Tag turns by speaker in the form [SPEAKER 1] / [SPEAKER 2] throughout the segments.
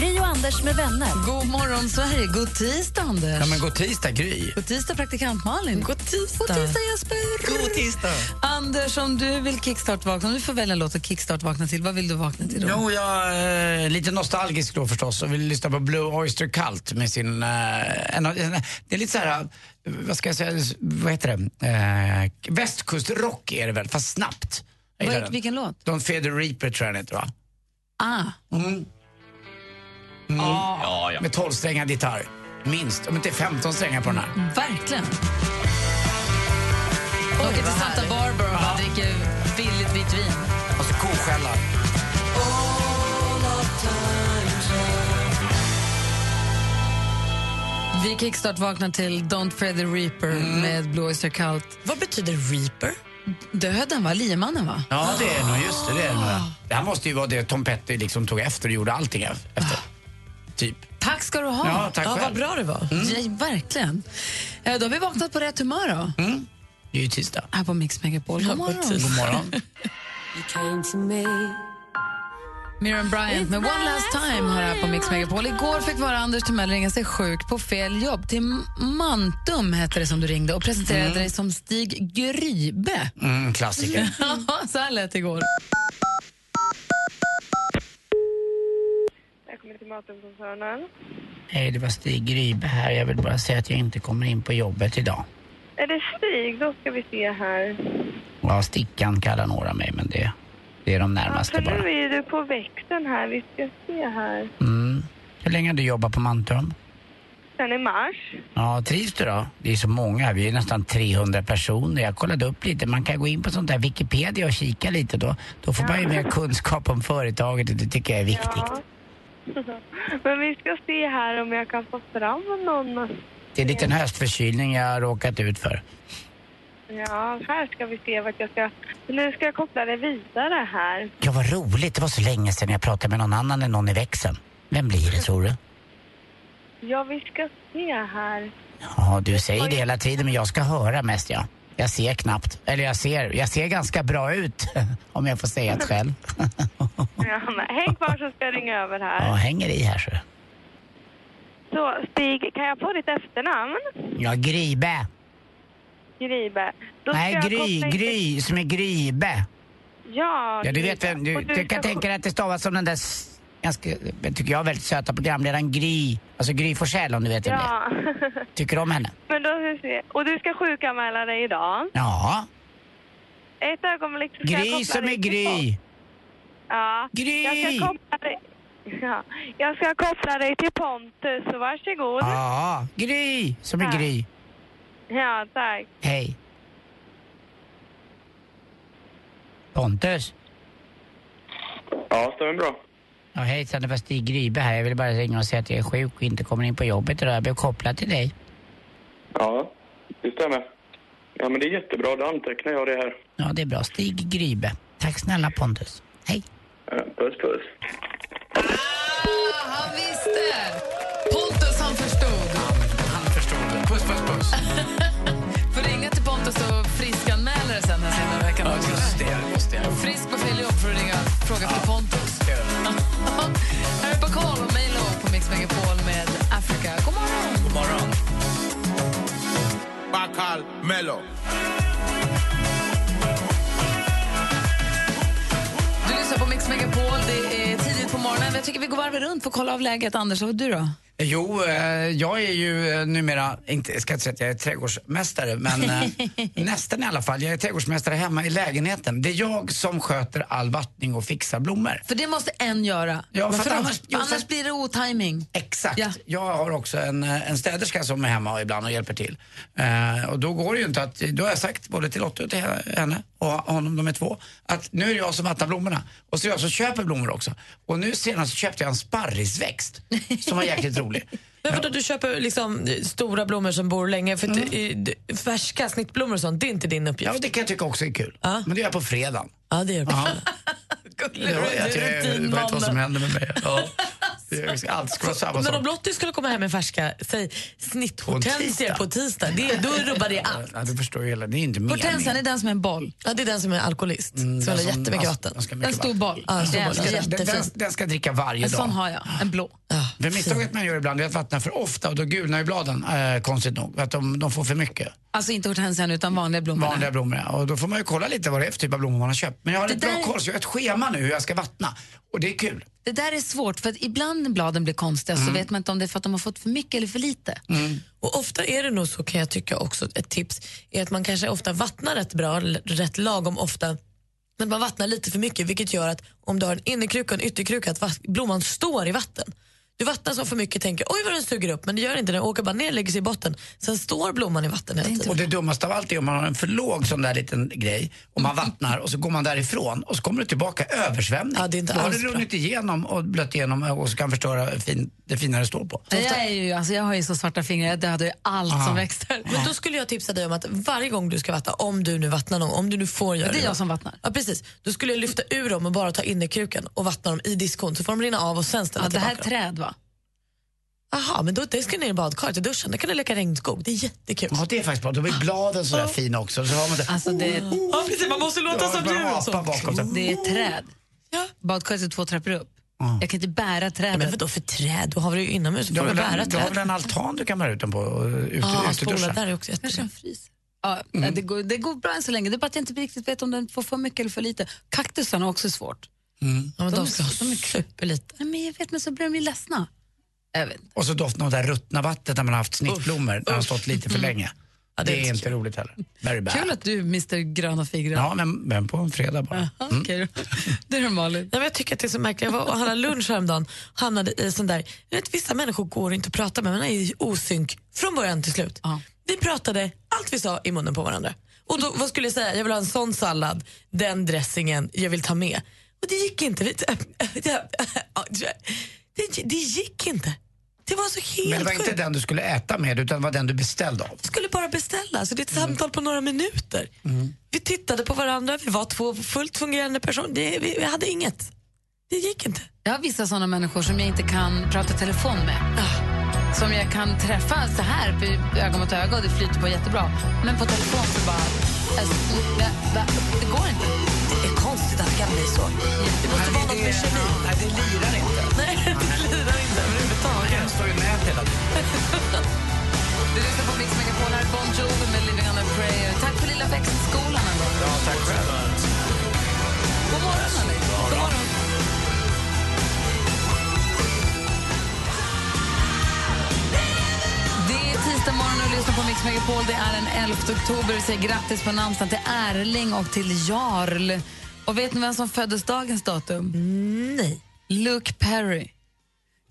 [SPEAKER 1] Gry och Anders med vänner.
[SPEAKER 2] God morgon, Sverige. God tisdag, Anders.
[SPEAKER 3] Ja, men god tisdag, Gry.
[SPEAKER 2] God tisdag, praktikant Malin. God
[SPEAKER 4] tisdag.
[SPEAKER 2] God tisdag, Jesper.
[SPEAKER 3] God tisdag.
[SPEAKER 2] Anders, om du vill kickstart-vakna, om du får välja en låt att kickstart-vakna till, vad vill du vakna till då?
[SPEAKER 3] Jo, jag är eh, lite nostalgisk då förstås och vill lyssna på Blue Oyster Cult med sin... Eh, en, av- en, det är lite så här, eh, vad ska jag säga, vad heter det? Eh, västkustrock är det väl, fast snabbt. Jag
[SPEAKER 2] Vad-
[SPEAKER 3] gillar den.
[SPEAKER 2] vilken låt?
[SPEAKER 3] Don't fear the reaper tror jag den heter va?
[SPEAKER 2] Ah.
[SPEAKER 4] Mm.
[SPEAKER 3] Ja, ja. Mm. Med 12-strängad gitarr. Minst, om inte 15 strängar på den här.
[SPEAKER 2] Verkligen. Åker till Santa Barbara och bara dricker billigt vitt vin.
[SPEAKER 3] Och så koskälla.
[SPEAKER 2] Vi kickstart-vaknar till Don't Fear the Reaper med Blue Oyster Cult.
[SPEAKER 4] Mm. Vad betyder reaper?
[SPEAKER 2] Döden, va? Liemannen, va?
[SPEAKER 3] Ja, det är nog just det. Det, är nog det. Ah. det här måste ju vara det Tom Petty liksom tog efter och gjorde allting
[SPEAKER 2] Ah.
[SPEAKER 3] efter. Typ.
[SPEAKER 2] Tack ska du ha.
[SPEAKER 3] Ja, tack
[SPEAKER 4] Ja,
[SPEAKER 3] själv. Mm.
[SPEAKER 4] vad bra det var.
[SPEAKER 2] Ja, verkligen. Eh, Då har vi vaknat på rätt humör då.
[SPEAKER 3] Mm. Det är ju tisdag.
[SPEAKER 2] här på Mix Megapol. God morgon.
[SPEAKER 3] God morgon.
[SPEAKER 2] Miriam Bryant med One Last Time har här på Mix Megapol. Igår fick vara Anders Timell ringa sig sjuk på fel jobb. Till Mantum hette det som du ringde och presenterade dig som Stig Grybe.
[SPEAKER 3] Mm, klassiker.
[SPEAKER 2] Så här lät det igår.
[SPEAKER 5] Jag kommer till Matumkoncernen.
[SPEAKER 3] Hej, det var Stig Grybe här. Jag vill bara säga att jag inte kommer in på jobbet idag.
[SPEAKER 5] Är det Stig? Då ska vi se här.
[SPEAKER 3] Ja, Stickan kallar några mig, men det, det är de närmaste
[SPEAKER 5] För
[SPEAKER 3] bara.
[SPEAKER 5] nu är du på växeln här. Vi ska se här.
[SPEAKER 3] Mm. Hur länge har du jobbat på Mantum?
[SPEAKER 5] Sen i mars.
[SPEAKER 3] Ja, trivs du då? Det är så många, vi är nästan 300 personer. Jag kollade upp lite, man kan gå in på sånt där Wikipedia och kika lite då. Då får man ju mer kunskap om företaget och det tycker jag är viktigt.
[SPEAKER 5] Ja. Men vi ska se här om jag kan få fram någon.
[SPEAKER 3] Det är en liten höstförkylning jag har råkat ut för.
[SPEAKER 5] Ja, här ska vi se vart jag ska... Nu ska jag koppla det vidare här.
[SPEAKER 3] Ja, vad roligt. Det var så länge sedan jag pratade med någon annan än någon i växeln. Vem blir det, tror du?
[SPEAKER 5] Ja, vi ska se här.
[SPEAKER 3] Ja, du säger det hela tiden, men jag ska höra mest, ja. Jag ser knappt. Eller jag ser, jag ser ganska bra ut, om jag får säga det själv.
[SPEAKER 5] Ja, men häng kvar så ska jag ringa över
[SPEAKER 3] Ja,
[SPEAKER 5] här.
[SPEAKER 3] hänger i här, så.
[SPEAKER 5] Så Stig, kan jag få ditt efternamn?
[SPEAKER 3] Ja, Gribe.
[SPEAKER 5] Gribe. Då ska
[SPEAKER 3] Nej,
[SPEAKER 5] jag
[SPEAKER 3] Gry,
[SPEAKER 5] koppla in-
[SPEAKER 3] Gry, som är Gribe.
[SPEAKER 5] Ja,
[SPEAKER 3] Ja, du
[SPEAKER 5] Gribe.
[SPEAKER 3] vet vem, du,
[SPEAKER 5] Och
[SPEAKER 3] du
[SPEAKER 5] ska
[SPEAKER 3] kan tänka dig att det stavas som den där, s- ganska, tycker jag, väldigt söta programledaren Gry. Alltså Gry Forssell, om du vet vem det är.
[SPEAKER 5] Ja,
[SPEAKER 3] Tycker du om henne?
[SPEAKER 5] men då ska vi se. Och du ska sjukanmäla dig idag.
[SPEAKER 3] Ja.
[SPEAKER 5] Ett ögonblick så ska jag koppla
[SPEAKER 3] Gry som
[SPEAKER 5] dig
[SPEAKER 3] är
[SPEAKER 5] till
[SPEAKER 3] Gry.
[SPEAKER 5] podd. Ja.
[SPEAKER 3] Gry!
[SPEAKER 5] Jag ska koppla dig. Ja. Jag ska koppla dig till Pontus, så varsågod. Ja,
[SPEAKER 3] Ja, Gry som är
[SPEAKER 5] Ja.
[SPEAKER 3] Gry.
[SPEAKER 5] ja tack.
[SPEAKER 3] Hej. Pontus?
[SPEAKER 6] Ja, stämmer bra.
[SPEAKER 3] Ja, hejsan, det var Stig Grybe här. Jag ville bara ringa och säga att jag är sjuk och inte kommer in på jobbet idag. Jag blev kopplad till dig.
[SPEAKER 6] Ja, det stämmer. Ja, men det är jättebra. Då antecknar jag det här.
[SPEAKER 3] Ja, det är bra. Stig Grybe. Tack snälla Pontus. Hej.
[SPEAKER 6] Ja, Puss, puss.
[SPEAKER 2] Han visste! Pontus, han förstod.
[SPEAKER 3] Han förstod det. Puss, puss, puss.
[SPEAKER 2] Får ringa till Pontus och friskanmäla dig sen här senare i veckan också.
[SPEAKER 3] det, just det.
[SPEAKER 2] Frisk på fel jobb får du ringa och fråga efter Pontus. Här är Bacall och Milo på Mix Megapol med Africa. God morgon!
[SPEAKER 3] God morgon.
[SPEAKER 7] Bacal Melo.
[SPEAKER 2] Du lyssnar på Mix Megapol. Det är tidigt på morgonen. Jag tycker vi går varvet runt för att kolla av läget. Anders, och du då?
[SPEAKER 3] Jo, eh, jag är ju eh, numera, inte, jag ska inte säga att jag är trädgårdsmästare, men eh, nästan i alla fall. Jag är trädgårdsmästare hemma i lägenheten. Det är jag som sköter all vattning och fixar blommor.
[SPEAKER 2] För det måste en göra.
[SPEAKER 3] Ja, för att
[SPEAKER 2] För
[SPEAKER 3] annars- jo, för-
[SPEAKER 2] annars blir det otiming.
[SPEAKER 3] Exakt.
[SPEAKER 2] Ja.
[SPEAKER 3] Jag har också en, eh, en städerska som är hemma ibland och hjälper till. Eh, och då går det ju inte att, då har jag sagt både till Lottie och till henne och honom, de är två, att nu är det jag som vattnar blommorna. Och så är jag som köper blommor också. Och nu senast så köpte jag en sparrisväxt som var jäkligt rolig.
[SPEAKER 4] Men vadå, du köper liksom eh, stora blommor som bor länge? För att, eh, d- färska snittblommor och sånt, det är inte din
[SPEAKER 3] Mm. Ja,
[SPEAKER 4] uppgift?
[SPEAKER 3] det kan jag tycka också är kul.
[SPEAKER 4] Ja.
[SPEAKER 3] Men det gör jag på fredagen.
[SPEAKER 4] Ja, det gör du.
[SPEAKER 3] Ja.
[SPEAKER 4] Gullig,
[SPEAKER 3] Jag vet
[SPEAKER 4] du är
[SPEAKER 3] jag vet vad som
[SPEAKER 4] rutinmannen.
[SPEAKER 3] händer med mig. Ja. Det ska- Allt ska vara samma
[SPEAKER 4] När de
[SPEAKER 3] sak.
[SPEAKER 4] Lottie skulle komma hem med färska, säg snitthortensior
[SPEAKER 3] På
[SPEAKER 4] på tisdag, det, då rubbar det allt.
[SPEAKER 3] Ja, du förstår ju hela, det är inte meningen. Mm,
[SPEAKER 2] Hortensian är den som är en boll.
[SPEAKER 4] Ja, det är den som är alkoholist, som
[SPEAKER 3] den
[SPEAKER 4] håller
[SPEAKER 3] som-
[SPEAKER 4] jättemycket
[SPEAKER 3] alltså,
[SPEAKER 4] vatten.
[SPEAKER 3] den ska mycket
[SPEAKER 2] En stor
[SPEAKER 3] vatten.
[SPEAKER 2] boll.
[SPEAKER 4] Ja, en stor
[SPEAKER 2] Jag
[SPEAKER 4] boll.
[SPEAKER 2] älskar den.
[SPEAKER 4] Jätte-
[SPEAKER 3] Den, den,
[SPEAKER 4] jättefin.
[SPEAKER 3] den ska jag dricka varje
[SPEAKER 2] En sån
[SPEAKER 3] dag.
[SPEAKER 2] har jag, en blå.
[SPEAKER 4] Ja,
[SPEAKER 3] För misstaget man gör ibland är att vattna för ofta och då gulnar ju bladen eh, konstigt nog. Att de, de får för mycket.
[SPEAKER 2] Alltså inte hortensian utan vanliga blommor.
[SPEAKER 3] Vanliga blommor. ja. Och då får man ju kolla lite vad det är för typ av blommor man har köpt. Men jag har
[SPEAKER 2] Det
[SPEAKER 3] ett bra
[SPEAKER 2] där-
[SPEAKER 3] koll så jag har ett schema nu hur jag ska vattna. Och det är kul.
[SPEAKER 2] Det där är svårt för att ibland när bladen blir konstiga så vet man inte om det är för att de har fått för mycket eller för lite.
[SPEAKER 4] Mm. Och ofta är det nog så kan jag tycka också, ett tips är att man kanske ofta vattnar rätt bra, l- rätt lagom ofta. Men man vattnar lite för mycket vilket gör att om du har en innerkruka och en ytterkruka att vas- blomman står i vatten. Du vattnar så för mycket och tänker oj vad den suger upp men det gör inte det, den åker bara ner och lägger sig i botten. Sen står blomman i vatten hela
[SPEAKER 3] Och
[SPEAKER 4] tiden.
[SPEAKER 3] det dummaste av allt är om man har en för låg sån där liten grej och man vattnar och så går man därifrån och så kommer det tillbaka översvämning.
[SPEAKER 4] Ja, det är inte
[SPEAKER 3] Då har
[SPEAKER 4] alls
[SPEAKER 3] det runnit igenom och blött igenom eh, och så kan förstöra fin, det fina det står på.
[SPEAKER 2] Jag, är ju, alltså, jag har ju så svarta fingrar, jag dödar ju allt
[SPEAKER 3] Ah.
[SPEAKER 2] som växer.
[SPEAKER 4] Men då skulle jag tipsa dig om att varje gång du ska vattna, om du nu vattnar någon, om du nu får göra
[SPEAKER 2] Det är jag som vattnar.
[SPEAKER 4] Ja, precis. Då skulle jag lyfta ur dem och bara ta innerkrukan och vattna dem i diskon så får de rinna av och sen ställa
[SPEAKER 2] Ja, det
[SPEAKER 4] tillbaka
[SPEAKER 2] här är
[SPEAKER 4] dem.
[SPEAKER 2] träd va?
[SPEAKER 4] Jaha, men då, det ska ner i badkaret i duschen. Där kan du leka regnskog. Det är jättekul.
[SPEAKER 3] Ja, det är faktiskt bra. Då blir bladen sådär fina också. Så har man det.
[SPEAKER 2] Alltså det,
[SPEAKER 4] Ja, precis. Man måste
[SPEAKER 3] Då
[SPEAKER 4] låta
[SPEAKER 3] har man en apa bakom sig.
[SPEAKER 2] det är träd.
[SPEAKER 4] Ja.
[SPEAKER 2] Badkaret är två trappor upp. Jag kan inte bära
[SPEAKER 4] Men
[SPEAKER 2] trädet.
[SPEAKER 4] vadå för träd? Då har vi det ju inomhus. så
[SPEAKER 3] Du
[SPEAKER 4] Får
[SPEAKER 3] har
[SPEAKER 4] du
[SPEAKER 3] väl
[SPEAKER 4] bära
[SPEAKER 3] en- du har
[SPEAKER 4] träd?
[SPEAKER 3] väl en altan du kan bära ut den på? och Ut,
[SPEAKER 4] Ja, spola
[SPEAKER 3] uteduschen.
[SPEAKER 4] där är också
[SPEAKER 2] Kanske
[SPEAKER 4] jättebra.
[SPEAKER 2] en fris. Mm. Ja, det, går, det går bra än så länge, det är bara att jag inte riktigt vet om den får för mycket eller för lite. Kaktusarna är också svårt.
[SPEAKER 3] Mm.
[SPEAKER 4] Ja, men de,
[SPEAKER 2] De
[SPEAKER 4] ska
[SPEAKER 2] är-
[SPEAKER 4] ha
[SPEAKER 2] de är-
[SPEAKER 4] superlite.
[SPEAKER 2] Nej, men jag vet, men så blir de ju ledsna. Jag vet.
[SPEAKER 3] Och så doften av det där ruttna vattnet när man har haft snittblommor. När de har stått lite för länge.
[SPEAKER 4] Mm. Ja,
[SPEAKER 3] det, är inte roligt heller. Very bad.
[SPEAKER 2] Kul att du Mr Gröna fingrar.
[SPEAKER 3] Ja, men, men på en fredag bara. Mm.
[SPEAKER 2] Aha, okej då. Det är normalt.
[SPEAKER 4] Nej, men jag tycker att det är så märkligt. Jag var och handlade lunch häromdagen hamnade i sån där... Jag vet, vissa människor går inte att prata med, men är i osynk från början till slut.
[SPEAKER 2] Ja.
[SPEAKER 4] Vi pratade allt vi sa i munnen på varandra. Och då, vad skulle jag säga? Jag vill ha en sån sallad, den dressingen, jag vill ta med. Och det gick inte. Vi- Det, det gick inte. Det var så helt
[SPEAKER 3] Men det var inte
[SPEAKER 4] sjukt.
[SPEAKER 3] den du skulle äta med utan det var den du beställde av.
[SPEAKER 4] Jag skulle bara beställa, så det är ett
[SPEAKER 3] Mm.
[SPEAKER 4] samtal på några minuter. Vi tittade på varandra, vi var två fullt fungerande personer. Det, vi, vi hade inget. Det gick inte.
[SPEAKER 2] Jag har vissa sådana människor som jag inte kan prata telefon med.
[SPEAKER 4] Ah.
[SPEAKER 2] Som jag kan träffa så här, på öga mot öga, och det flyter på jättebra. Men på telefon så bara... Alltså, va, va, det går inte.
[SPEAKER 4] Det är konstigt att det kan bli så. Det måste vara något med kemin.
[SPEAKER 3] Nej, det lirar inte.
[SPEAKER 4] Nej, det lirar inte överhuvudtaget.
[SPEAKER 3] Den står ju nät hela tiden.
[SPEAKER 2] Du lyssnar på Mix Megapol här, Bon Jovi med Living on a prayer. Tack för lilla växelskolan ändå.
[SPEAKER 3] Ja, tack själv.
[SPEAKER 2] God morgon, Alex. God morgon. Det är tisdag morgon och du lyssnar på Mix Megapol. Det är den 11 oktober. Vi säger grattis på namnsdagen till Erling och till Jarl. Och vet ni vem som föddes dagens datum? Nej. Luke Perry,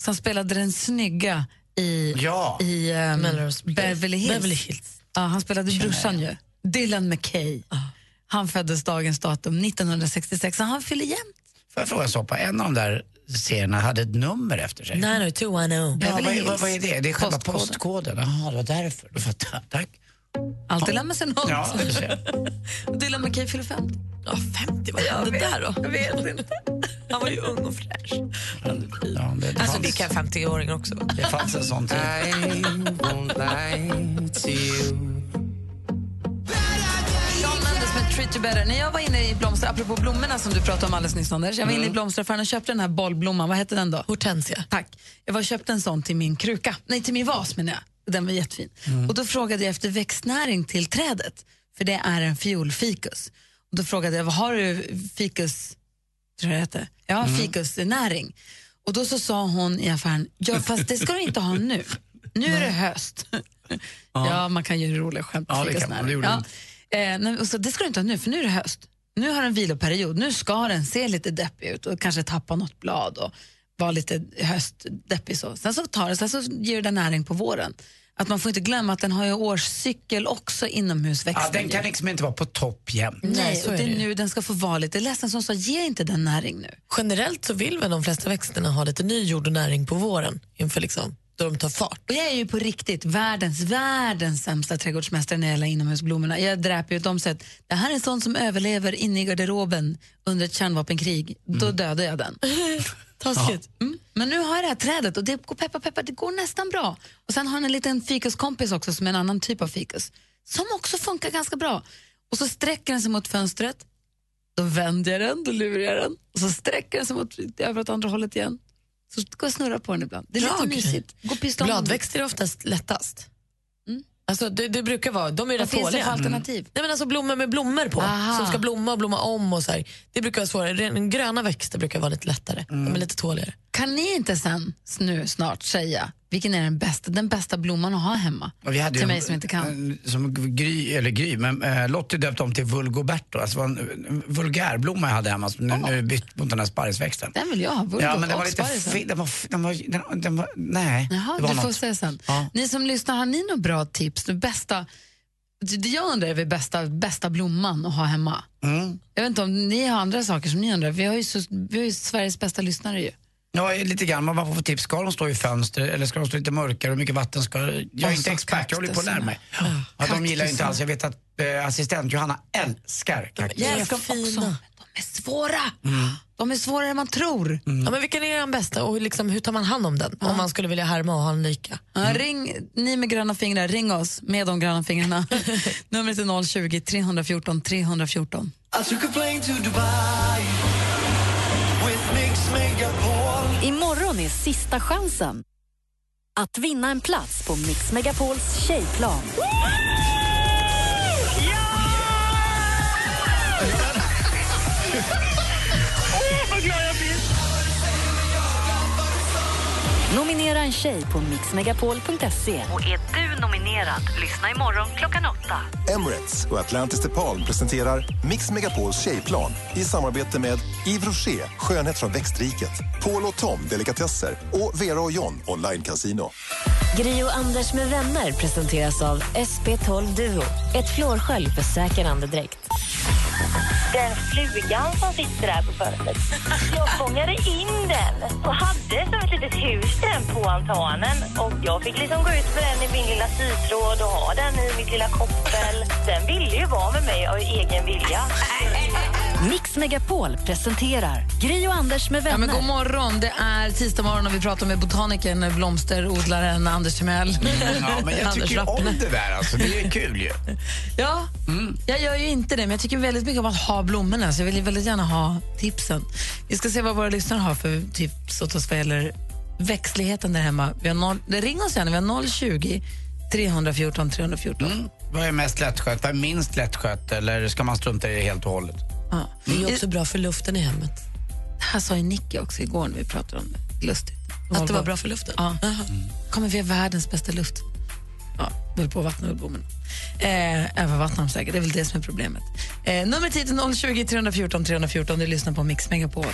[SPEAKER 2] som spelade den snygga i,
[SPEAKER 3] Ja.
[SPEAKER 2] i ehm,
[SPEAKER 4] Melrose Place.
[SPEAKER 2] Beverly Hills.
[SPEAKER 4] Beverly Hills.
[SPEAKER 2] Ja, han spelade brorsan ju. Dylan McKay. Han föddes dagens datum 1966 och han fyller jämnt.
[SPEAKER 3] Får jag fråga en sak? På En av de där serierna hade ett nummer efter sig.
[SPEAKER 4] 90210.
[SPEAKER 3] Ja,
[SPEAKER 2] Beverly
[SPEAKER 3] vad, är- vad,
[SPEAKER 2] Hills.
[SPEAKER 3] vad är det? Det är själva
[SPEAKER 2] Postkoden.
[SPEAKER 3] postkoden. Jaha, det var därför. Då fattar jag. Tack.
[SPEAKER 2] Alltid lämnar sig något.
[SPEAKER 3] Ja, det ser jag.
[SPEAKER 2] Dylan McKay fyller 50.
[SPEAKER 4] Ja, 50, vad hände där då? Jag vet inte. Han var ju ung och fräsch.
[SPEAKER 3] ja, det, det,
[SPEAKER 4] Alltså,
[SPEAKER 3] fanns,
[SPEAKER 4] det kan 50-åringar också vara.
[SPEAKER 3] det fanns en sån tid.
[SPEAKER 2] Shawn Mendes med Treat You Better. När jag var inne i blomster, apropå blommorna som du pratade om alldeles nyss Anders. Jag var inne i blomsteraffären och köpte den här bollblomman, vad hette den då?
[SPEAKER 4] Hortensia.
[SPEAKER 2] Tack. Jag var och köpte en sån till min kruka, nej till min vas menar jag. Den var jättefin. Och då frågade jag efter växtnäring till trädet, för det är en fiolfikus. Och då frågade jag, vad har du fikus, tror jag det heter? Ja, fikusnäring. Och då så sa hon i affären, ja fast det ska du inte ha nu. Nu är det höst. ja, man kan ju roliga skämt.
[SPEAKER 3] Ja, det kan man. Det gjorde
[SPEAKER 2] Ja. Eh, nej, och så, det ska du inte ha nu, för nu är det höst. Nu har den viloperiod. Nu ska den se lite deppig ut och kanske tappa något blad och vara lite höstdeppig. Så. Sen, så tar det, sen så ger den näring på våren. Att Man får inte glömma att den har ju årscykel också
[SPEAKER 3] Ja,
[SPEAKER 2] inomhusväxten.
[SPEAKER 3] den kan liksom inte vara på topp jämt.
[SPEAKER 2] Nej,
[SPEAKER 4] så
[SPEAKER 2] och
[SPEAKER 4] är
[SPEAKER 2] det
[SPEAKER 4] det
[SPEAKER 2] är
[SPEAKER 4] ju.
[SPEAKER 2] nu den ska få vara lite ledsen som sa ge inte den näring nu.
[SPEAKER 4] Generellt så vill väl de flesta växterna ha lite ny jord och näring på våren inför liksom då de tar fart.
[SPEAKER 2] Och jag är ju på riktigt världens, världens sämsta trädgårdsmästare när det gäller inomhusblommorna. Jag dräper ju åt dem så att det här är en sån som överlever inne i garderoben under ett kärnvapenkrig. Då dödar jag den.
[SPEAKER 4] Taskigt.
[SPEAKER 2] Mm. Men nu har jag det här trädet och det går peppa peppa, det går nästan bra. Och sen har han en liten fikuskompis också som är en annan typ av fikus. Som också funkar ganska bra. Och så sträcker den sig mot fönstret. Då vänder jag den, då lurar jag den. Och så sträcker den sig mot, över åt andra hållet igen. Så går jag och snurrar på den ibland. Det är
[SPEAKER 4] Bra
[SPEAKER 2] lite
[SPEAKER 4] grej.
[SPEAKER 2] mysigt. Gå och pyssla om Mm. den.
[SPEAKER 4] Bladväxter är oftast lättast. Alltså, det, det brukar vara, de är
[SPEAKER 2] Vad
[SPEAKER 4] rätt
[SPEAKER 2] finns det
[SPEAKER 4] tåliga.
[SPEAKER 2] för alternativ?
[SPEAKER 4] Nej, men alltså blommor med blommor på,
[SPEAKER 2] Aha.
[SPEAKER 4] som ska blomma och blomma om. och så här. Det brukar vara svårare. Ren- Gröna växter brukar vara lite lättare. De
[SPEAKER 2] Mm.
[SPEAKER 4] är lite tåligare.
[SPEAKER 2] Kan ni inte sen nu snart säga vilken är den bästa, den bästa blomman att ha hemma?
[SPEAKER 3] Och vi hade ju
[SPEAKER 2] till
[SPEAKER 3] en-
[SPEAKER 2] mig som inte kan.
[SPEAKER 3] en- Som Gry, eller Gry, men eh, Lottie döpte om till Vulgoberto. Alltså det var en, en vulgärblomma jag hade hemma som nu, nu är bytt mot den här sparrisväxten.
[SPEAKER 2] Den vill jag ha, vulgo
[SPEAKER 3] Ja men den var
[SPEAKER 2] och
[SPEAKER 3] lite
[SPEAKER 2] sparrisen.
[SPEAKER 3] fi, den var, f- den var, den, den var, nej.
[SPEAKER 2] Jaha,
[SPEAKER 3] det var
[SPEAKER 2] du får
[SPEAKER 3] något.
[SPEAKER 2] säga sen.
[SPEAKER 3] Ja.
[SPEAKER 2] Ni som lyssnar, har ni några bra tips? Det bästa, det det jag undrar är väl bästa, bästa blomman att ha hemma.
[SPEAKER 8] Mm.
[SPEAKER 2] Jag vet inte om ni har andra saker som ni undrar. Vi har ju, så, vi har ju Sveriges bästa lyssnare ju.
[SPEAKER 3] Ja, lite grann. Man bara får tips. Ska de stå i fönster eller ska de stå lite mörkare? Hur mycket vatten ska... Jag är
[SPEAKER 2] Och så
[SPEAKER 3] inte expert, jag håller på att lära mig.
[SPEAKER 2] kaktuserna.
[SPEAKER 3] Ja, de
[SPEAKER 2] Kaktusarna.
[SPEAKER 3] gillar ju inte alls. Jag vet att eh, assistent Johanna älskar kaktus.
[SPEAKER 4] Jag
[SPEAKER 2] älskar dem
[SPEAKER 4] fina.
[SPEAKER 2] också. men De är svåra. De är svårare än man tror.
[SPEAKER 3] Mm.
[SPEAKER 4] Ja, men vilken är den bästa och hur, liksom, hur tar man hand om den? Om man skulle vilja härma och ha en lika.
[SPEAKER 2] Ja, ring, ni med gröna fingrar, ring oss med de gröna fingrarna. Numret är 020 314 314.
[SPEAKER 1] Imorgon är sista chansen att vinna en plats på Mix Megapols tjejplan. Nominera en tjej på mixmegapol.se. Och är du nominerad, lyssna imorgon klockan åtta.
[SPEAKER 7] Emirates och Atlantis DePaul presenterar Mix Megapols tjejplan i samarbete med Yves Rocher, skönhet från växtriket, Paul och Tom, delikatesser och Vera och John, online casino.
[SPEAKER 1] Gri och Anders med vänner presenteras av SP12 Duo. Ett flårskölj för säker andedräkt.
[SPEAKER 9] den flugan som sitter där på fönstret. Jag fångade in den och hade som ett litet hus den på altanen. Och jag fick liksom gå ut med den i min lilla sytråd och ha den i mitt lilla koppel. Den ville ju vara med mig av egen vilja.
[SPEAKER 1] Mix Megapol presenterar Gri och Anders med
[SPEAKER 2] Ja,
[SPEAKER 1] vänner.
[SPEAKER 2] men god morgon, det är tisdag morgon och vi pratar med botanikern, blomsterodlaren Anders Timell.
[SPEAKER 3] Mm. Ja, men jag tycker ju om det där alltså. Det är kul ju.
[SPEAKER 2] Ja, jag gör ju inte det, men jag tycker väldigt mycket om att ha blommorna så jag vill ju väldigt gärna ha tipsen. Vi ska se vad våra lyssnare har för tips åt oss vad gäller växtligheten där hemma. Vi har noll, ring oss gärna, vi har 020 314 314.
[SPEAKER 3] Vad är mest lättskött? Vad är minst lättskött? Eller ska man strunta i det helt och hållet?
[SPEAKER 2] Ja.
[SPEAKER 4] Det är ju också bra för luften i hemmet.
[SPEAKER 2] Det här sa ju Nicky också igår när vi pratade om det. Lustigt.
[SPEAKER 4] Att det var bra för luften.
[SPEAKER 2] Ja. Kommer vi ha världens bästa luft? Ja, vi höll på att vattna ur blommorna. Eh, övervattnar dem säkert, det är väl det som är problemet. Eh, nummer 10 020 314 314, du lyssnar på Mix Megapol.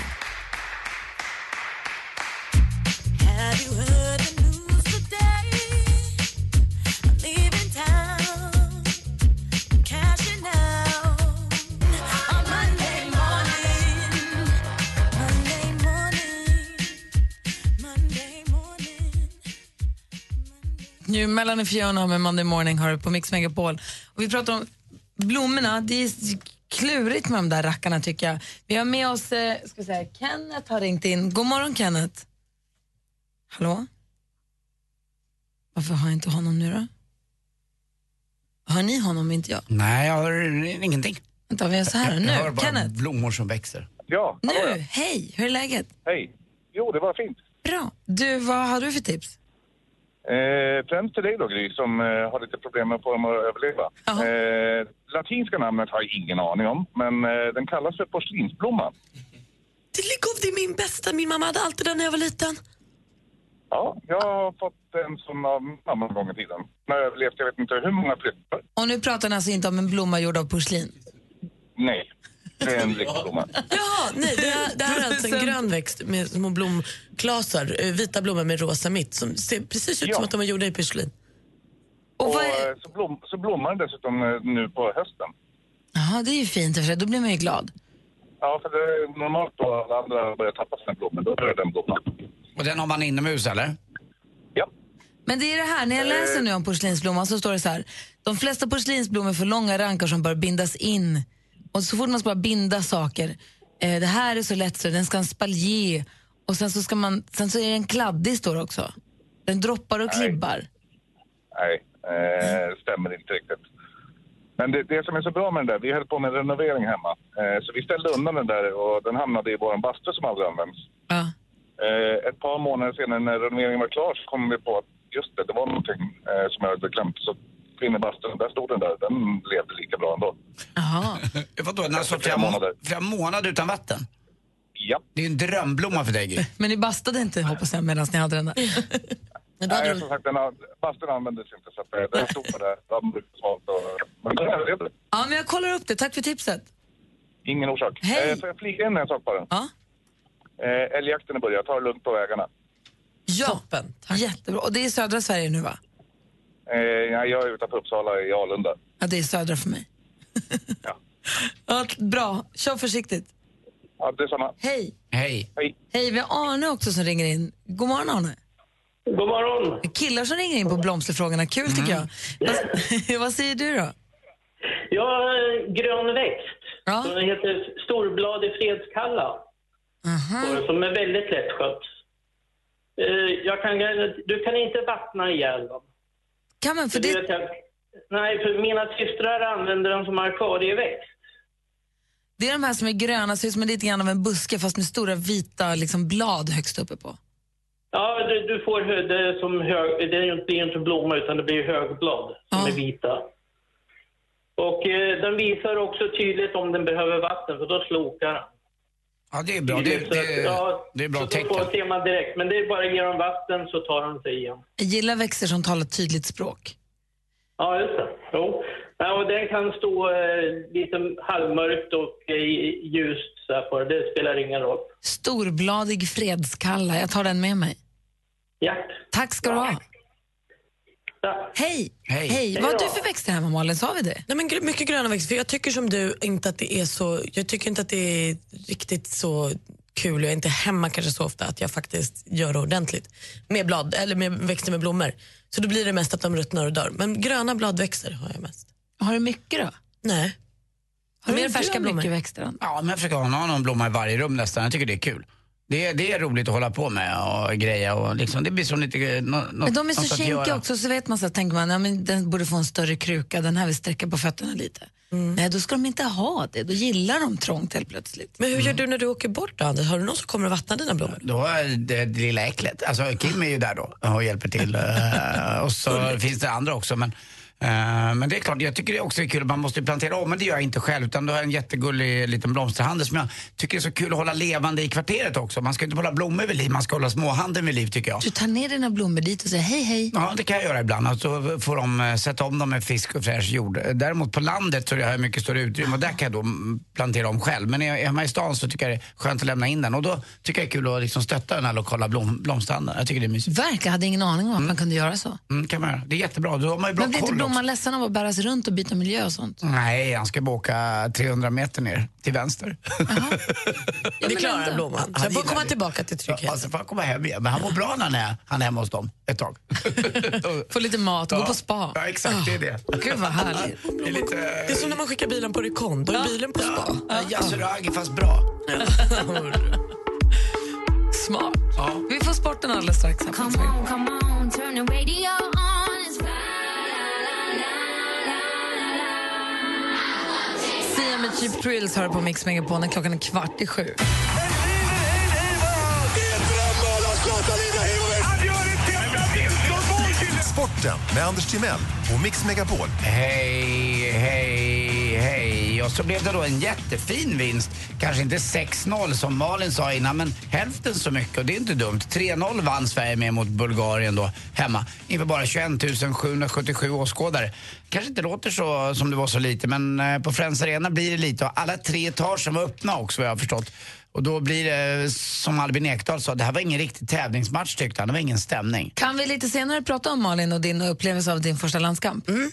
[SPEAKER 2] Nu mellan och Fiona med Monday Morning har du på Mix Megapol. Och vi pratar om blommorna, det är s- klurigt med de där rackarna tycker jag. Vi har med oss, eh, ska vi säga, Kenneth har ringt in. God morgon Kenneth. Hallå? Varför har jag inte honom nu då? Hör ni honom, inte jag?
[SPEAKER 3] Nej, jag hör ingenting.
[SPEAKER 2] Vänta, vi gör så här
[SPEAKER 3] jag hör
[SPEAKER 2] nu.
[SPEAKER 3] bara
[SPEAKER 2] Kenneth,
[SPEAKER 3] blommor som växer.
[SPEAKER 6] Ja,
[SPEAKER 2] nu, hej, hur är läget?
[SPEAKER 6] hej. Jo, det var fint.
[SPEAKER 2] Bra. Du, vad har du för tips?
[SPEAKER 6] Eh, främst till dig då, Gry, som eh, har lite problem med att få dem att överleva.
[SPEAKER 2] Jaha.
[SPEAKER 6] Eh, latinska namnet har jag ingen aning om, men eh, den kallas för porslinsblomma.
[SPEAKER 4] Det ligger det är min bästa. Min mamma hade alltid den när jag var liten.
[SPEAKER 6] Ja, jag har fått en sån av mamma en gång i tiden. Den har överlevt, jag vet inte hur många flyttar.
[SPEAKER 2] Och nu pratar han alltså inte om en blomma gjord av porslin.
[SPEAKER 6] Nej, det är en lyxblomma.
[SPEAKER 4] Ja, nej, det, här- det här är alltså en grön växt med små blomklasar, eh, vita blommor med rosa mitt som ser precis ut
[SPEAKER 6] Ja.
[SPEAKER 4] som att de är gjorda i porslin.
[SPEAKER 2] Och
[SPEAKER 6] Och
[SPEAKER 2] vad
[SPEAKER 6] eh,
[SPEAKER 2] är...
[SPEAKER 6] så, blom, så blommar den dessutom eh, nu på hösten.
[SPEAKER 2] Jaha, det är ju fint i och för sig. Då blir man ju glad.
[SPEAKER 6] Ja, för det är normalt då alla andra börjar tappa sina blommor, då börjar den blomma.
[SPEAKER 3] Och den har man inomhus eller?
[SPEAKER 6] Ja,
[SPEAKER 2] Men det är det här, när jag läser nu om porslinsblomman så står det så här. De flesta porslinsblommor får långa rankar som bör bindas in. Och så fort man ska bara binda saker. Eh, det här är så lätt så den ska en spaljé. Och sen så, ska man, sen så är den kladdig står det också. Den droppar och klibbar.
[SPEAKER 6] Nej, eh, stämmer inte riktigt. Men det, det som är så bra med den där, vi höll på med en renovering hemma. Eh, så vi ställde undan den där och den hamnade i vår bastu som aldrig används. Eh, ett par månader senare när renoveringen var klar så kom vi på att just det, det var någonting eh, som jag hade glömt. Så in i bastun, där stod den där, den levde lika bra ändå.
[SPEAKER 2] Jaha.
[SPEAKER 3] Eh, Vadå, den har stått flera månader. flera månader utan vatten?
[SPEAKER 6] Ja.
[SPEAKER 3] Det är ju en drömblomma för dig, Gry.
[SPEAKER 2] Men ni bastade inte hoppas jag medan ni hade den där.
[SPEAKER 6] Nej, som sagt, den har, bastun användes inte så att eh, den stod bara där, den brukade smalt och... Men den överlevde.
[SPEAKER 2] Ja, men jag kollar upp det. Tack för tipset.
[SPEAKER 6] Ingen orsak.
[SPEAKER 2] Hej.
[SPEAKER 6] Eh, får jag flika in en sak bara?
[SPEAKER 2] Ja.
[SPEAKER 6] Eh, älgjakten är börjat, ta det lugnt på vägarna.
[SPEAKER 2] Ja. Toppen. Jättebra. Och det är södra Sverige nu va?
[SPEAKER 6] Eh, ja, jag är utanför Uppsala i Alunda.
[SPEAKER 2] Ja, det är södra för mig. ja. Bra. Kör försiktigt.
[SPEAKER 6] Ja, detsamma.
[SPEAKER 2] Hej.
[SPEAKER 3] Hej.
[SPEAKER 6] Hej.
[SPEAKER 2] Hej, vi har Arne också som ringer in. God morgon Arne.
[SPEAKER 10] God morgon. Mm.
[SPEAKER 2] Killar som ringer in på blomsterfrågorna, kul tycker jag. Vad, vad säger du då?
[SPEAKER 10] Jag har en grön växt. Den heter storbladig fredskalla. Och Som är väldigt lättskött. Eh, Jag kan, du kan inte vattna ihjäl dem.
[SPEAKER 2] Kan man? För
[SPEAKER 10] det... vet jag- nej, för mina systrar använder den som akvarieväxt.
[SPEAKER 2] Det är de här som är gröna, ser ut som lite grann av en buske fast med stora vita liksom, blad högst uppe på.
[SPEAKER 10] Ja, du, du får hö- det är som hög... Det är ju inte, det är inte blomma utan det blir högblad som är vita. Och eh, den visar också tydligt om den behöver vatten för då slokar den.
[SPEAKER 3] Ja, det är bra. Det, det, det är bra tecken.
[SPEAKER 10] Så ser man direkt. Men det är bara genom vatten så tar de sig igen.
[SPEAKER 2] Jag gillar växter som talar tydligt språk.
[SPEAKER 10] Ja, just det. Jo. Ja, och den kan stå eh, lite halvmörkt och eh, ljust så här på det. Det spelar ingen roll.
[SPEAKER 2] Storbladig fredskalla, jag tar den med mig.
[SPEAKER 10] Ja.
[SPEAKER 2] Tack ska du ha. Hej!
[SPEAKER 3] Hej.
[SPEAKER 2] Vad har du för växter hemma Malin, sa vi det?
[SPEAKER 4] Nej, men gr- mycket gröna växter, för jag tycker som du inte att det är så, jag tycker inte att det är riktigt så kul och jag är inte hemma kanske så ofta att jag faktiskt gör det ordentligt med blad eller med växter med blommor. Så då blir det mest att de ruttnar och dör. Men gröna bladväxter har jag mest.
[SPEAKER 2] Har du mycket då?
[SPEAKER 4] Nej.
[SPEAKER 2] Har du
[SPEAKER 4] mer färska blommor?
[SPEAKER 2] växter?
[SPEAKER 3] Ja, men jag försöker ha någon blomma i varje rum nästan. Jag tycker det är kul. Det är, det är roligt att hålla på med och greja och liksom, det blir som lite... eh, nå- nå-
[SPEAKER 2] Men de är
[SPEAKER 3] något
[SPEAKER 2] så
[SPEAKER 3] att
[SPEAKER 2] kinkiga
[SPEAKER 3] göra.
[SPEAKER 2] också, så vet man så här, tänker man, ja, men den borde få en större kruka, den här vill sträcka på fötterna lite.
[SPEAKER 3] Mm.
[SPEAKER 2] Nej, då ska de inte ha det, då gillar de trångt helt plötsligt.
[SPEAKER 4] Men hur gör du när du åker bort då Anders? Har du någon som kommer och vattnar dina blommor?
[SPEAKER 3] Då är det, det lilla äcklet. Alltså Kim är ju där då och hjälper till. Eh, och så finns det andra också. Men, eh, men det är klart, jag tycker det också är kul. Man måste ju plantera om, men det gör jag inte själv. Utan då har jag en jättegullig liten blomsterhandel som jag tycker är så kul att hålla levande i kvarteret också. Man ska inte hålla blommor vid liv, man ska hålla småhandeln vid liv tycker jag.
[SPEAKER 2] Du tar ner dina blommor dit och säger hej hej.
[SPEAKER 3] Ja, det kan jag göra ibland. Och så får de eh, sätta om dem med fisk och fräsch jord. Däremot på landet så har jag mycket större utrymme och där kan jag då mm, plantera om själv. Men är jag hemma i stan så tycker jag det är skönt att lämna in den. Och då tycker jag det är kul att liksom stötta den här lokala blom, blomsterhandeln. Jag tycker det är mysigt.
[SPEAKER 2] Verkligen, jag hade ingen aning om att man kunde göra så.
[SPEAKER 3] Mm, kan man göra. Det är jättebra. Då har man ju bra
[SPEAKER 2] Men blir inte
[SPEAKER 3] koll också.
[SPEAKER 2] blomman ledsen av att bäras runt och byta miljö och sånt?
[SPEAKER 3] Nej, han ska bara åka 300 meter ner till vänster.
[SPEAKER 4] det klarar blomman. Så jag får komma tillbaka till tryggheten.
[SPEAKER 3] Alltså, får han komma hem igen. Men han mår bra när han är, han är hemma hos dem ett tag.
[SPEAKER 2] Få Mm. lite mat och gå på spa.
[SPEAKER 3] Ja, exakt. Det är det.
[SPEAKER 2] Gud vad härligt.
[SPEAKER 3] Det är lite...
[SPEAKER 4] Det är som när man skickar bilen på rekon, då är bilen på spa.
[SPEAKER 3] Ja. alltså, Yasuragi fast bra.
[SPEAKER 2] Smart. Vi får sporten alldeles strax. här på Mix Megapol. Sia med Cheap Thrills hör på Mix Megapol när klockan är kvart i sju.
[SPEAKER 7] Sporten med Anders Timell och Mix Megapol.
[SPEAKER 3] Hej, hej, hej. Och så blev det då en jättefin vinst. Kanske inte 6-0 som Malin sa innan, men hälften så mycket. Och det är inte dumt. 3-0 vann Sverige med mot Bulgarien då, hemma. Inför bara 21 777 åskådare. Kanske inte låter så som det var så lite, men eh, på Friends Arena blir det lite. Och alla tre etage var öppna också, vad jag har förstått. Och då blir det, som Albin Ekdal sa, det här var ingen riktig tävlingsmatch tyckte han. Det var ingen stämning.
[SPEAKER 2] Kan vi lite senare prata om Malin och din upplevelse av din första landskamp?
[SPEAKER 3] Mm.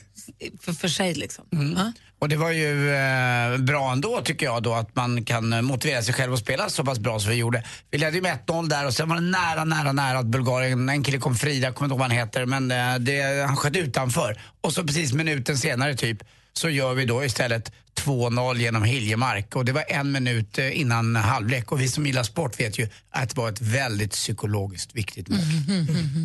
[SPEAKER 2] För, för sig liksom. Ja.
[SPEAKER 3] Och det var ju eh, bra ändå tycker jag då att man kan eh, motivera sig själv och spela så pass bra som vi gjorde. Vi ledde ju med 1-0 där och sen var det nära, nära, nära att Bulgarien, en kille kom fri, jag kommer inte ihåg vad han heter, men eh, det, han sköt utanför. Och så precis minuten senare typ så gör vi då istället 2-0 genom Hiljemark och det var en minut eh, innan halvlek och vi som gillar sport vet ju att det var ett väldigt psykologiskt viktigt mål.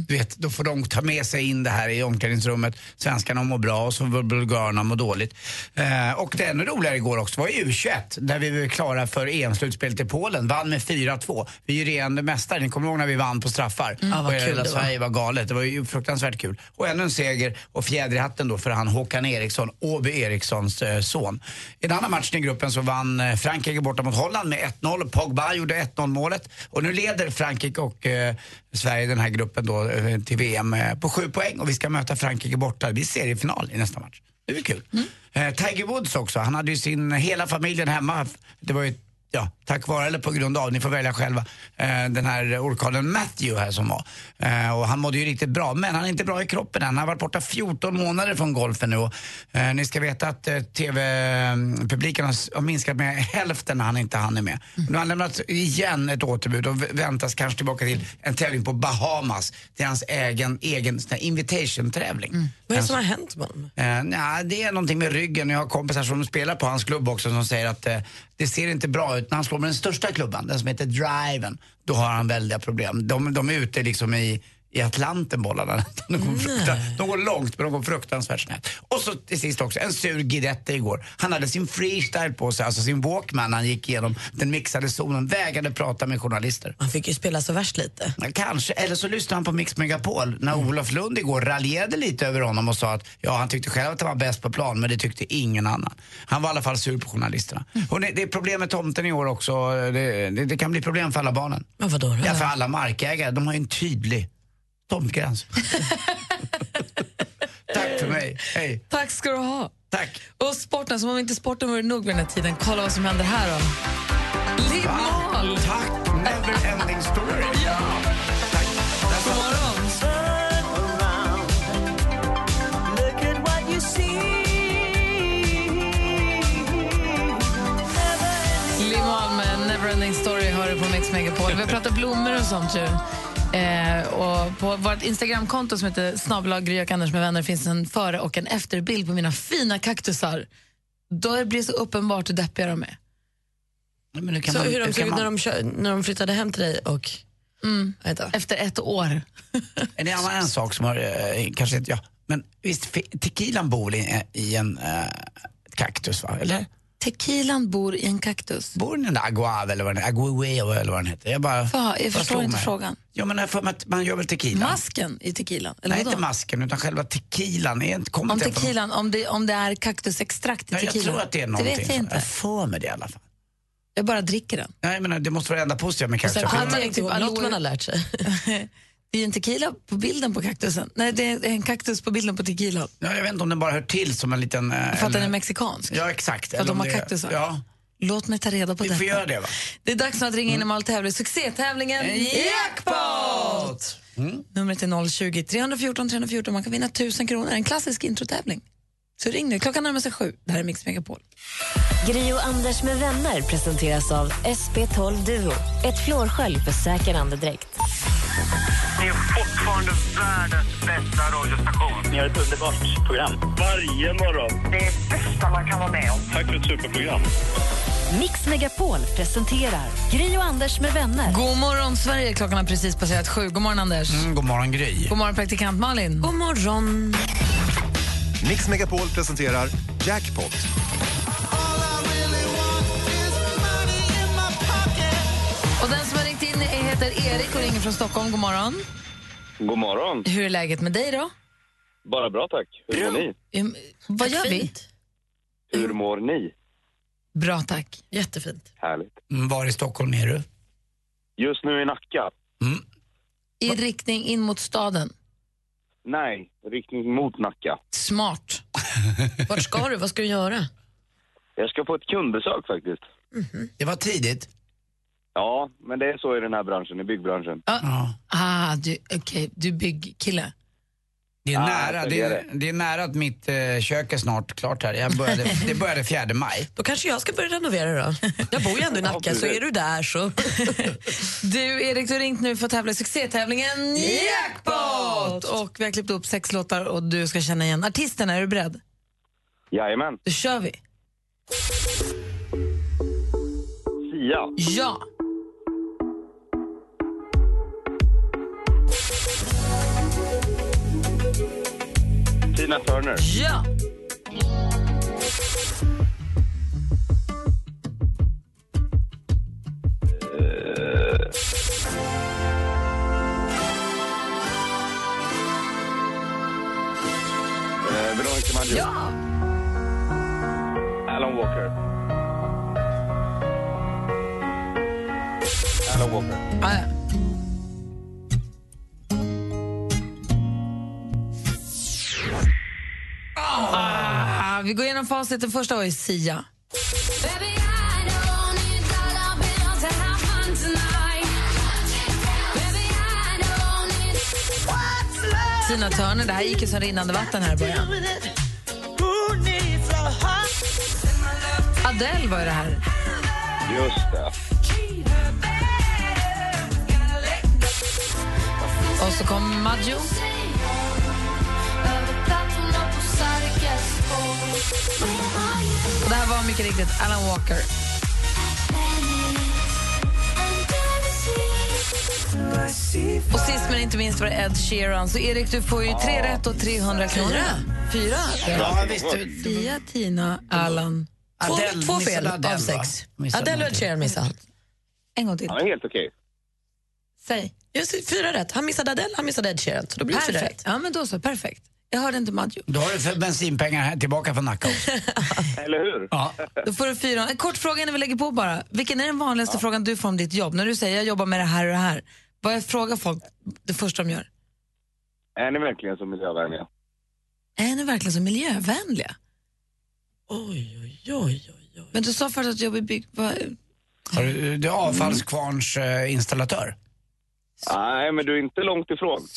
[SPEAKER 3] Du vet, då får de ta med sig in det här i omklädningsrummet. Svenskarna mår bra och så bul- bulgarerna mår dåligt. Eh, och det ännu roligare igår också var ju U21 där vi var klara för EM-slutspelet i Polen. Vann med 4-2. Vi är ju regerande mästare. Ni kommer ihåg när vi vann på straffar?
[SPEAKER 4] Mm. Ja, vad
[SPEAKER 3] och
[SPEAKER 4] kul det var.
[SPEAKER 3] Sverige var galet. Det var ju fruktansvärt kul. Och ännu en seger och fjäder i hatten då för han Håkan Eriksson, Åby Erikssons eh, son. I den andra matchen i gruppen så vann eh, Frankrike borta mot Holland med 1-0. Pogba gjorde 1-0 målet. Och nu leder Frankrike och eh, Sverige den här gruppen då eh, till VM eh, på sju poäng. Och vi ska möta Frankrike borta. Vi ser i final i nästa match. Det är kul. Eh, Tiger Woods också. Han hade ju sin, hela familjen hemma. Det var ju ja, tack vare eller på grund av, ni får välja själva, eh, den här orkanen Matthew här som var. Eh, och han mådde ju riktigt bra, men han är inte bra i kroppen än. Han har varit borta 14 månader från golfen nu. Och, eh, ni ska veta att eh, TV-publiken har, s- har minskat med hälften när han inte hann med. Nu har han lämnat igen ett återbud och v- väntas kanske tillbaka till en tävling på Bahamas. Det är hans egen, egen sån här invitation-tävling.
[SPEAKER 4] Mm. Vad är det som har hänt med honom?
[SPEAKER 3] Eh, nej, det är någonting med ryggen. Jag har kompisar som spelar på hans klubb också som säger att eh, det ser inte bra ut. När han slår med den största klubban, den som heter driven, då har han väldiga problem. De, de är ute liksom i, i Atlanten bollarna. De går, fruktan, de går långt men de går fruktansvärt snett. Och så till sist också, en sur Guidetti igår. Han hade sin freestyle på sig, alltså sin walkman. Han gick igenom den mixade zonen, vägrade prata med journalister.
[SPEAKER 4] Han fick ju spela så värst lite. Mm.
[SPEAKER 3] Ja, Kanske, eller så lyssnade han på Mix Megapol när Olof Lund igår raljerade lite över honom och sa att ja, han tyckte själv att han var bäst på plan men det tyckte ingen annan. Han var i alla fall sur på journalisterna.
[SPEAKER 4] Mm.
[SPEAKER 3] Och det, det är problem med tomten i år också. Det, det, det kan bli problem för alla barnen.
[SPEAKER 4] Men vadå då?
[SPEAKER 3] Ja, för alla markägare, de har ju en tydlig tomtgräns. Tack för mig, hej.
[SPEAKER 2] Tack ska du ha.
[SPEAKER 3] Tack.
[SPEAKER 2] Och sporten, som om inte sporten vore nog vid den här tiden. Kolla vad som händer här då. Liv Mohl!
[SPEAKER 3] Tack! Never ending story. ja. Tack. God
[SPEAKER 2] morgon. Liv Mohl med Neverending Story hör du på Mix Megapol. Vi har pratat blommor och sånt ju. Eh, och på vårt Instagramkonto som heter snabbelag Gry och Anders med vänner finns en före och en efterbild på mina fina kaktusar. Då blir det så uppenbart hur deppiga de är.
[SPEAKER 3] Men
[SPEAKER 4] Så hur de såg ut när de, kö- när de flyttade hem till dig och...
[SPEAKER 2] Mm. Efter ett år.
[SPEAKER 3] En annan en sak som har, eh, kanske inte, ja, men visst, fe- tequilan bor i, i en eh, kaktus va, eller?
[SPEAKER 2] Tequilan bor i en kaktus.
[SPEAKER 3] Bor den där aguave eller vad den aguave eller vad den heter? Jag bara,
[SPEAKER 2] Fan, jag
[SPEAKER 3] bara
[SPEAKER 2] förstår
[SPEAKER 3] slog
[SPEAKER 2] inte
[SPEAKER 3] mig.
[SPEAKER 2] frågan.
[SPEAKER 3] Ja men jag har för mig att man gör väl tequila?
[SPEAKER 2] Masken i tequilan? Eller
[SPEAKER 3] Nej
[SPEAKER 2] vadå?
[SPEAKER 3] inte masken utan själva tequilan. Är inte, kommer
[SPEAKER 2] Om
[SPEAKER 3] inte jag på-
[SPEAKER 2] tequilan, om det, om det är kaktusextrakt i
[SPEAKER 3] Nej,
[SPEAKER 2] tequilan?
[SPEAKER 3] jag tror att det är någonting.
[SPEAKER 2] Det vet jag
[SPEAKER 3] sånt.
[SPEAKER 2] inte.
[SPEAKER 3] Jag får med det i alla fall.
[SPEAKER 2] Jag bara dricker den.
[SPEAKER 3] Nej men det måste vara det enda positiva med
[SPEAKER 2] Och sen
[SPEAKER 3] kaktus.
[SPEAKER 2] kommer man inte ihåg något man har
[SPEAKER 4] lärt sig.
[SPEAKER 2] det är ju en tequila på bilden på kaktusen. Nej, det är en kaktus på bilden på tequilan.
[SPEAKER 3] Ja, jag vet inte om den bara hör till som en liten... eh,
[SPEAKER 2] För att den
[SPEAKER 3] en-
[SPEAKER 2] är mexikansk.
[SPEAKER 3] Ja exakt.
[SPEAKER 2] För att
[SPEAKER 3] Eller
[SPEAKER 2] de
[SPEAKER 3] om
[SPEAKER 2] har
[SPEAKER 3] det är-
[SPEAKER 2] kaktusar.
[SPEAKER 3] Ja,
[SPEAKER 2] Låt mig ta reda på
[SPEAKER 3] vi
[SPEAKER 2] detta.
[SPEAKER 3] får göra det Mm. va.
[SPEAKER 2] Det är dags nu att ringa in och Malin tävlar i succétävlingen Jackpot!
[SPEAKER 3] Mm.
[SPEAKER 2] Numret är 020 314 314. Man kan vinna 1000 kronor. En klassisk introtävling. Så ring nu. Klockan närmar sig sju. Det här är Mix Megapol.
[SPEAKER 1] Gri och Anders med vänner presenteras av SP12 Duo. Ett flårskölj för säker andedräkt.
[SPEAKER 11] Ni är fortfarande världens bästa radiostation. Ni har ett underbart program. Varje morgon. Det är det bästa man kan vara med om. Tack för ett superprogram.
[SPEAKER 1] Mix Megapol presenterar Gri och Anders med vänner.
[SPEAKER 2] God morgon, Sverige. Klockan har precis passerat sju. God morgon, Anders.
[SPEAKER 3] Mm, god morgon Gry.
[SPEAKER 2] God morgon, praktikant Malin. God morgon.
[SPEAKER 7] Mix Megapol presenterar Jackpot.
[SPEAKER 2] Och den som har ringt in är- heter Erik och ringer från Stockholm. God morgon.
[SPEAKER 12] God morgon.
[SPEAKER 2] Hur är läget med dig då?
[SPEAKER 12] Bara bra tack. Hur mår ni?
[SPEAKER 2] Ehm, vad gör vi?
[SPEAKER 12] Hur
[SPEAKER 3] Mm.
[SPEAKER 12] mår ni?
[SPEAKER 2] Bra, tack.
[SPEAKER 4] Jättefint.
[SPEAKER 12] Härligt.
[SPEAKER 3] Mm, Var i Stockholm är du?
[SPEAKER 12] Just nu i Nacka.
[SPEAKER 2] I riktning in mot staden.
[SPEAKER 12] Nej, riktning mot Nacka.
[SPEAKER 2] Smart.
[SPEAKER 4] Vart ska du? Vad ska du göra? Mhm.
[SPEAKER 12] Jag ska på ett kundbesök faktiskt.
[SPEAKER 3] Det var tidigt.
[SPEAKER 12] Ja, men det är så i den här branschen, i byggbranschen.
[SPEAKER 2] Ah, du, okay, du byggkille.
[SPEAKER 3] Det är,
[SPEAKER 12] Ah,
[SPEAKER 3] nära,
[SPEAKER 12] så
[SPEAKER 3] det,
[SPEAKER 12] är
[SPEAKER 3] är, det är nära att mitt eh, kök är snart klart här. Jag började, det började 4 maj.
[SPEAKER 4] Då kanske jag ska börja renovera då. Jag bor ju ändå i Nacka, så är du där så...
[SPEAKER 2] Du, Erik, du har ringt nu för att tävla i succétävlingen Jackpot! Och vi har klippt upp sex låtar och du ska känna igen artisterna. Är du beredd?
[SPEAKER 12] Jajamän.
[SPEAKER 2] Då kör vi.
[SPEAKER 12] Sia.
[SPEAKER 2] Ja!
[SPEAKER 12] Tina Turner.
[SPEAKER 2] Ja!
[SPEAKER 6] Eh,
[SPEAKER 12] Eh, Veronica Maggio.
[SPEAKER 2] Ja!
[SPEAKER 12] Alan Walker. Alan Walker.
[SPEAKER 2] Ah, ja. Ah, vi går igenom facit. Den första var ju Sia. Tina Turner. Det här gick ju som rinnande vatten här i början. Adele var ju det här.
[SPEAKER 12] Just det.
[SPEAKER 2] Och så kom Maggio. Och det här var mycket riktigt Alan Walker. Och sist men inte minst var det Ed Sheeran. Så Erik, du får ju tre rätt och 300 kronor. Fyra?
[SPEAKER 4] Ja, visst, du-
[SPEAKER 2] Sia, Tina, Alan.
[SPEAKER 4] Två,
[SPEAKER 2] Adele
[SPEAKER 4] två
[SPEAKER 2] missade
[SPEAKER 4] fel
[SPEAKER 2] Adele,
[SPEAKER 4] av sex.
[SPEAKER 2] va? Missade
[SPEAKER 4] Adele och
[SPEAKER 2] någonting.
[SPEAKER 4] Ed Sheeran missade han.
[SPEAKER 2] En gång till.
[SPEAKER 12] Ja, helt okej.
[SPEAKER 2] Säg.
[SPEAKER 4] Just, fyra rätt. Han missade Adele, han missade Ed Sheeran. Så då blir det fyra
[SPEAKER 2] Perfekt.
[SPEAKER 4] rätt.
[SPEAKER 2] Ja, men då så. Perfekt. Jag hörde inte Maggio.
[SPEAKER 3] Då har du för bensinpengar här, tillbaka från Nacka också.
[SPEAKER 12] Eller hur?
[SPEAKER 3] Ja.
[SPEAKER 2] Då får du fyra. En kort fråga innan vi lägger på bara. Vilken är den vanligaste frågan du får om ditt jobb? När du säger jag jobbar med det här och det här. Vad jag frågar folk det första de gör?
[SPEAKER 12] Är ni verkligen så miljövänliga?
[SPEAKER 2] Är ni verkligen så miljövänliga? Oj, oj, oj. oj. Men du sa förut att du jobbar i bygg... vad-
[SPEAKER 3] Har du, du är avfallskvarns eh, installatör.
[SPEAKER 12] Nej, men du är inte långt ifrån.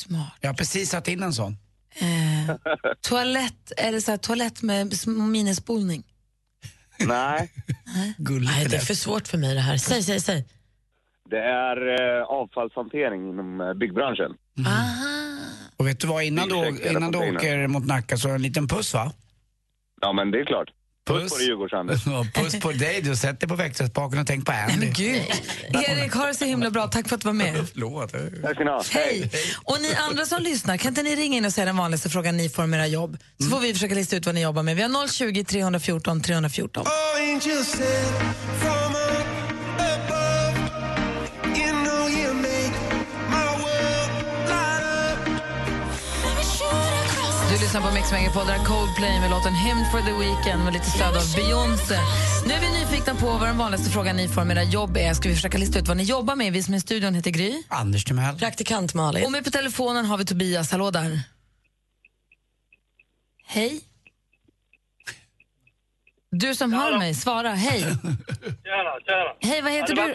[SPEAKER 3] Jag har precis satt in en sån.
[SPEAKER 2] Eh, toalett, är det så här, toalett med sm- minespolning?
[SPEAKER 12] Nej.
[SPEAKER 3] Gulligt
[SPEAKER 4] Nej, det är för svårt för mig det här. Säg, säg, säg.
[SPEAKER 12] Det är eh, avfallshantering inom eh, byggbranschen.
[SPEAKER 3] Och vet du vad, innan du,
[SPEAKER 12] Ursäkta,
[SPEAKER 3] innan du
[SPEAKER 12] Katarina.
[SPEAKER 3] åker mot Nacka så en liten puss va?
[SPEAKER 12] Ja, men det är klart. Puss,
[SPEAKER 3] Puss.
[SPEAKER 12] på dig, Djurgårds-Anders.
[SPEAKER 3] Ja, Puss på dig, du sätter på växelspaken och tänk på Andy.
[SPEAKER 2] Men gud. Erik, ha det så himla bra. Tack för att du var med.
[SPEAKER 3] Förlåt.
[SPEAKER 12] Tack ska ni ha.
[SPEAKER 2] Hej! Och ni andra som lyssnar, kan inte ni ringa in och säga den vanligaste frågan ni får om era jobb? Så får vi försöka lista ut vad ni jobbar med. Vi har 020 314 314. Du lyssnar på Mix Megapol, där Coldplay med låten Hymn for the Weekend med lite stöd av Beyoncé. Nu är vi nyfikna på vad den vanligaste frågan ni får om era jobb är. Ska vi försöka lista ut vad ni jobbar med? Vi som är i studion heter Gry.
[SPEAKER 3] Anders Timell.
[SPEAKER 4] Praktikant Malin.
[SPEAKER 2] Och med på telefonen har vi Tobias. Hallå där. Hej. Du som hör mig, svara. Hej.
[SPEAKER 11] Tjena, tjena.
[SPEAKER 2] Hej, vad heter
[SPEAKER 11] Ja, det
[SPEAKER 2] du?
[SPEAKER 11] Var,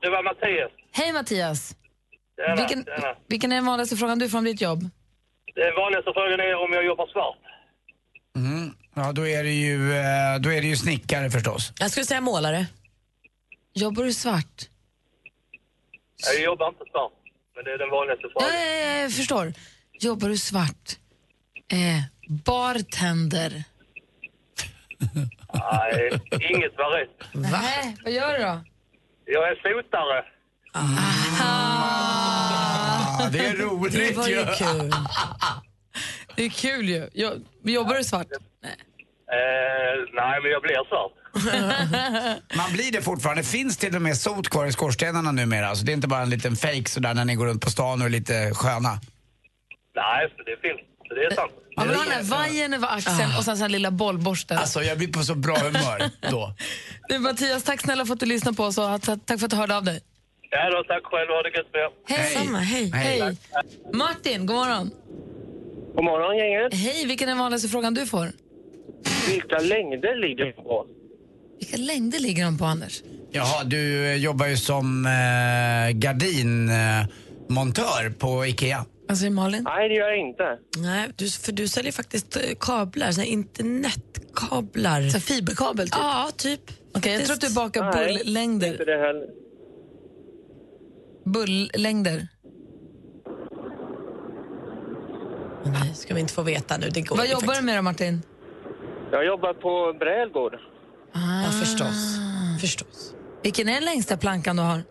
[SPEAKER 11] det var Mattias.
[SPEAKER 2] Hej Mattias.
[SPEAKER 11] Tjena,
[SPEAKER 2] Vilken,
[SPEAKER 11] tjena.
[SPEAKER 2] vilken är den vanligaste frågan du får om ditt jobb?
[SPEAKER 11] Den vanligaste frågan är om jag jobbar svart.
[SPEAKER 3] Mm. Ja, då är, det ju, eh, då är det ju snickare förstås.
[SPEAKER 4] Jag skulle säga målare.
[SPEAKER 2] Jobbar du svart?
[SPEAKER 11] Jag jobbar inte svart. Men det är den vanligaste
[SPEAKER 2] Ja,
[SPEAKER 11] frågan.
[SPEAKER 2] ja, ja, jag förstår. Jobbar du svart? Eh, bartender.
[SPEAKER 11] Nej, inget var rätt.
[SPEAKER 2] Nej, vad gör du då?
[SPEAKER 11] Jag är sotare.
[SPEAKER 3] Ah, det är roligt
[SPEAKER 2] Det var ju
[SPEAKER 3] ju.
[SPEAKER 2] kul. Det är kul ju. Jo- Jobbar du svart?
[SPEAKER 11] Eh, nej, men jag blir svart.
[SPEAKER 3] Man blir det fortfarande. finns till och med sot kvar i skorstenarna numera. Så det är inte bara en liten fake sådär när ni går runt på stan och är lite sköna.
[SPEAKER 11] Nej, för det finns. Så det är sant.
[SPEAKER 2] Man vill ha den här vajern över axeln och sen så här lilla bollborsten.
[SPEAKER 3] Alltså jag blir på så bra humör då.
[SPEAKER 2] Du, Mattias, tack snälla för att du lyssnade på oss och ta- tack för att du hörde av dig.
[SPEAKER 11] Ja då, tack själv. Ha det gött med er.
[SPEAKER 2] Hej. Samma, hej.
[SPEAKER 11] Hej.
[SPEAKER 2] Hej. Martin, god morgon.
[SPEAKER 11] God morgon, gänget.
[SPEAKER 2] Hej, vilken är den vanligaste frågan du får?
[SPEAKER 11] Vilka längder ligger på?
[SPEAKER 2] Vilka längder ligger de på, Anders?
[SPEAKER 3] Jaha, du eh, jobbar ju som eh, gardinmontör eh, på IKEA.
[SPEAKER 4] Vad säger Malin?
[SPEAKER 10] Nej, det gör jag inte.
[SPEAKER 4] Nej, du, för du säljer faktiskt eh, kablar, såna här internetkablar.
[SPEAKER 2] Så fiberkabel typ?
[SPEAKER 4] Ja, typ.
[SPEAKER 2] Okej, jag tror att du bakar bullängder.
[SPEAKER 10] Inte det heller.
[SPEAKER 2] Bullängder.
[SPEAKER 4] Nej, ska vi inte få veta nu. Det går
[SPEAKER 2] Vad
[SPEAKER 4] ju
[SPEAKER 2] jobbar du med då, Martin?
[SPEAKER 10] Jag jobbar på Brälgård.
[SPEAKER 2] Ja,
[SPEAKER 4] förstås. Förstås.
[SPEAKER 2] Ah. Vilken är den längsta plankan du har?
[SPEAKER 10] 5,4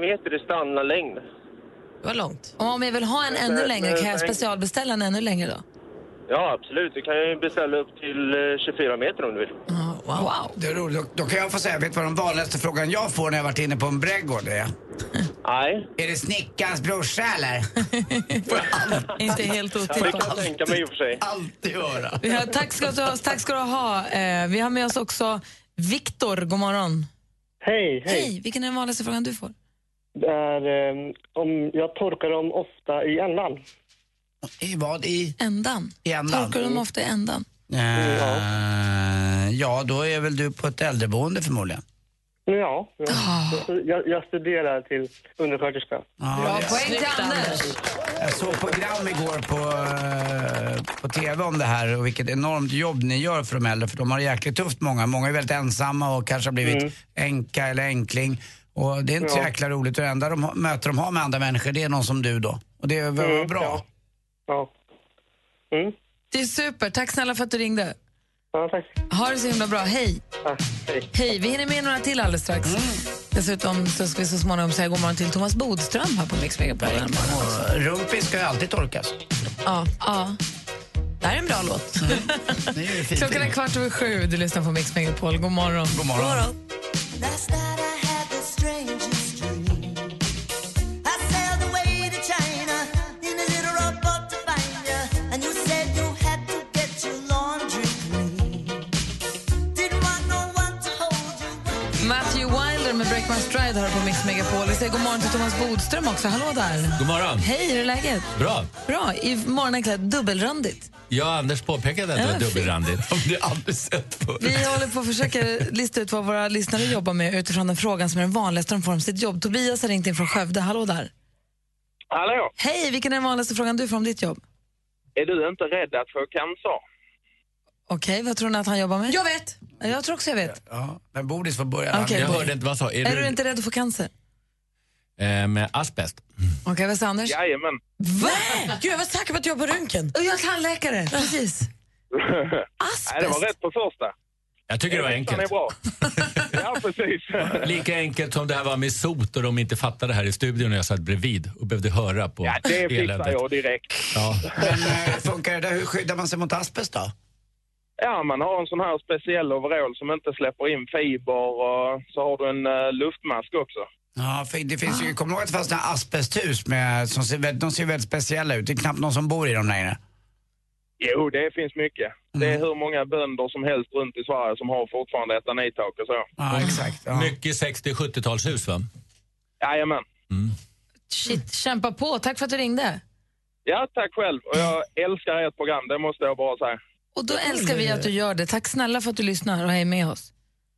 [SPEAKER 10] meter i standardlängd.
[SPEAKER 4] Det var långt.
[SPEAKER 2] Om jag vill ha en ännu
[SPEAKER 10] Men-
[SPEAKER 2] längre, kan jag
[SPEAKER 10] men-
[SPEAKER 2] specialbeställa en ännu längre då?
[SPEAKER 10] Ja, absolut. Du kan ju beställa upp till eh, 24 meter om du vill.
[SPEAKER 2] Wow.
[SPEAKER 3] Det är roligt. Då, då kan jag få säga, vet du vad den vanligaste frågan jag får när jag varit inne på en brädgård är?
[SPEAKER 10] Nej.
[SPEAKER 3] Är det snickarens brorsa eller?
[SPEAKER 2] Inte helt
[SPEAKER 10] Ja, det kan jag
[SPEAKER 2] otippat.
[SPEAKER 10] tänka mig i och för sig.
[SPEAKER 3] Alltid höra.
[SPEAKER 2] Ja, tack, ska du ha, tack ska du ha. Eh, vi har med oss också Viktor, god morgon.
[SPEAKER 11] Hej, hej.
[SPEAKER 2] Hej, vilken är den vanligaste frågan du får?
[SPEAKER 11] Det är, eh, om jag torkar dem ofta i ändan.
[SPEAKER 3] I vad? I?
[SPEAKER 2] Ändan. Mm.
[SPEAKER 3] I ändan.
[SPEAKER 2] Torkar du dem ofta i ändan?
[SPEAKER 3] Eh, ja, då är väl du på ett äldreboende förmodligen.
[SPEAKER 11] Ja, jag,
[SPEAKER 2] Ah.
[SPEAKER 11] jag, jag studerar till undersköterska.
[SPEAKER 3] Bra poäng till Anders. Jag såg program igår på, eh, på TV om det här och vilket enormt jobb ni gör för de äldre för de har det jäkligt tufft många. Många är väldigt ensamma och kanske har blivit änka eller änkling. Och det är inte så
[SPEAKER 11] Ja.
[SPEAKER 3] jäkla roligt. Det enda de, har- möte de har med andra människor det är någon som du då. Och det är väl
[SPEAKER 11] Mm,
[SPEAKER 3] bra.
[SPEAKER 11] Ja. Mm.
[SPEAKER 2] Det är super, tack snälla för att du ringde.
[SPEAKER 11] Ja, tack.
[SPEAKER 2] Ha det så himla bra, hej.
[SPEAKER 11] Ja, hej.
[SPEAKER 2] Hej, vi hinner med några till alldeles strax. Dessutom så ska vi så småningom säga god morgon till Thomas Bodström här på Mix Megapol.
[SPEAKER 3] Och Rumpis ska ju alltid torkas.
[SPEAKER 2] Ja. ja. Det här är en bra låt.
[SPEAKER 3] Det är ju fint.
[SPEAKER 2] Klockan är kvart över sju, du lyssnar på Mix Megapol. God morgon.
[SPEAKER 3] God morgon. God morgon.
[SPEAKER 13] Last night I had the strangest dream. I sailed away to China in a little rowboat to find you, and you said you had to get your laundry clean. Didn't want no one to hold you.
[SPEAKER 2] Matthew Wilder med Break My Stride hör på Mix Megapol. Vi säger god morgon till Thomas Bodström också. Hallå där.
[SPEAKER 14] God morgon.
[SPEAKER 2] Hej, hur är läget?
[SPEAKER 14] Bra.
[SPEAKER 2] Bra. I morgon är klädd dubbelrandigt.
[SPEAKER 14] Ja, Anders påpekade att det
[SPEAKER 2] Ja,
[SPEAKER 14] var dubbelrandigt. Om du aldrig sett förut.
[SPEAKER 2] Vi håller på att försöka lista ut vad våra lyssnare jobbar med utifrån den frågan som är den vanligaste de får om sitt jobb. Tobias har ringt in från Skövde. Hallå där.
[SPEAKER 15] Hallå!
[SPEAKER 2] Hej, vilken är den vanligaste frågan du får om ditt jobb?
[SPEAKER 15] Är du inte rädd att få cancer?
[SPEAKER 2] Okej, vad tror ni att han jobbar med? Jag vet! Jag tror också jag vet.
[SPEAKER 3] Ja, men Bodis får börja.
[SPEAKER 2] Okej,
[SPEAKER 14] jag
[SPEAKER 2] Bodis.
[SPEAKER 14] hörde inte vad han sa.
[SPEAKER 2] Är,
[SPEAKER 14] Är,
[SPEAKER 2] du... inte rädd att få cancer?
[SPEAKER 14] eh, med asbest?
[SPEAKER 2] Okej, vad säger Anders?
[SPEAKER 15] Jajamän.
[SPEAKER 2] Va?
[SPEAKER 4] Gud, jag var säker på att jag var på röntgen.
[SPEAKER 2] Och jag är tandläkare, precis.
[SPEAKER 15] Nej, det var rätt på första.
[SPEAKER 14] Jag tycker det var
[SPEAKER 15] Den är
[SPEAKER 14] enkelt.
[SPEAKER 15] bra. ja, precis.
[SPEAKER 14] Lika enkelt som det här var med sot och de inte fattade det här i studion när jag satt bredvid och behövde höra på
[SPEAKER 3] Ja,
[SPEAKER 15] Det fixar
[SPEAKER 14] eländet.
[SPEAKER 15] jag direkt.
[SPEAKER 14] Ja.
[SPEAKER 3] Men eh, funkar det där? Hur skyddar man sig mot asbest då?
[SPEAKER 15] Ja, man har en sån här speciell overall som inte släpper in fiber och så har du en eh, luftmask också.
[SPEAKER 3] Ja, för det finns
[SPEAKER 2] Ah.
[SPEAKER 3] ju, kommer du ihåg att det fanns såna här asbesthus med, som ser, väldigt- de ser väldigt speciella ut. Det är knappt någon som bor i dem längre.
[SPEAKER 15] Jo, det finns mycket. Det är hur många bönder som helst runt i Sverige som har fortfarande etanitak och så.
[SPEAKER 3] Ja, exakt.
[SPEAKER 14] Mycket 60-70-talshus va?
[SPEAKER 15] Jajamän.
[SPEAKER 2] Shit, kämpa på. Tack för att du ringde.
[SPEAKER 15] Ja, tack själv. Och jag älskar ert program, det måste jag bara säga.
[SPEAKER 2] Och då älskar vi att du gör det. Tack snälla för att du lyssnar och är med oss.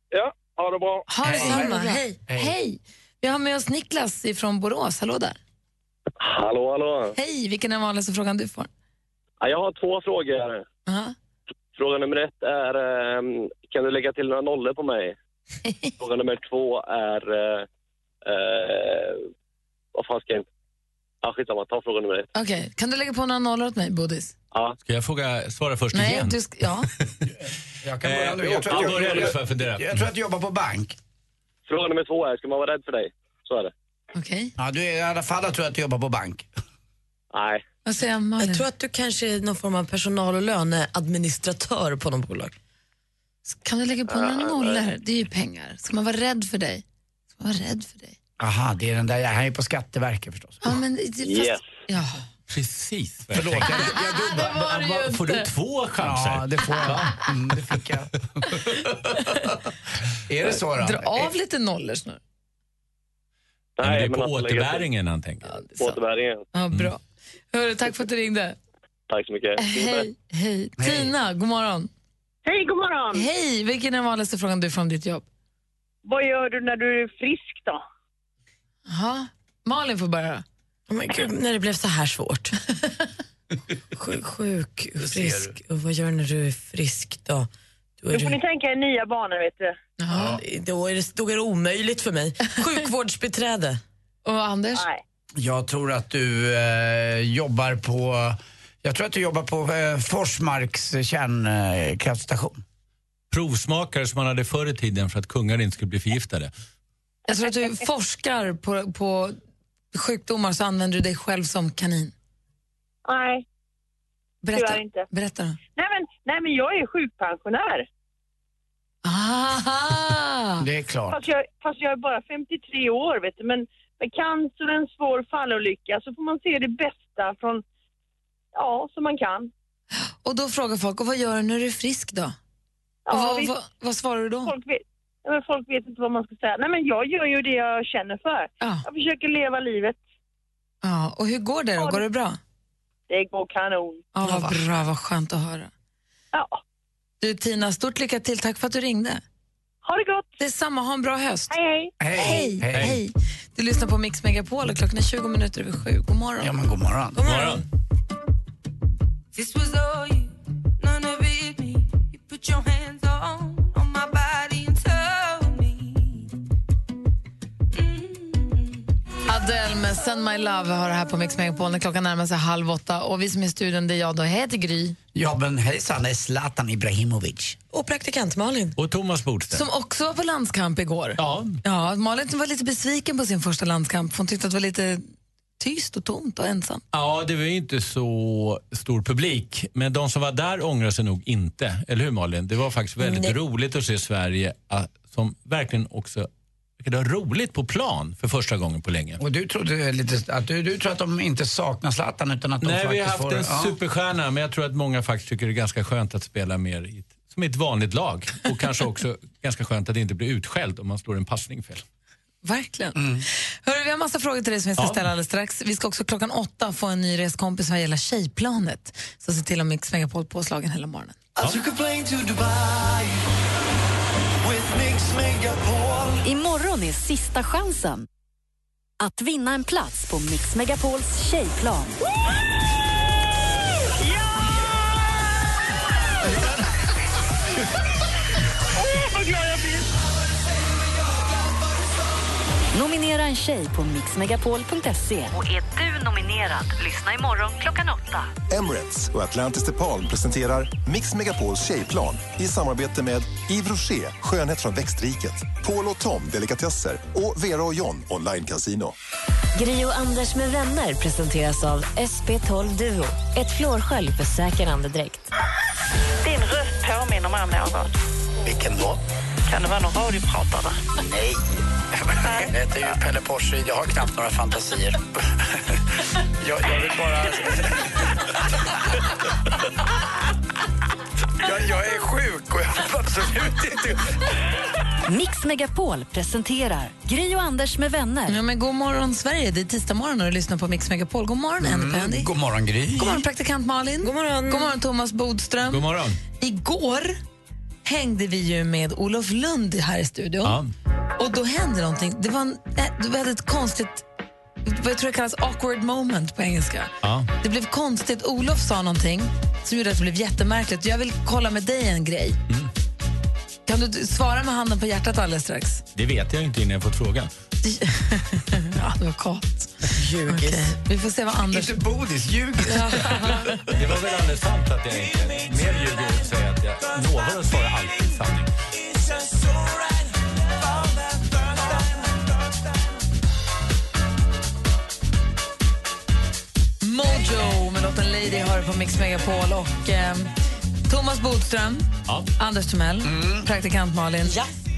[SPEAKER 15] Ja, ha det bra.
[SPEAKER 2] Ha det samma. Hej. Hej. Vi har med oss Niklas ifrån Borås. Hallå där.
[SPEAKER 16] Hallå, hallå.
[SPEAKER 2] Hej, vilken är den vanligaste frågan du får?
[SPEAKER 16] Ja, Jag har två frågor.
[SPEAKER 2] Ja.
[SPEAKER 16] Fråga nummer ett är, ehm, kan du lägga till några nollor på mig? Fråga nummer två är, eh, eh, vad fan ska jag... Ja, skitsamma, ta fråga nummer ett.
[SPEAKER 2] Okej, kan du lägga på några nollor åt mig, Bodis?
[SPEAKER 16] Ja.
[SPEAKER 14] Ska jag fråga, svara först igen?
[SPEAKER 2] du sk- ja.
[SPEAKER 3] Jag kan börja nu. Jag tror att
[SPEAKER 14] Eh, Ja,
[SPEAKER 3] jag,
[SPEAKER 14] börja du,
[SPEAKER 3] jag,
[SPEAKER 14] så jag funderar.
[SPEAKER 3] jag tror att du jobbar på bank.
[SPEAKER 16] Fråga nummer två är, ska man vara rädd för dig? Så är det.
[SPEAKER 3] Ja, du är i alla fall jag tror att du jobbar på bank.
[SPEAKER 16] Nej.
[SPEAKER 2] Vad säger Malin?
[SPEAKER 4] Jag tror att du kanske är någon form av personal och löneadministratör på något bolag.
[SPEAKER 2] Kan du lägga på några nollor? Det är ju pengar. Ska man vara rädd för dig? Ska man vara rädd för dig?
[SPEAKER 3] Aha, det är den där, han är på Skatteverket förstås.
[SPEAKER 2] Ja, men... det- Fast...
[SPEAKER 3] Yes.
[SPEAKER 2] Ja.
[SPEAKER 14] Precis.
[SPEAKER 3] Förlåt, jag, jag
[SPEAKER 2] Det var det ju
[SPEAKER 14] Får du
[SPEAKER 2] inte.
[SPEAKER 14] två chanser?
[SPEAKER 3] Ja, det får jag. Mm, det fick jag. är det så då?
[SPEAKER 2] Dra av lite nollor snart.
[SPEAKER 14] Nej, men det är
[SPEAKER 16] men
[SPEAKER 14] på
[SPEAKER 16] att lägga till-
[SPEAKER 14] återbäringen han tänker.
[SPEAKER 16] Återbäringen.
[SPEAKER 2] Ja, bra. Hörru, tack för att du ringde.
[SPEAKER 16] Tack så mycket.
[SPEAKER 2] Hej, hej. Tina, god morgon.
[SPEAKER 8] Hej, god morgon.
[SPEAKER 2] Hej, vilken är den vanligaste frågan du får om ditt jobb?
[SPEAKER 8] Vad gör du när du är frisk då?
[SPEAKER 2] Jaha. Malin får börja då.
[SPEAKER 4] Oh men gud, när det blev så här svårt. sjuk, sjuk, frisk. Och vad gör du när du är frisk då? Då
[SPEAKER 8] Då
[SPEAKER 4] är,
[SPEAKER 8] får ni
[SPEAKER 4] du,
[SPEAKER 8] tänka er nya banor vet du.
[SPEAKER 4] ja. då, är det, då är det omöjligt för mig. Sjukvårdsbiträde.
[SPEAKER 2] Och Anders?
[SPEAKER 3] Jag tror att du eh, jobbar på, jag tror att du jobbar på eh, Forsmarks kärnkraftstation.
[SPEAKER 14] Provsmakare som man hade förr i tiden för att kungar inte skulle bli förgiftade.
[SPEAKER 2] Jag tror att du forskar på, på sjukdomar så använder du dig själv som kanin.
[SPEAKER 8] Nej.
[SPEAKER 2] Berätta,
[SPEAKER 8] Tyvärr inte.
[SPEAKER 2] berätta då.
[SPEAKER 8] Nej men, nej men jag är sjukpensionär.
[SPEAKER 2] Aha!
[SPEAKER 3] Det är klart.
[SPEAKER 8] Fast jag, fast jag är bara 53 år vet du. Men med cancer och en svår fallolycka så får man se det bästa från, ja, som man kan.
[SPEAKER 2] Och då frågar folk, och vad gör du när du är frisk då? och vad,
[SPEAKER 8] visst.
[SPEAKER 2] vad, vad svarar du då?
[SPEAKER 8] Folk vet, ja, men folk vet inte vad man ska säga. Nej men jag gör ju det jag känner för. Jag försöker leva livet.
[SPEAKER 2] Ja, och hur går det då? Går det bra?
[SPEAKER 8] Det går kanon.
[SPEAKER 2] Ja, vad bra, vad skönt att höra.
[SPEAKER 8] Ja.
[SPEAKER 2] Du Tina, stort lycka till. Tack för att du ringde.
[SPEAKER 8] Ha det gott.
[SPEAKER 2] Detsamma, ha en bra höst.
[SPEAKER 8] Hej,
[SPEAKER 2] hej. Hej,
[SPEAKER 3] Hej.
[SPEAKER 2] Du lyssnar på Mix Megapol och klockan är 20 minuter över sju. God morgon.
[SPEAKER 3] Ja men god morgon.
[SPEAKER 2] God
[SPEAKER 3] morgon.
[SPEAKER 13] This was all you, none of it me. You put your hands on, on my body and told me.
[SPEAKER 2] Adele med Send My Love har det här på Mix Megapol när klockan närmar sig halv åtta. Och vi som är i studion, det är jag då. Hej, jag heter Gry.
[SPEAKER 3] Ja men hejsan, det är Zlatan Ibrahimovic.
[SPEAKER 2] Och praktikant Malin.
[SPEAKER 14] Och Thomas Bodström.
[SPEAKER 2] Som också var på landskamp igår.
[SPEAKER 14] Ja.
[SPEAKER 2] ja Malin var lite besviken på sin första landskamp. för Hon tyckte att det var lite tyst och tomt och ensamt.
[SPEAKER 14] Ja, det var ju inte så stor publik, men de som var där ångrar sig nog inte. Eller hur Malin? Det var faktiskt väldigt
[SPEAKER 2] Nej.
[SPEAKER 14] roligt att se Sverige ah, som verkligen också verkade ha roligt på plan för första gången på länge.
[SPEAKER 3] Och du trodde lite, att du, du tror att de inte saknar Zlatan utan att de
[SPEAKER 14] Nej, vi
[SPEAKER 3] faktiskt
[SPEAKER 14] har haft
[SPEAKER 3] får...
[SPEAKER 14] en
[SPEAKER 3] ja.
[SPEAKER 14] superstjärna, men jag tror att många faktiskt tycker det är ganska skönt att spela mer i ett, som i ett vanligt lag. Och kanske också ganska skönt att inte bli utskälld om man slår en passning fel.
[SPEAKER 2] Verkligen.
[SPEAKER 14] Mm.
[SPEAKER 2] Hörru, vi har massa frågor till dig som vi ska ställa alldeles strax. Vi ska också klockan åtta få en ny reskompis vad gäller tjejplanet. Så se till att Mix Megapol påslagen hela morgonen.
[SPEAKER 13] I took a plane to Dubai with Mix Megapol.
[SPEAKER 1] Imorgon är sista chansen att vinna en plats på Mix Megapols tjejplan.
[SPEAKER 11] Åh, vad glad jag blir!
[SPEAKER 1] Nominera en tjej på mixmegapol.se. Och är du nominerad, lyssna imorgon klockan åtta.
[SPEAKER 7] Emirates och Atlantis DePaul presenterar Mix Megapols tjejplan i samarbete med Yves Rocher, skönhet från växtriket, Paul och Tom, delikatesser och Vera och John, online casino.
[SPEAKER 17] Gri och Anders med vänner presenteras av SP12 Duo. Ett flårskölj för säker andedräkt.
[SPEAKER 9] Din röst påminner mig om någon.
[SPEAKER 11] Vilken då?
[SPEAKER 9] Kan det vara någon radiopratare?
[SPEAKER 11] Nej. Det är ju Pelle Porsche. Jag har knappt några fantasier. Jag, jag vill bara... Jag, jag är sjuk och jag vill absolut inte...
[SPEAKER 1] Mix Megapol presenterar Gri och Anders med vänner.
[SPEAKER 2] Ja, men god morgon, Sverige. Det är tisdag morgon och du lyssnar på Mix Megapol. God morgon,
[SPEAKER 11] Mm,
[SPEAKER 14] Mm.
[SPEAKER 2] Andy Pandy.
[SPEAKER 3] God morgon Gry.
[SPEAKER 2] Mm, God morgon, praktikant Malin. God morgon. God morgon, Thomas Bodström.
[SPEAKER 14] God morgon.
[SPEAKER 2] Igår hängde vi ju med Olof Lund här i studion. Och då hände någonting. Det var en, eh, vi hade ett konstigt, vad jag tror det kallas awkward moment på engelska.
[SPEAKER 14] Ja.
[SPEAKER 2] Det blev konstigt. Olof sa någonting som gjorde att det blev jättemärkligt. Jag vill kolla med dig en grej.
[SPEAKER 3] Mm.
[SPEAKER 2] Kan du d- svara med handen på hjärtat alldeles strax?
[SPEAKER 14] Det vet jag inte innan jag fått frågan.
[SPEAKER 3] Mm.
[SPEAKER 2] ja, det var kort. Ljugis. Vi får se vad Anders...
[SPEAKER 3] Inte bodis, ljugis.
[SPEAKER 14] Det var väl alldeles sant att jag inte... Mer ljuger jag och säger att jag lovar att svara alltid sanning.
[SPEAKER 2] Mojo med låten Lady hör på Mix Megapol och eh, Thomas Bodström, Anders Timell, praktikant Malin.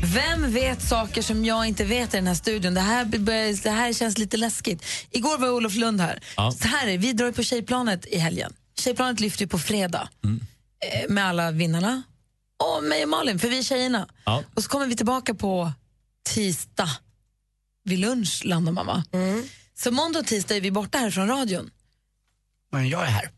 [SPEAKER 2] Vem vet saker som jag inte vet i den här studion? Det här, börjar- det här känns lite läskigt. Igår var Olof Lund här.
[SPEAKER 13] Ja.
[SPEAKER 2] Så här är, vi drar ju på Tjejplanet i helgen. Tjejplanet lyfter ju på fredag eh, med alla vinnarna och mig och Malin, för vi är tjejerna.
[SPEAKER 14] Ja.
[SPEAKER 2] Och så kommer vi tillbaka på tisdag. Vid lunch landar man, va? Så måndag och tisdag är vi borta här från radion.
[SPEAKER 3] Men jag är här.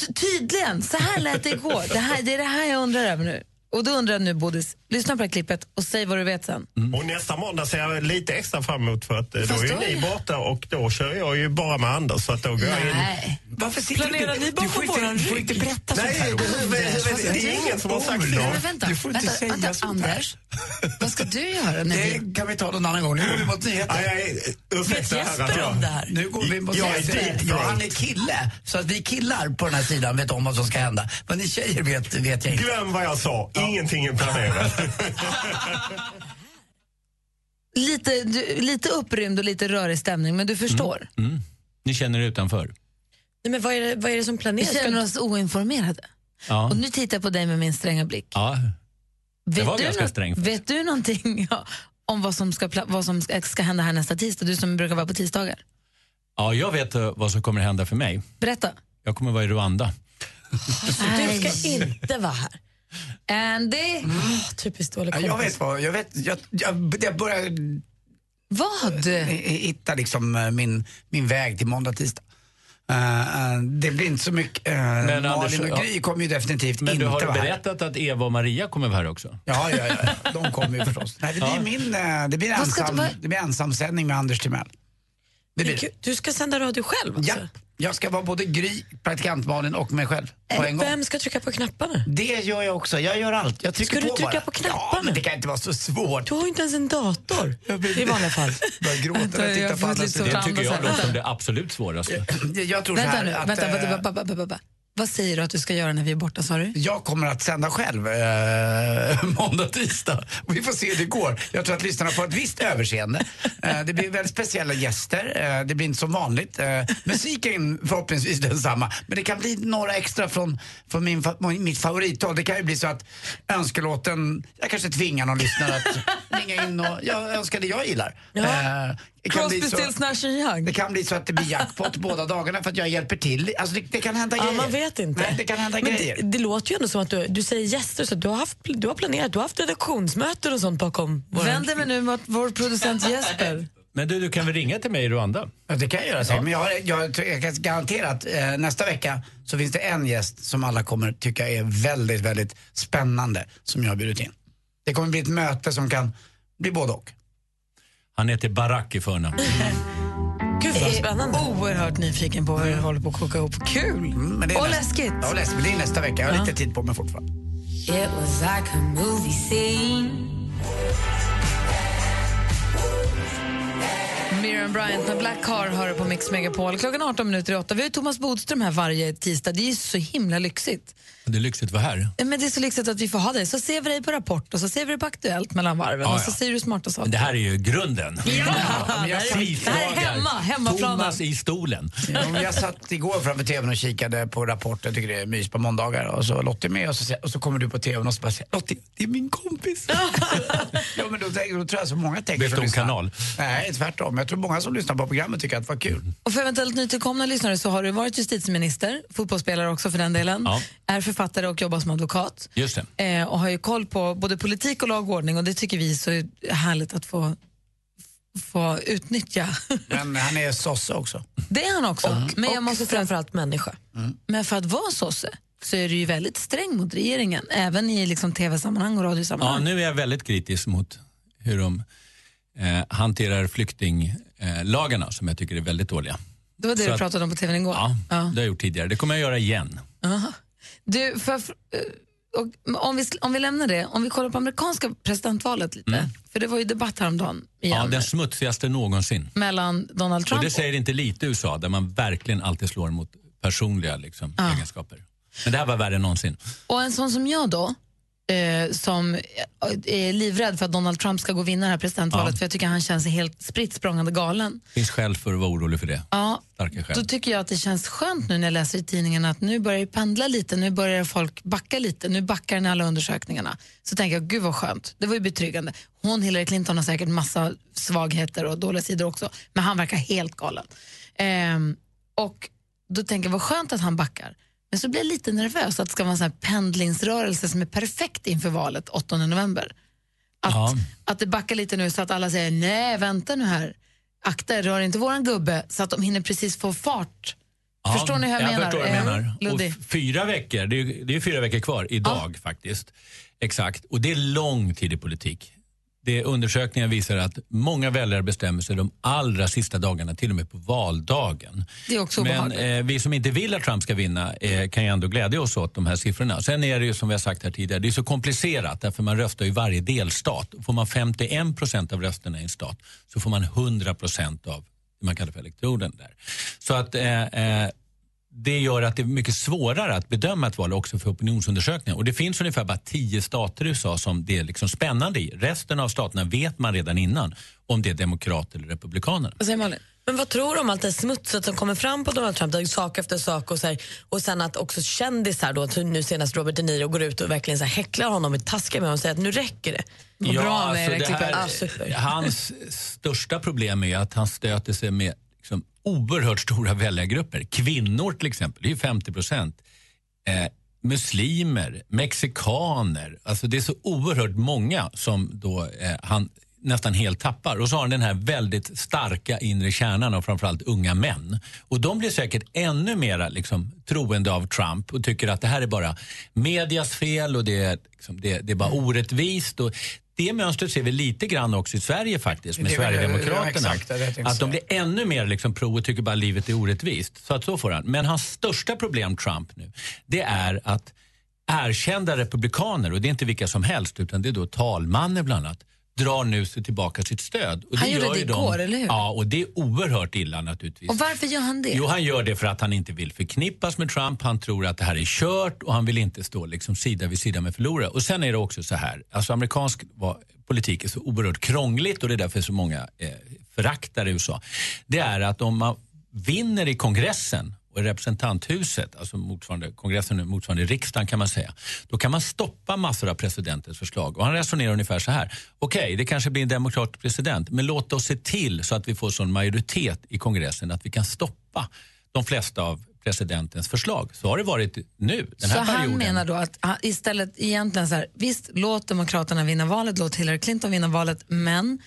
[SPEAKER 2] Ty- Tydligen, så här lät det igår. Det, här, det är det här jag undrar över nu. Och då undrar jag nu, Bodis, lyssna på det här klippet och säg vad du vet sen.
[SPEAKER 18] Och nästa måndag ser jag lite extra fram emot för att eh, då
[SPEAKER 2] Fast
[SPEAKER 18] är ju
[SPEAKER 2] då är
[SPEAKER 18] ni
[SPEAKER 2] jag-
[SPEAKER 18] borta och då kör jag ju bara med Anders så att då går jag in.
[SPEAKER 3] Varför sitter
[SPEAKER 4] Planerar
[SPEAKER 3] du,
[SPEAKER 4] ni bara
[SPEAKER 3] du får
[SPEAKER 4] på
[SPEAKER 3] inte-
[SPEAKER 4] våran
[SPEAKER 3] Du får
[SPEAKER 4] rygg?
[SPEAKER 3] inte berätta
[SPEAKER 18] Nej,
[SPEAKER 3] sånt här.
[SPEAKER 18] det- det- det- det är ingen som har sagt det.
[SPEAKER 3] Men
[SPEAKER 2] vänta,
[SPEAKER 3] Du får inte
[SPEAKER 2] vänta,
[SPEAKER 3] säga
[SPEAKER 2] vänta,
[SPEAKER 3] sånt här.
[SPEAKER 2] Anders. Vad ska du göra? när vi-
[SPEAKER 3] Det kan vi ta någon annan gång. Nu går vi mot nyheter.
[SPEAKER 18] Nej, nej, ursäkta
[SPEAKER 3] Vet
[SPEAKER 18] herrar,
[SPEAKER 3] Jesper
[SPEAKER 18] jag-
[SPEAKER 3] om det här? Nu går vi mot
[SPEAKER 18] Jag är
[SPEAKER 3] nyheter.
[SPEAKER 18] deep
[SPEAKER 3] Ja, han är
[SPEAKER 18] throat.
[SPEAKER 3] kille. Så att vi killar på den här sidan vet om vad som ska hända. Vad ni tjejer vet, vet jag inte.
[SPEAKER 18] Glöm vad jag sa, ingenting är planerat.
[SPEAKER 2] Lite, du, lite upprymd och lite rörig stämning, men du förstår.
[SPEAKER 14] Mm. Ni känner er utanför?
[SPEAKER 2] Nej, men vad, är det, vad är det som planeras? Vi känner oss oinformerade.
[SPEAKER 14] Ja.
[SPEAKER 2] Och nu tittar jag på dig med min stränga blick.
[SPEAKER 14] ja. Det var
[SPEAKER 2] du
[SPEAKER 14] ganska
[SPEAKER 2] nå-
[SPEAKER 14] strängt.
[SPEAKER 2] Vet du någonting ja, om vad som, ska, pla- vad som ska, eh, ska hända här nästa tisdag? Du som brukar vara på tisdagar.
[SPEAKER 14] ja, jag vet eh, vad som kommer hända för mig.
[SPEAKER 2] Berätta.
[SPEAKER 14] Jag kommer vara i Rwanda.
[SPEAKER 4] Du ska inte vara här. Ah,
[SPEAKER 2] Andy?
[SPEAKER 4] typiskt dålig
[SPEAKER 3] Ja,
[SPEAKER 4] kompis.
[SPEAKER 3] jag vet vad, jag vet, jag, jag, jag börjar... Eh,
[SPEAKER 2] Vad?
[SPEAKER 3] Hitta liksom eh, min, min väg till måndag, tisdag. Eh, eh, det blir inte så mycket, uh, Malin
[SPEAKER 14] Anders,
[SPEAKER 3] och
[SPEAKER 14] ja.
[SPEAKER 3] Gry kommer ju definitivt
[SPEAKER 14] Men
[SPEAKER 3] inte
[SPEAKER 14] du har
[SPEAKER 3] vara här.
[SPEAKER 14] berättat att Eva och Maria kommer vara här också.
[SPEAKER 3] Ja, ja, ja. De kommer ju förstås. Nej, det blir
[SPEAKER 14] Ja.
[SPEAKER 3] min, eh, det blir
[SPEAKER 4] Vad ska du-
[SPEAKER 3] ensam,
[SPEAKER 4] vad-
[SPEAKER 3] det blir ensamsändning med Anders Timell. Det blir det.
[SPEAKER 4] Du ska sända radio själv alltså?
[SPEAKER 3] Ja, jag ska vara både Gry, praktikant Malin och mig själv på en gång.
[SPEAKER 4] Eh, Vem ska trycka på knapparna?
[SPEAKER 3] Det gör jag också. Jag gör allt. Jag trycker
[SPEAKER 4] Ska du
[SPEAKER 3] på
[SPEAKER 4] trycka
[SPEAKER 3] bara.
[SPEAKER 4] på
[SPEAKER 3] Ja, men det kan inte vara så svårt.
[SPEAKER 4] Du har ju inte ens en dator i vanliga fall.
[SPEAKER 3] Börjar gråta när jag tittar på andra sidan.
[SPEAKER 14] Det tycker jag låter som det absolut svåraste.
[SPEAKER 3] Jag tror
[SPEAKER 2] vänta
[SPEAKER 3] så här
[SPEAKER 2] nu,
[SPEAKER 3] att,
[SPEAKER 2] vänta,
[SPEAKER 3] eh,
[SPEAKER 2] vänta, ba, ba, ba, ba, ba. Vad säger du att du ska göra när vi är borta, sa du?
[SPEAKER 3] Jag kommer att sända själv eh, måndag, tisdag. Vi får se hur det går. Jag tror att lyssnarna får ett visst överseende. Eh, det blir väldigt speciella gäster. Eh, det blir inte som vanligt. Eh, musiken förhoppningsvis densamma. Men det kan bli några extra från, från min, fa- min- mitt favorithåll. Det kan ju bli så att önskelåten, jag kanske tvingar någon lyssnare att ringa in och jag önskar det jag gillar.
[SPEAKER 2] Ja.
[SPEAKER 3] Eh, det kan bli
[SPEAKER 2] Crosby,
[SPEAKER 3] så-
[SPEAKER 2] Stills, Nash Young.
[SPEAKER 3] Det kan bli så att det blir jackpot båda dagarna för att jag hjälper till. Alltså det, det kan hända
[SPEAKER 4] Ja,
[SPEAKER 3] grejer.
[SPEAKER 4] man vet inte.
[SPEAKER 3] Nej, det kan hända
[SPEAKER 4] Men
[SPEAKER 3] grejer.
[SPEAKER 4] Det, det låter ju ändå som att du, du säger gäster, så att du har, haft, du har planerat, du har haft redaktionsmöten och sånt bakom våran-
[SPEAKER 2] Vänder mig nu mot vår producent Jesper.
[SPEAKER 14] Men du, du kan väl ringa till mig i Rwanda?
[SPEAKER 3] Ja, det kan jag göra. säkert. Men jag, har, jag, tror- jag kan garantera att eh, nästa vecka så finns det en gäst som alla kommer tycka är väldigt, väldigt spännande som jag har bjudit in. Det kommer bli ett möte som kan bli både och.
[SPEAKER 14] Han heter Barack i förnamn.
[SPEAKER 4] Gud
[SPEAKER 14] Eh,
[SPEAKER 4] vad spännande.
[SPEAKER 2] Oerhört nyfiken på vad du håller på att koka ihop. Kul!
[SPEAKER 3] Men det är
[SPEAKER 2] och
[SPEAKER 3] nästa-
[SPEAKER 2] läskigt.
[SPEAKER 3] Ja, läskigt. Men det är nästa vecka. Jag har lite tid på mig fortfarande.
[SPEAKER 19] It was like a movie scene.
[SPEAKER 2] Miriam Bryant med Black Car hör du på Mix Megapol. Klockan 18 minuter i 8. Vi har ju Thomas Bodström här varje tisdag. Det är ju så himla lyxigt.
[SPEAKER 14] Det är lyxigt att vara här.
[SPEAKER 2] Men det är så lyxigt att vi får ha dig. Så ser vi dig på Rapport och så ser vi dig på Aktuellt mellan varven
[SPEAKER 14] Ja,
[SPEAKER 2] och så
[SPEAKER 14] ja.
[SPEAKER 2] säger du smarta saker.
[SPEAKER 14] Men det här är ju grunden.
[SPEAKER 2] men jag satt- Det här är hemma, hemmaplanen.
[SPEAKER 14] Thomas i stolen.
[SPEAKER 3] Ja, men jag satt igår framför tvn och kikade på Rapport. Jag tycker det är mys på måndagar. Och så var Lottie med och så, och så kommer du på tvn och så bara säger Lottie, det är min kompis. ja, men då, tänker- då tror jag så många tänker
[SPEAKER 14] Bytte
[SPEAKER 3] som
[SPEAKER 14] hon
[SPEAKER 3] lyssnar.
[SPEAKER 14] kanal?
[SPEAKER 3] Nej, tvärtom. Jag tror många som lyssnar på programmet tycker att det var kul.
[SPEAKER 14] Mm,
[SPEAKER 2] Och för eventuellt nytillkomna lyssnare så har du varit justitieminister, fotbollsspelare också för den delen,
[SPEAKER 14] Ja.
[SPEAKER 2] är författare och jobbar som advokat.
[SPEAKER 14] Just det.
[SPEAKER 2] Eh, och har ju koll på både politik och lagordning och det tycker vi är så härligt att få, få utnyttja.
[SPEAKER 3] Men han är sosse också.
[SPEAKER 2] Det är han också. men jag måste säga,
[SPEAKER 4] Framförallt människa.
[SPEAKER 2] men för att vara sosse så är du ju väldigt sträng mot regeringen, även i liksom tv-sammanhang och
[SPEAKER 14] Ja,
[SPEAKER 2] radiosammanhang.
[SPEAKER 14] nu är jag väldigt kritisk mot hur de eh, hanterar flyktinglagarna som jag tycker är väldigt dåliga.
[SPEAKER 2] det var det
[SPEAKER 14] Så
[SPEAKER 2] du
[SPEAKER 14] att-
[SPEAKER 2] pratade om på tvn igår.
[SPEAKER 14] Ja, det
[SPEAKER 2] Ja.
[SPEAKER 14] har jag gjort tidigare. Det kommer jag göra igen.
[SPEAKER 2] Aha. Du, för, eh, och, om, vi, sl- om vi lämnar det, om vi kollar på amerikanska presidentvalet lite, för det var ju debatt häromdagen igen,
[SPEAKER 14] Mm. Ja, den smutsigaste någonsin.
[SPEAKER 2] mellan Donald
[SPEAKER 14] Och
[SPEAKER 2] Trump
[SPEAKER 14] det säger inte lite i USA där man verkligen alltid slår mot personliga liksom,
[SPEAKER 2] Ja.
[SPEAKER 14] egenskaper. Men det här var värre än någonsin.
[SPEAKER 2] Och en sån som jag då, eh, som är livrädd för att Donald Trump ska gå och vinna det här presidentvalet,
[SPEAKER 14] Ja.
[SPEAKER 2] för jag tycker han känns helt spritt språngande galen.
[SPEAKER 14] Det finns skäl för att vara orolig för det.
[SPEAKER 2] Ja,
[SPEAKER 14] Starka
[SPEAKER 2] då
[SPEAKER 14] skäl.
[SPEAKER 2] tycker jag att det känns skönt nu när jag läser i tidningen att nu börjar det pendla lite, nu börjar folk backa lite, nu backar den i alla undersökningarna. Så tänker jag, gud vad skönt, det var ju betryggande. Hon, Hillary Clinton, har säkert massa svagheter och dåliga sidor också, men han verkar helt galen. Ehm, och då tänker jag, vad skönt att han backar. Men så blir jag lite nervös att det ska vara en sån här pendlingsrörelse som är perfekt inför valet 8 november. Att, att det backar lite nu så att alla säger nej, vänta nu här. Akta er, rör inte våran gubbe så att de hinner precis få fart
[SPEAKER 14] Ja,
[SPEAKER 2] förstår ni hur jag, menar?
[SPEAKER 14] Förstår vad jag
[SPEAKER 2] Eh,
[SPEAKER 14] menar. Och
[SPEAKER 2] Luddig.
[SPEAKER 14] f- fyra veckor, det är, ju- det är fyra veckor kvar idag faktiskt. Exakt, och det är lång tid i politik. Det, undersökningar visar att många väljare bestämmer sig de allra sista dagarna, till och med på valdagen.
[SPEAKER 2] Det är också
[SPEAKER 14] Men
[SPEAKER 2] obehagligt.
[SPEAKER 14] eh, vi som inte vill att Trump ska vinna eh, kan ju ändå glädja oss åt de här siffrorna. Sen är det ju som vi har sagt här tidigare, det är så komplicerat därför man röstar i varje delstat. Får man 51 procent av rösterna i en stat så får man 100 procent av det man kallar för elektroden där. Så att eh, eh, det gör att det är mycket svårare att bedöma ett val också för opinionsundersökningar. Och det finns ungefär bara tio stater i USA som det är liksom spännande i. Resten av staterna vet man redan innan om det är demokrater eller republikaner.
[SPEAKER 4] Vad säger Malin? Men vad tror du om allt det smutset som kommer fram på Donald Trump? Det är ju sak efter sak och, så här, och sen att också kändisar då, typ nu senast Robert De Niro, går ut och verkligen så här häcklar honom och är taskiga med honom och säger att nu räcker det.
[SPEAKER 14] alltså det
[SPEAKER 4] Ah,
[SPEAKER 14] här,
[SPEAKER 4] super.
[SPEAKER 14] Hans största problem är att han stöter sig med liksom oerhört stora väljargrupper. Kvinnor till exempel, det är ju 50 procent. Eh, muslimer, mexikaner. Alltså det är så oerhört många som då eh, han nästan helt tappar. Och så har han den här väldigt starka inre kärnan av framförallt unga män. Och de blir säkert ännu mer liksom, troende av Trump och tycker att det här är bara medias fel och det är, liksom, det, det är
[SPEAKER 3] Mm.
[SPEAKER 14] bara orättvist. Och det mönstret ser vi lite grann också i Sverige faktiskt med
[SPEAKER 3] Det är väl- ja,
[SPEAKER 14] Sverigedemokraterna.
[SPEAKER 3] exakt, det vet jag
[SPEAKER 14] att de blir ännu mer liksom pro och tycker bara livet är orättvist. Så att så får han. Men hans största problem, Trump, nu, det är att erkända republikaner, och det är inte vilka som helst, utan det är då talmannen bland annat, drar nu sig tillbaka sitt stöd. Och
[SPEAKER 2] Han gjorde
[SPEAKER 14] gör
[SPEAKER 2] det
[SPEAKER 14] ju de-
[SPEAKER 2] igår, eller hur?
[SPEAKER 14] Ja, och det är oerhört illa naturligtvis.
[SPEAKER 2] Och varför gör han det?
[SPEAKER 14] Jo, han gör det för att han inte vill förknippas med Trump. Han tror att det här är kört och han vill inte stå liksom sida vid sida med förlorare. Och sen är det också så här, alltså amerikansk va- politik är så oerhört krångligt och det är därför så många eh, föraktar USA. Det är att om man vinner i kongressen och i representanthuset, alltså motsvarande kongressen, nu, motsvarande riksdagen kan man säga, då kan man stoppa massor av presidentens förslag. Och han resonerar ungefär så här, okej, det kanske blir en demokratisk president, men låt oss se till så att vi får sån majoritet i kongressen att vi kan stoppa de flesta av presidentens förslag. Så har det varit nu, den här
[SPEAKER 2] så
[SPEAKER 14] perioden.
[SPEAKER 2] han menar då att han istället egentligen så här, visst låt Demokraterna vinna valet, låt Hillary Clinton vinna valet, men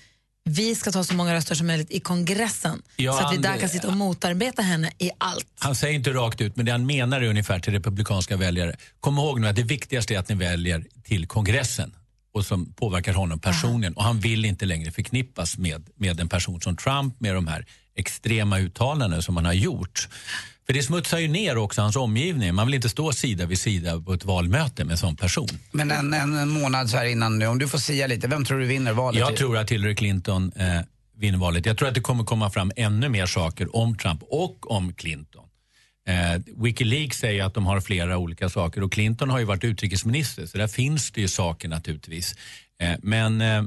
[SPEAKER 2] vi ska ta så många röster som möjligt i kongressen
[SPEAKER 14] Ja,
[SPEAKER 2] så att vi
[SPEAKER 14] han-
[SPEAKER 2] där kan sitta och motarbeta henne i allt.
[SPEAKER 14] Han säger inte rakt ut, men det han menar är ungefär till republikanska väljare. Kom ihåg nu att det viktigaste är att ni väljer till kongressen och som påverkar honom personligen. Och han vill inte längre förknippas med, med en person som Trump med de här extrema uttalanden som han har gjort. För det smutsar ju ner också hans omgivning. Man vill inte stå sida vid sida på ett valmöte med en sån person.
[SPEAKER 3] Men en, en, en månad så här innan nu, om du får sia lite, vem tror du vinner valet?
[SPEAKER 14] Jag tror att Hillary Clinton eh, vinner valet. Jag tror att det kommer komma fram ännu mer saker om Trump och om Clinton. Eh, Wikileaks säger att de har flera olika saker och Clinton har ju varit utrikesminister så där finns det ju saker naturligtvis. Eh, men eh,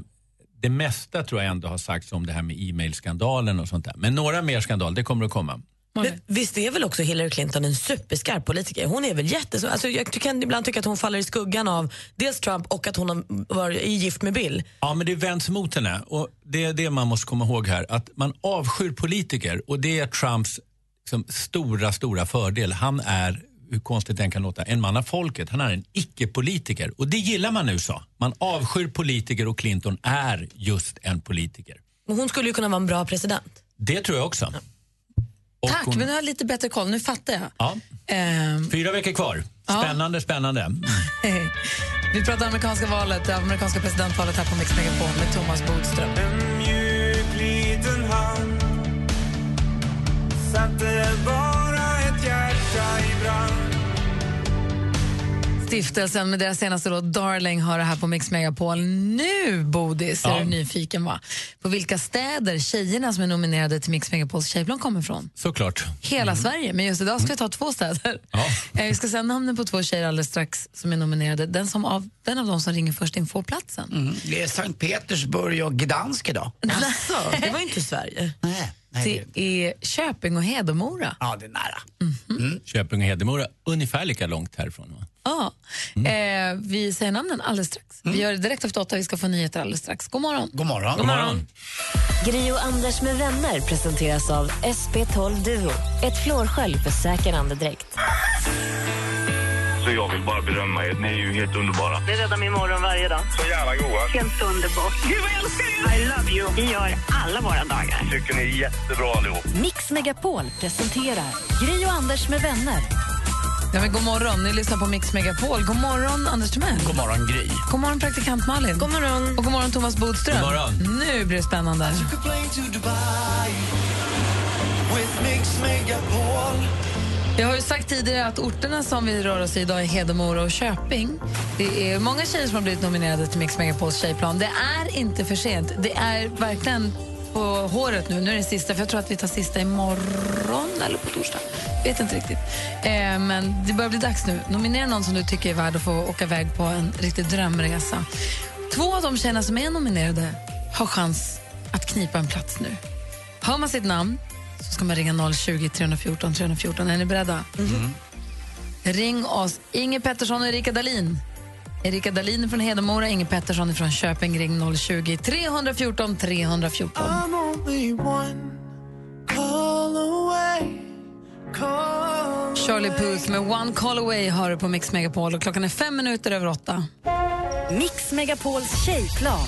[SPEAKER 14] det mesta tror jag ändå har sagts om det här med e-mailskandalen och sånt där. Men några mer skandaler, det kommer att komma.
[SPEAKER 4] Men, visst är väl också Hillary Clinton en superskarp politiker? Hon är väl jättesmart. Alltså, jag ty- kan ibland tycka att hon faller i skuggan av dels Trump och att hon har varit är gift med Bill.
[SPEAKER 14] Ja, men det vänds mot henne. Och det är det man måste komma ihåg här. Att man avskyr politiker och det är Trumps liksom, stora, stora fördel. Han är, hur konstigt den kan låta, en man av folket. Han är en icke-politiker. Och det gillar man i USA. Man avskyr politiker och Clinton är just en politiker.
[SPEAKER 4] Men hon skulle ju kunna vara en bra president.
[SPEAKER 14] Det tror jag också. Och
[SPEAKER 2] Tack,
[SPEAKER 14] hon-
[SPEAKER 2] men nu har jag lite bättre koll, nu fattar jag.
[SPEAKER 14] Ja,
[SPEAKER 2] Ehm,
[SPEAKER 14] fyra veckor kvar. Spännande, spännande. Mm.
[SPEAKER 2] vi pratar amerikanska valet, det amerikanska presidentvalet här på Mix Megapol med Thomas Bodström.
[SPEAKER 13] En mjuk liten hand satte bara ett hjärta i brand
[SPEAKER 2] Stiftelsen med deras senaste låt Darling har det här på Mix Megapol. Nu, Bodis, är
[SPEAKER 14] Ja.
[SPEAKER 2] du nyfiken va? På vilka städer tjejerna som är nominerade till Mix Megapols tjejplan kommer ifrån?
[SPEAKER 14] Såklart. Mm.
[SPEAKER 2] Hela Sverige, men just idag ska vi ta två städer. Eh, Vi ska säga namnen på två tjejer alldeles strax som är nominerade. Den, som av, den av dem som ringer först in får platsen.
[SPEAKER 3] Mm, det är Sankt Petersburg och Gdansk idag.
[SPEAKER 4] Alltså, det var ju inte Sverige.
[SPEAKER 3] Nej.
[SPEAKER 2] Det är Köping och Hedemora.
[SPEAKER 3] Ja, det är nära.
[SPEAKER 14] Köping Mm. och Hedemora, ungefär lika långt härifrån. Va?
[SPEAKER 2] Ja. Eh, vi säger namnen alldeles strax. Vi gör det direkt efter åtta. Vi ska få nyheter alldeles strax. God morgon.
[SPEAKER 3] God morgon.
[SPEAKER 17] God morgon. Gri och Anders med vänner presenteras av SP12 Duo. Ett flårskölj för säker andedräkt.
[SPEAKER 11] så jag vill bara berömma er. Ni är ju helt underbara.
[SPEAKER 9] Det räddar min morgon varje dag.
[SPEAKER 11] Så jävla goa.
[SPEAKER 9] Helt underbart. Gud, vad jag älskar er! I love you. Vi gör alla våra dagar.
[SPEAKER 11] Tycker ni är jättebra allihop.
[SPEAKER 1] Mix Megapol presenterar Gri och Anders med vänner.
[SPEAKER 2] Ja, men god morgon, ni lyssnar på Mix Megapol. God morgon, Anders Timell.
[SPEAKER 3] God morgon, Gry.
[SPEAKER 2] God morgon, praktikant Malin. God morgon. Och god morgon, Thomas Bodström.
[SPEAKER 3] God morgon.
[SPEAKER 2] Nu blir det spännande. Jag har ju sagt tidigare att orterna som vi rör oss i idag är Hedemora och Köping. Det är många tjejer som har blivit nominerade till Mix Megapols tjejplan. Det är inte för sent. Det är verkligen på håret nu. Nu är det sista, för jag tror att vi tar sista imorgon eller på torsdag. Vet inte riktigt. Eh, men det börjar bli dags nu. Nominera någon som du tycker är värd att få åka iväg på en riktig drömresa. Två av de tjejerna som är nominerade har chans att knipa en plats nu. Hör man sitt namn så ska man ringa 020 314 314. Är ni beredda? Ring oss. Inge Pettersson och Erika Dalin. Erika Dalin är från Hedemora, Inge Pettersson är från Köping. Ring 020-314 314. 314. Charlie Puth med One Call Away hör du på Mix Megapol och klockan är fem minuter över åtta.
[SPEAKER 1] Mix Megapols tjejplan.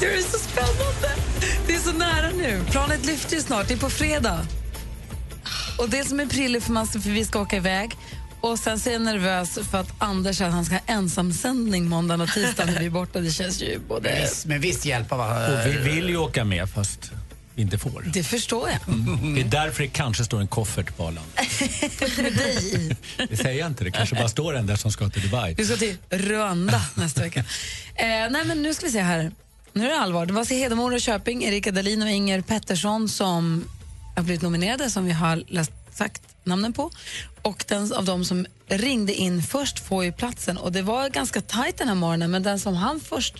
[SPEAKER 2] Det är så spännande! Det är så nära nu. Planet lyfter ju snart, det är på fredag. Och det som är prille för man, för vi ska åka iväg. Och sen så är jag nervös för att Anders säger att han ska ha ensamsändning måndag och tisdag när vi är borta. Det känns ju både...
[SPEAKER 3] Visst, med viss hjälp av... eh,
[SPEAKER 14] Och vi vill ju åka med fast vi inte får.
[SPEAKER 2] Det förstår jag.
[SPEAKER 14] Det är därför det kanske står en koffert på Arlanda.
[SPEAKER 2] Med dig i.
[SPEAKER 14] Det säger jag inte, det kanske bara står en där som ska till Dubai.
[SPEAKER 2] Vi ska till Rwanda nästa vecka. Eh, nej, men nu ska vi se här. Nu är det allvar. Det var så Hedemora och Köping, Erika Dahlin och Inger Pettersson som har blivit nominerade, som vi har läst sagt namnen på. Och den av dem som ringde in först får ju platsen. Och det var ganska tajt den här morgonen, men den som hann först...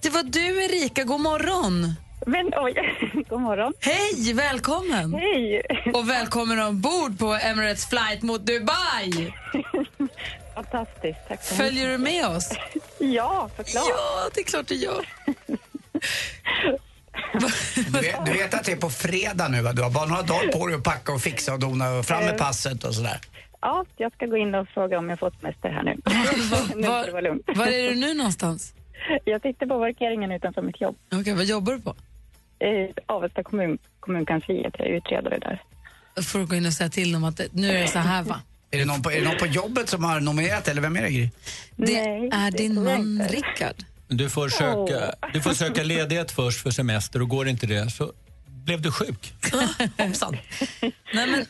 [SPEAKER 2] Det var du, Erika. God morgon!
[SPEAKER 8] Men oj, god morgon.
[SPEAKER 2] Hej, välkommen!
[SPEAKER 8] Hej!
[SPEAKER 2] Och välkommen ombord på Emirates flight mot Dubai!
[SPEAKER 8] Fantastiskt, tack så
[SPEAKER 2] Följer du med oss?
[SPEAKER 8] Ja, såklart.
[SPEAKER 2] Ja, det är klart du gör.
[SPEAKER 3] Du vet, du vet att det är på fredag nu va? Du har bara några dagar på dig att packa och fixa och dona och fram med passet och sådär.
[SPEAKER 8] Ja, jag ska gå in och fråga om jag fått semester här nu. nu ska det vara lugnt.
[SPEAKER 2] Var är du nu någonstans?
[SPEAKER 8] Jag sitter på parkeringen utanför mitt jobb.
[SPEAKER 2] Okej, vad jobbar du på?
[SPEAKER 8] I Avesta kommun, kommunkansliet. Jag är utredare där.
[SPEAKER 2] Då får du gå in och säga till dem att det- nu är det så här va?
[SPEAKER 3] Är det, någon på, är det någon på jobbet som har nominerat eller vem är det Gry?
[SPEAKER 2] Det är din man Rickard.
[SPEAKER 14] Du får, söka, du får söka ledighet först för semester och går inte det så blev du sjuk.
[SPEAKER 2] Hoppsan. Nej, men,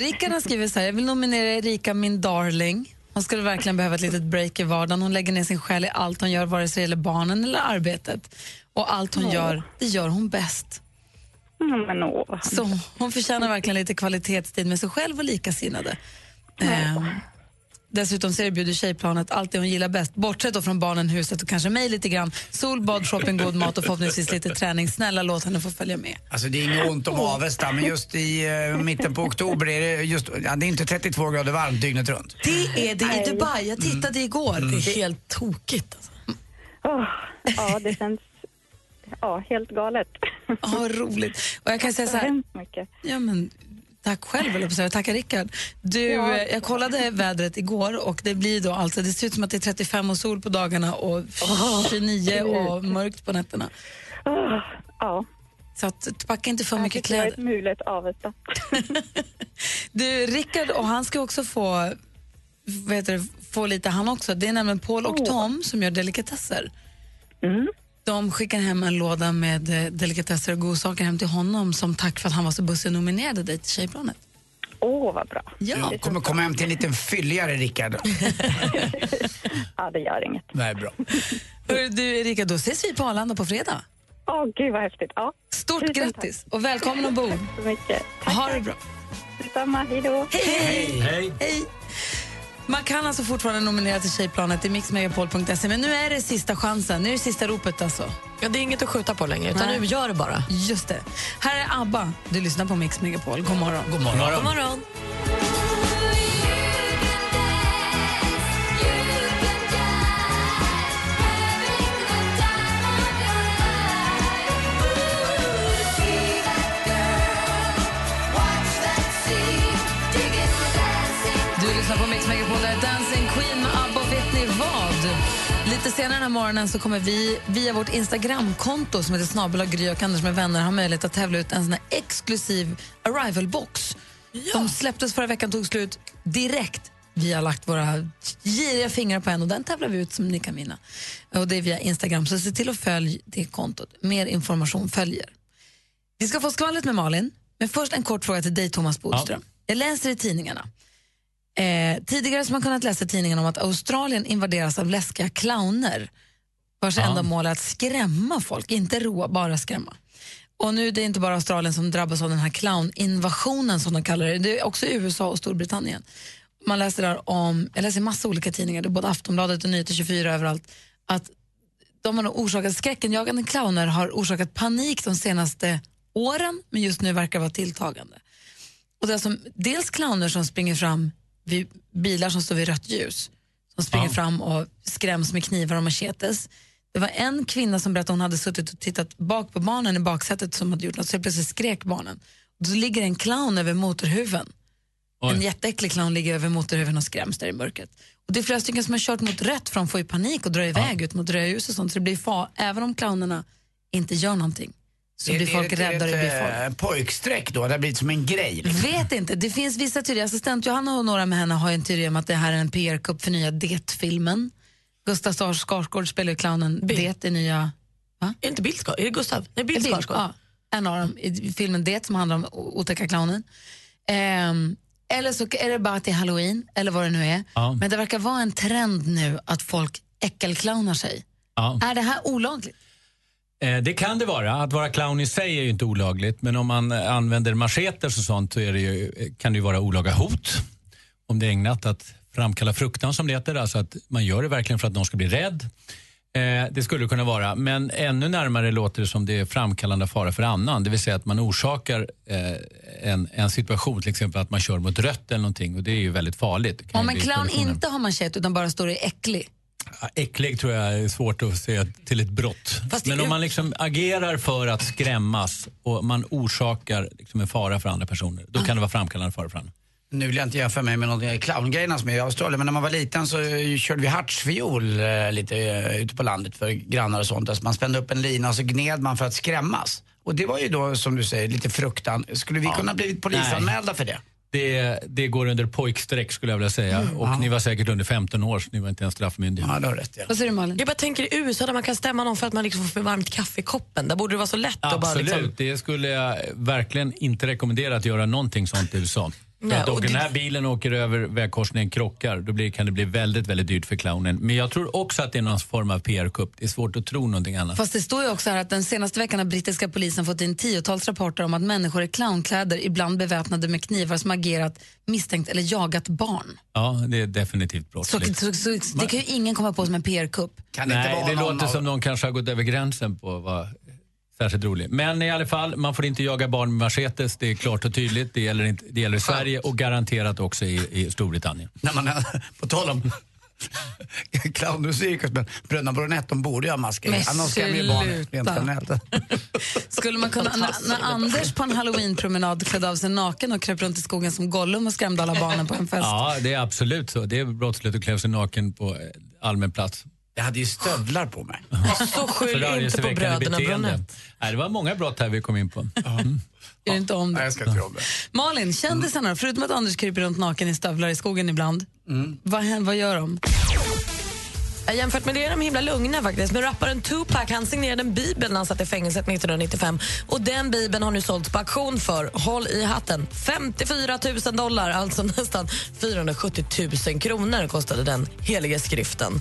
[SPEAKER 2] Rickard har skrivit så här, jag vill nominera Erika min darling. Hon skulle verkligen behöva ett litet break i vardagen. Hon lägger ner sin själ i allt hon gör, vare sig det gäller barnen eller arbetet. Och allt hon
[SPEAKER 8] Åh.
[SPEAKER 2] gör, det gör hon bäst.
[SPEAKER 8] Mm, Men åh.
[SPEAKER 2] Så hon förtjänar verkligen lite kvalitetstid med sig själv och likasinnade. Ehm, dessutom så erbjuder tjejplanet allt det hon gillar bäst, bortsett då från barnen, huset och kanske mig lite grann. Sol, bad, shopping, god mat och förhoppningsvis lite träning. Snälla låt henne få följa med.
[SPEAKER 3] Alltså det är inget ont om Avesta men just i eh, mitten på oktober är det just, ja, det är inte 32 grader varmt dygnet runt.
[SPEAKER 2] Det är det i Dubai, jag tittade igår.
[SPEAKER 3] Mm.
[SPEAKER 2] Det är helt tokigt. Alltså.
[SPEAKER 8] Åh, ja, det känns ja, helt galet.
[SPEAKER 2] Ja, vad roligt. Och jag kan säga så här-
[SPEAKER 8] Hemskt mycket.
[SPEAKER 2] Ja, men, tack själv, höll jag på att säga. Tackar Rickard. Du,
[SPEAKER 8] Ja.
[SPEAKER 2] eh, jag kollade vädret igår och det blir då alltså, det ser ut som att det är 35 och sol på dagarna och 29 och mörkt på nätterna.
[SPEAKER 8] Ja.
[SPEAKER 2] Så att, packa inte för mycket
[SPEAKER 8] Jag är ett
[SPEAKER 2] kläder.
[SPEAKER 8] mulet Avesta.
[SPEAKER 2] Du, Rickard och han ska också få, vad heter det, få lite han också. Det är nämligen Paul och Tom som gör delikatesser.
[SPEAKER 8] Mm.
[SPEAKER 2] De skickar hem en låda med eh, delikatesser och godsaker hem till honom som tack för att han var så bussig och nominerade dig till Tjejplanet.
[SPEAKER 8] Åh, vad bra.
[SPEAKER 2] Ja.
[SPEAKER 3] Du kommer komma hem till en liten fylligare Rickard.
[SPEAKER 8] Ja, det gör inget.
[SPEAKER 3] Nej, bra.
[SPEAKER 2] Hörru, du Erika, då ses vi på Arlanda på fredag.
[SPEAKER 8] Åh, gud vad häftigt. Ja.
[SPEAKER 2] Stort grattis och välkommen ombord. Tack
[SPEAKER 8] så mycket.
[SPEAKER 2] ha det bra.
[SPEAKER 8] Detsamma, hej då.
[SPEAKER 2] Hej!
[SPEAKER 14] Hej.
[SPEAKER 2] Man kan alltså fortfarande nominera till Tjejplanet i mixmegapol.se men nu är det sista chansen. Nu är det sista ropet alltså.
[SPEAKER 4] Ja, det är inget att skjuta på längre, utan
[SPEAKER 2] Nej.
[SPEAKER 4] nu gör det bara.
[SPEAKER 2] Just det. Här är ABBA. Du lyssnar på Mix Megapol. God morgon. God
[SPEAKER 4] morgon. God morgon.
[SPEAKER 13] Watch that sea, digging, dancing,
[SPEAKER 2] Du lyssnar på Mix Megapol, där Dancing Queen med ABBA. Och Vet ni vad? Lite senare den här morgonen så kommer vi via vårt Instagramkonto som heter snabel och Gry och Anders med vänner ha möjlighet att tävla ut en sån här exklusiv arrival-box. De släpptes förra veckan, tog slut direkt. Vi har lagt våra giriga fingrar på en och den tävlar vi ut som ni kan vinna. Och det är via Instagram, så se till att följa det kontot. Mer information följer. Vi ska få skvallret med Malin, men först en kort fråga till dig Thomas Bodström. Jag läser i tidningarna. Eh, tidigare så har man kunnat läsa i tidningarna om att Australien invaderas av läskiga clowner vars enda mål är att skrämma folk, inte roa, bara skrämma. Och nu är det inte bara Australien som drabbas av den här clowninvasionen som de kallar det, det är också USA och Storbritannien. Man läser där om, jag läser i massa olika tidningar, det är både Aftonbladet och Nyheter 24 överallt, att de har nog orsakat, skräckenjagande clowner har orsakat panik de senaste åren, men just nu verkar det vara tilltagande. Och det är alltså dels clowner som springer fram vid bilar som står vid rött ljus, som springer fram och skräms med knivar och machetes. Det var en kvinna som berättade att hon hade suttit och tittat bak på barnen i baksätet som hade gjort något, så helt plötsligt skrek barnen. Och då ligger en clown över motorhuven.
[SPEAKER 20] Oj.
[SPEAKER 2] En jätteäcklig clown ligger över motorhuven och skräms där i mörkret. Och det är flera stycken som har kört mot rött för de får ju panik och drar iväg ut mot röda ljus och sånt. Så det blir far, även om clownerna inte gör någonting så blir folk rädda och det blir folk.
[SPEAKER 3] ett eh, pojkstreck då? Det har blivit som en grej. liksom.
[SPEAKER 2] Vet inte. Det finns vissa teorier. Assistent Johanna och några med henne har ju en teori om att det här är en PR-kupp för nya Det-filmen. Gustav Star- Skarsgård spelar ju clownen Det i nya... Va? Är inte Bill Skarsgård? Är det Gustav? Nej, Bill Skarsgård. Ja, en av dem i filmen Det som handlar om o- otäcka clownen. Ehm, eller så är det bara att det är halloween, eller vad det nu är.
[SPEAKER 20] Ja.
[SPEAKER 2] Men det verkar vara en trend nu att folk äckelclownar sig.
[SPEAKER 14] Ja.
[SPEAKER 2] Är det här olagligt?
[SPEAKER 14] Eh, Det kan det vara. Att vara clown i sig är ju inte olagligt. Men om man eh, använder macheter och sånt så är det ju, eh, kan det ju vara olaga hot. Om det är ägnat att framkalla fruktan som det heter. Alltså att man gör det verkligen för att någon ska bli rädd. Eh, Det skulle det kunna vara. Men ännu närmare låter det som det är framkallande av fara för annan. Det vill säga att man orsakar eh, en, en situation. Till exempel att man kör mot rött eller någonting. Och det är ju väldigt farligt. Det kan
[SPEAKER 2] Om
[SPEAKER 14] ju
[SPEAKER 2] en
[SPEAKER 14] bli
[SPEAKER 2] clown
[SPEAKER 14] kollisioner.
[SPEAKER 2] inte har manschett utan bara står och är äcklig.
[SPEAKER 14] Ja, Äcklig tror jag är svårt att se till ett brott. Men om man liksom agerar för att skrämmas och man orsakar liksom en fara för andra personer, då kan det vara framkallande fara för andra.
[SPEAKER 3] Nu vill jag inte jämföra mig med någon eh, clowngrejerna som är i Australien, men när man var liten så eh, körde vi hartsviol eh, lite eh, ute på landet för grannar och sånt. Alltså man spände upp en lina och så gned man för att skrämmas. Och det var ju då, som du säger, lite fruktan. Skulle vi kunna blivit polisanmälda för det?
[SPEAKER 14] Det, det går under pojkstreck skulle jag vilja säga. och ni var säkert under 15 år, så ni var inte ens straffmyndiga.
[SPEAKER 3] Ja, det har rätt.
[SPEAKER 2] Vad säger du Malin?
[SPEAKER 4] Jag bara tänker i USA där man kan stämma någon för att man liksom får för varmt kaffe i koppen. Där borde det vara så lätt att bara
[SPEAKER 14] Absolut,
[SPEAKER 4] liksom...
[SPEAKER 14] det skulle jag verkligen inte rekommendera att göra någonting sånt i USA. För
[SPEAKER 4] Nej,
[SPEAKER 14] att
[SPEAKER 4] och
[SPEAKER 14] om
[SPEAKER 4] det-
[SPEAKER 14] den här bilen åker över vägkorsningen krockar, då blir, kan det bli väldigt, väldigt dyrt för clownen. Men jag tror också att det är någon form av PR-kupp. Det är svårt att tro någonting annat.
[SPEAKER 2] Fast det står ju också här att den senaste veckan har brittiska polisen fått in tiotals rapporter om att människor i clownkläder ibland beväpnade med knivar som agerat misstänkt eller jagat barn.
[SPEAKER 14] Ja, det är definitivt
[SPEAKER 2] Så,
[SPEAKER 14] brottsligt.
[SPEAKER 2] så, så, det kan ju ingen komma på som en PR-kupp.
[SPEAKER 14] Nej, det låter som någon kanske har gått över gränsen på att vara särskilt rolig. Men i alla fall, man får inte jaga barn med machetes. Det är klart och tydligt. Det gäller, inte, det gäller i Sverige och garanterat också i, i Storbritannien.
[SPEAKER 3] När man, på tal om clownmusik, men Bröderna Bronett, de borde ju ha masker.
[SPEAKER 2] Men
[SPEAKER 3] Annars skrämmer ju barn rent
[SPEAKER 2] sluta.
[SPEAKER 3] generellt.
[SPEAKER 2] Skulle man kunna, när, när Anders på en halloweenpromenad klädde av sig naken och kröp runt i skogen som Gollum och skrämde alla barnen på en fest.
[SPEAKER 14] Ja, det är absolut så. Det är brottsligt att klä sig naken på eh, allmän plats.
[SPEAKER 3] Jag hade ju stövlar på mig.
[SPEAKER 4] Så skyll inte på
[SPEAKER 14] Förargelseväckande
[SPEAKER 4] bröderna
[SPEAKER 14] beteende.
[SPEAKER 4] Bronett.
[SPEAKER 14] Nej, det var många brott här vi kom in på.
[SPEAKER 2] Är det inte om det?
[SPEAKER 3] Nej, jag ska inte jobba.
[SPEAKER 2] Malin, kändisarna
[SPEAKER 14] Mm.
[SPEAKER 2] då? Förutom att Anders kryper runt naken i stövlar i skogen ibland, vad, hän- vad gör de?
[SPEAKER 4] Ja, Jämfört med det är de himla lugna faktiskt. Men rapparen Tupac han signerade en bibel när han satt i fängelset 1995. Och den bibeln har nu sålts på auktion för, håll i hatten, 54 000 dollar. Alltså nästan 470 000 kronor kostade den heliga skriften.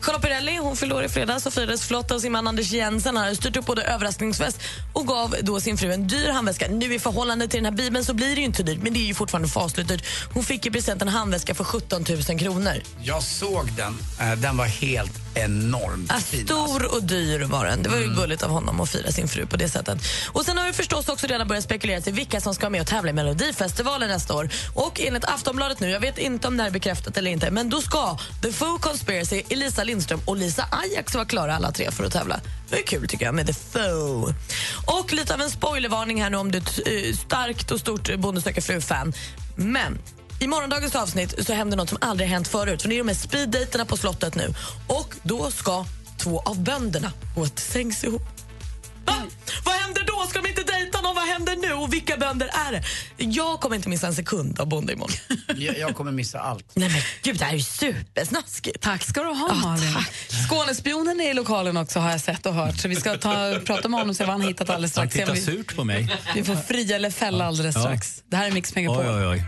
[SPEAKER 4] Charlotte Perrelli hon fyllde år i fredags och firades flott av sin man Anders Jensen. Han hade styrt upp både överraskningsfest och gav då sin fru en dyr handväska. Nu i förhållande till den här bibeln så blir det ju inte dyrt, men det är ju fortfarande fasligt dyrt. Hon fick i present en handväska för 17 000 kronor.
[SPEAKER 3] Jag såg den. Eh, Den var helt enormt
[SPEAKER 4] Ja,
[SPEAKER 3] fin. alltså.
[SPEAKER 4] Stor och dyr var den. Det var
[SPEAKER 2] Mm.
[SPEAKER 4] ju gulligt av honom att fira sin fru på det sättet. Och Sen har vi förstås också redan börjat spekulera till vilka som ska vara med och tävla i Melodifestivalen nästa år. Och enligt Aftonbladet nu, jag vet inte om det här är bekräftat eller inte, men då ska The Foo Conspiracy, Elisa Lindström och Lisa Ajax vara klara alla tre för att tävla. Det är kul tycker jag med The Foo. Och lite av en spoilervarning här nu om du är ett eh, starkt och stort Bonde söker fru-fan. Men I morgondagens avsnitt så händer något som aldrig hänt förut. För det är de här speeddejterna på slottet nu. Och då ska två av bönderna gå till sängs ihop. Va? Vad händer då? Ska de inte dejta någon? Vad händer nu? Och vilka bönder är det? Jag kommer inte missa en sekund av Bonde imorgon.
[SPEAKER 3] Jag, jag kommer missa allt.
[SPEAKER 4] Nej men gud, det här är ju supersnaskigt.
[SPEAKER 2] Tack ska du ha, Malin. Skånespionen är i lokalen också, har jag sett och hört. Så vi ska ta, prata med honom och se vad han hittat alldeles
[SPEAKER 14] Han
[SPEAKER 2] strax.
[SPEAKER 14] tittar
[SPEAKER 2] Se om vi,
[SPEAKER 14] surt på mig.
[SPEAKER 2] vi får fria eller fälla alldeles
[SPEAKER 14] Ja.
[SPEAKER 2] strax. Det här är Mix Megapol.
[SPEAKER 14] Oj, oj, oj.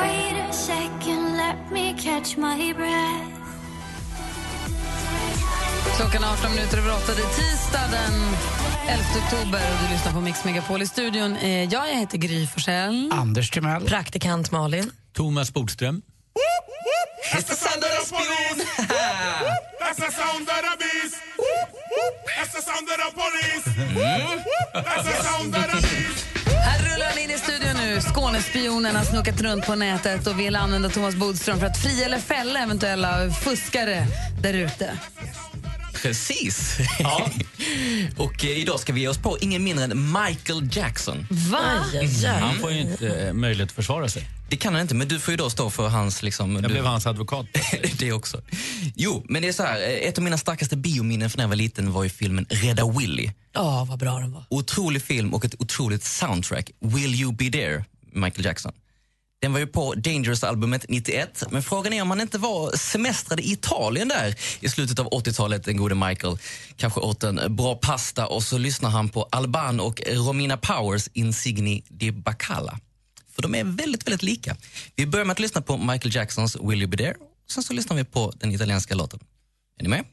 [SPEAKER 20] Wait a second, let me catch my breath.
[SPEAKER 2] Klockan är 18 minuter över 8. Det är tisdag den 11 oktober och du lyssnar på Mix Megapol. I studion är jag, jag heter Gry Forssell.
[SPEAKER 3] Anders Timell.
[SPEAKER 4] Praktikant Malin.
[SPEAKER 14] Thomas Bodström.
[SPEAKER 11] That's the sound of the police. That's the sound of the beast. That's the sound of the police. That's the sound of the beast.
[SPEAKER 2] Här rullar han in i studion nu. Skånespionen har snokat runt på nätet och vill använda Thomas Bodström för att fria eller fälla eventuella fuskare där ute.
[SPEAKER 21] Precis. Ja. och eh, idag ska vi ge oss på ingen mindre än Michael Jackson.
[SPEAKER 2] Va? Aj, aj,
[SPEAKER 4] Mm,
[SPEAKER 2] aj.
[SPEAKER 21] Han får ju inte eh, möjlighet att försvara sig. Det kan han inte, men du får ju då stå för hans... Liksom, jag
[SPEAKER 14] blev hans advokat.
[SPEAKER 21] det också. Jo, men det är så här. eh, Ett av mina starkaste biominnen från när jag var liten var ju filmen Rädda Willy.
[SPEAKER 4] Ja, vad bra den var.
[SPEAKER 21] Otrolig film och ett otroligt soundtrack. Will you be there, Michael Jackson. Den var ju på Dangerous-albumet 91, men frågan är om han inte var semestrade i Italien där i slutet av 80-talet, den gode Michael. Kanske åt en bra pasta och så lyssnar han på Alban och Romina Powers Insigni di Bacala. För de är väldigt, väldigt lika. Vi börjar med att lyssna på Michael Jacksons Will you be there? Sen så lyssnar vi på den italienska låten. Är ni med?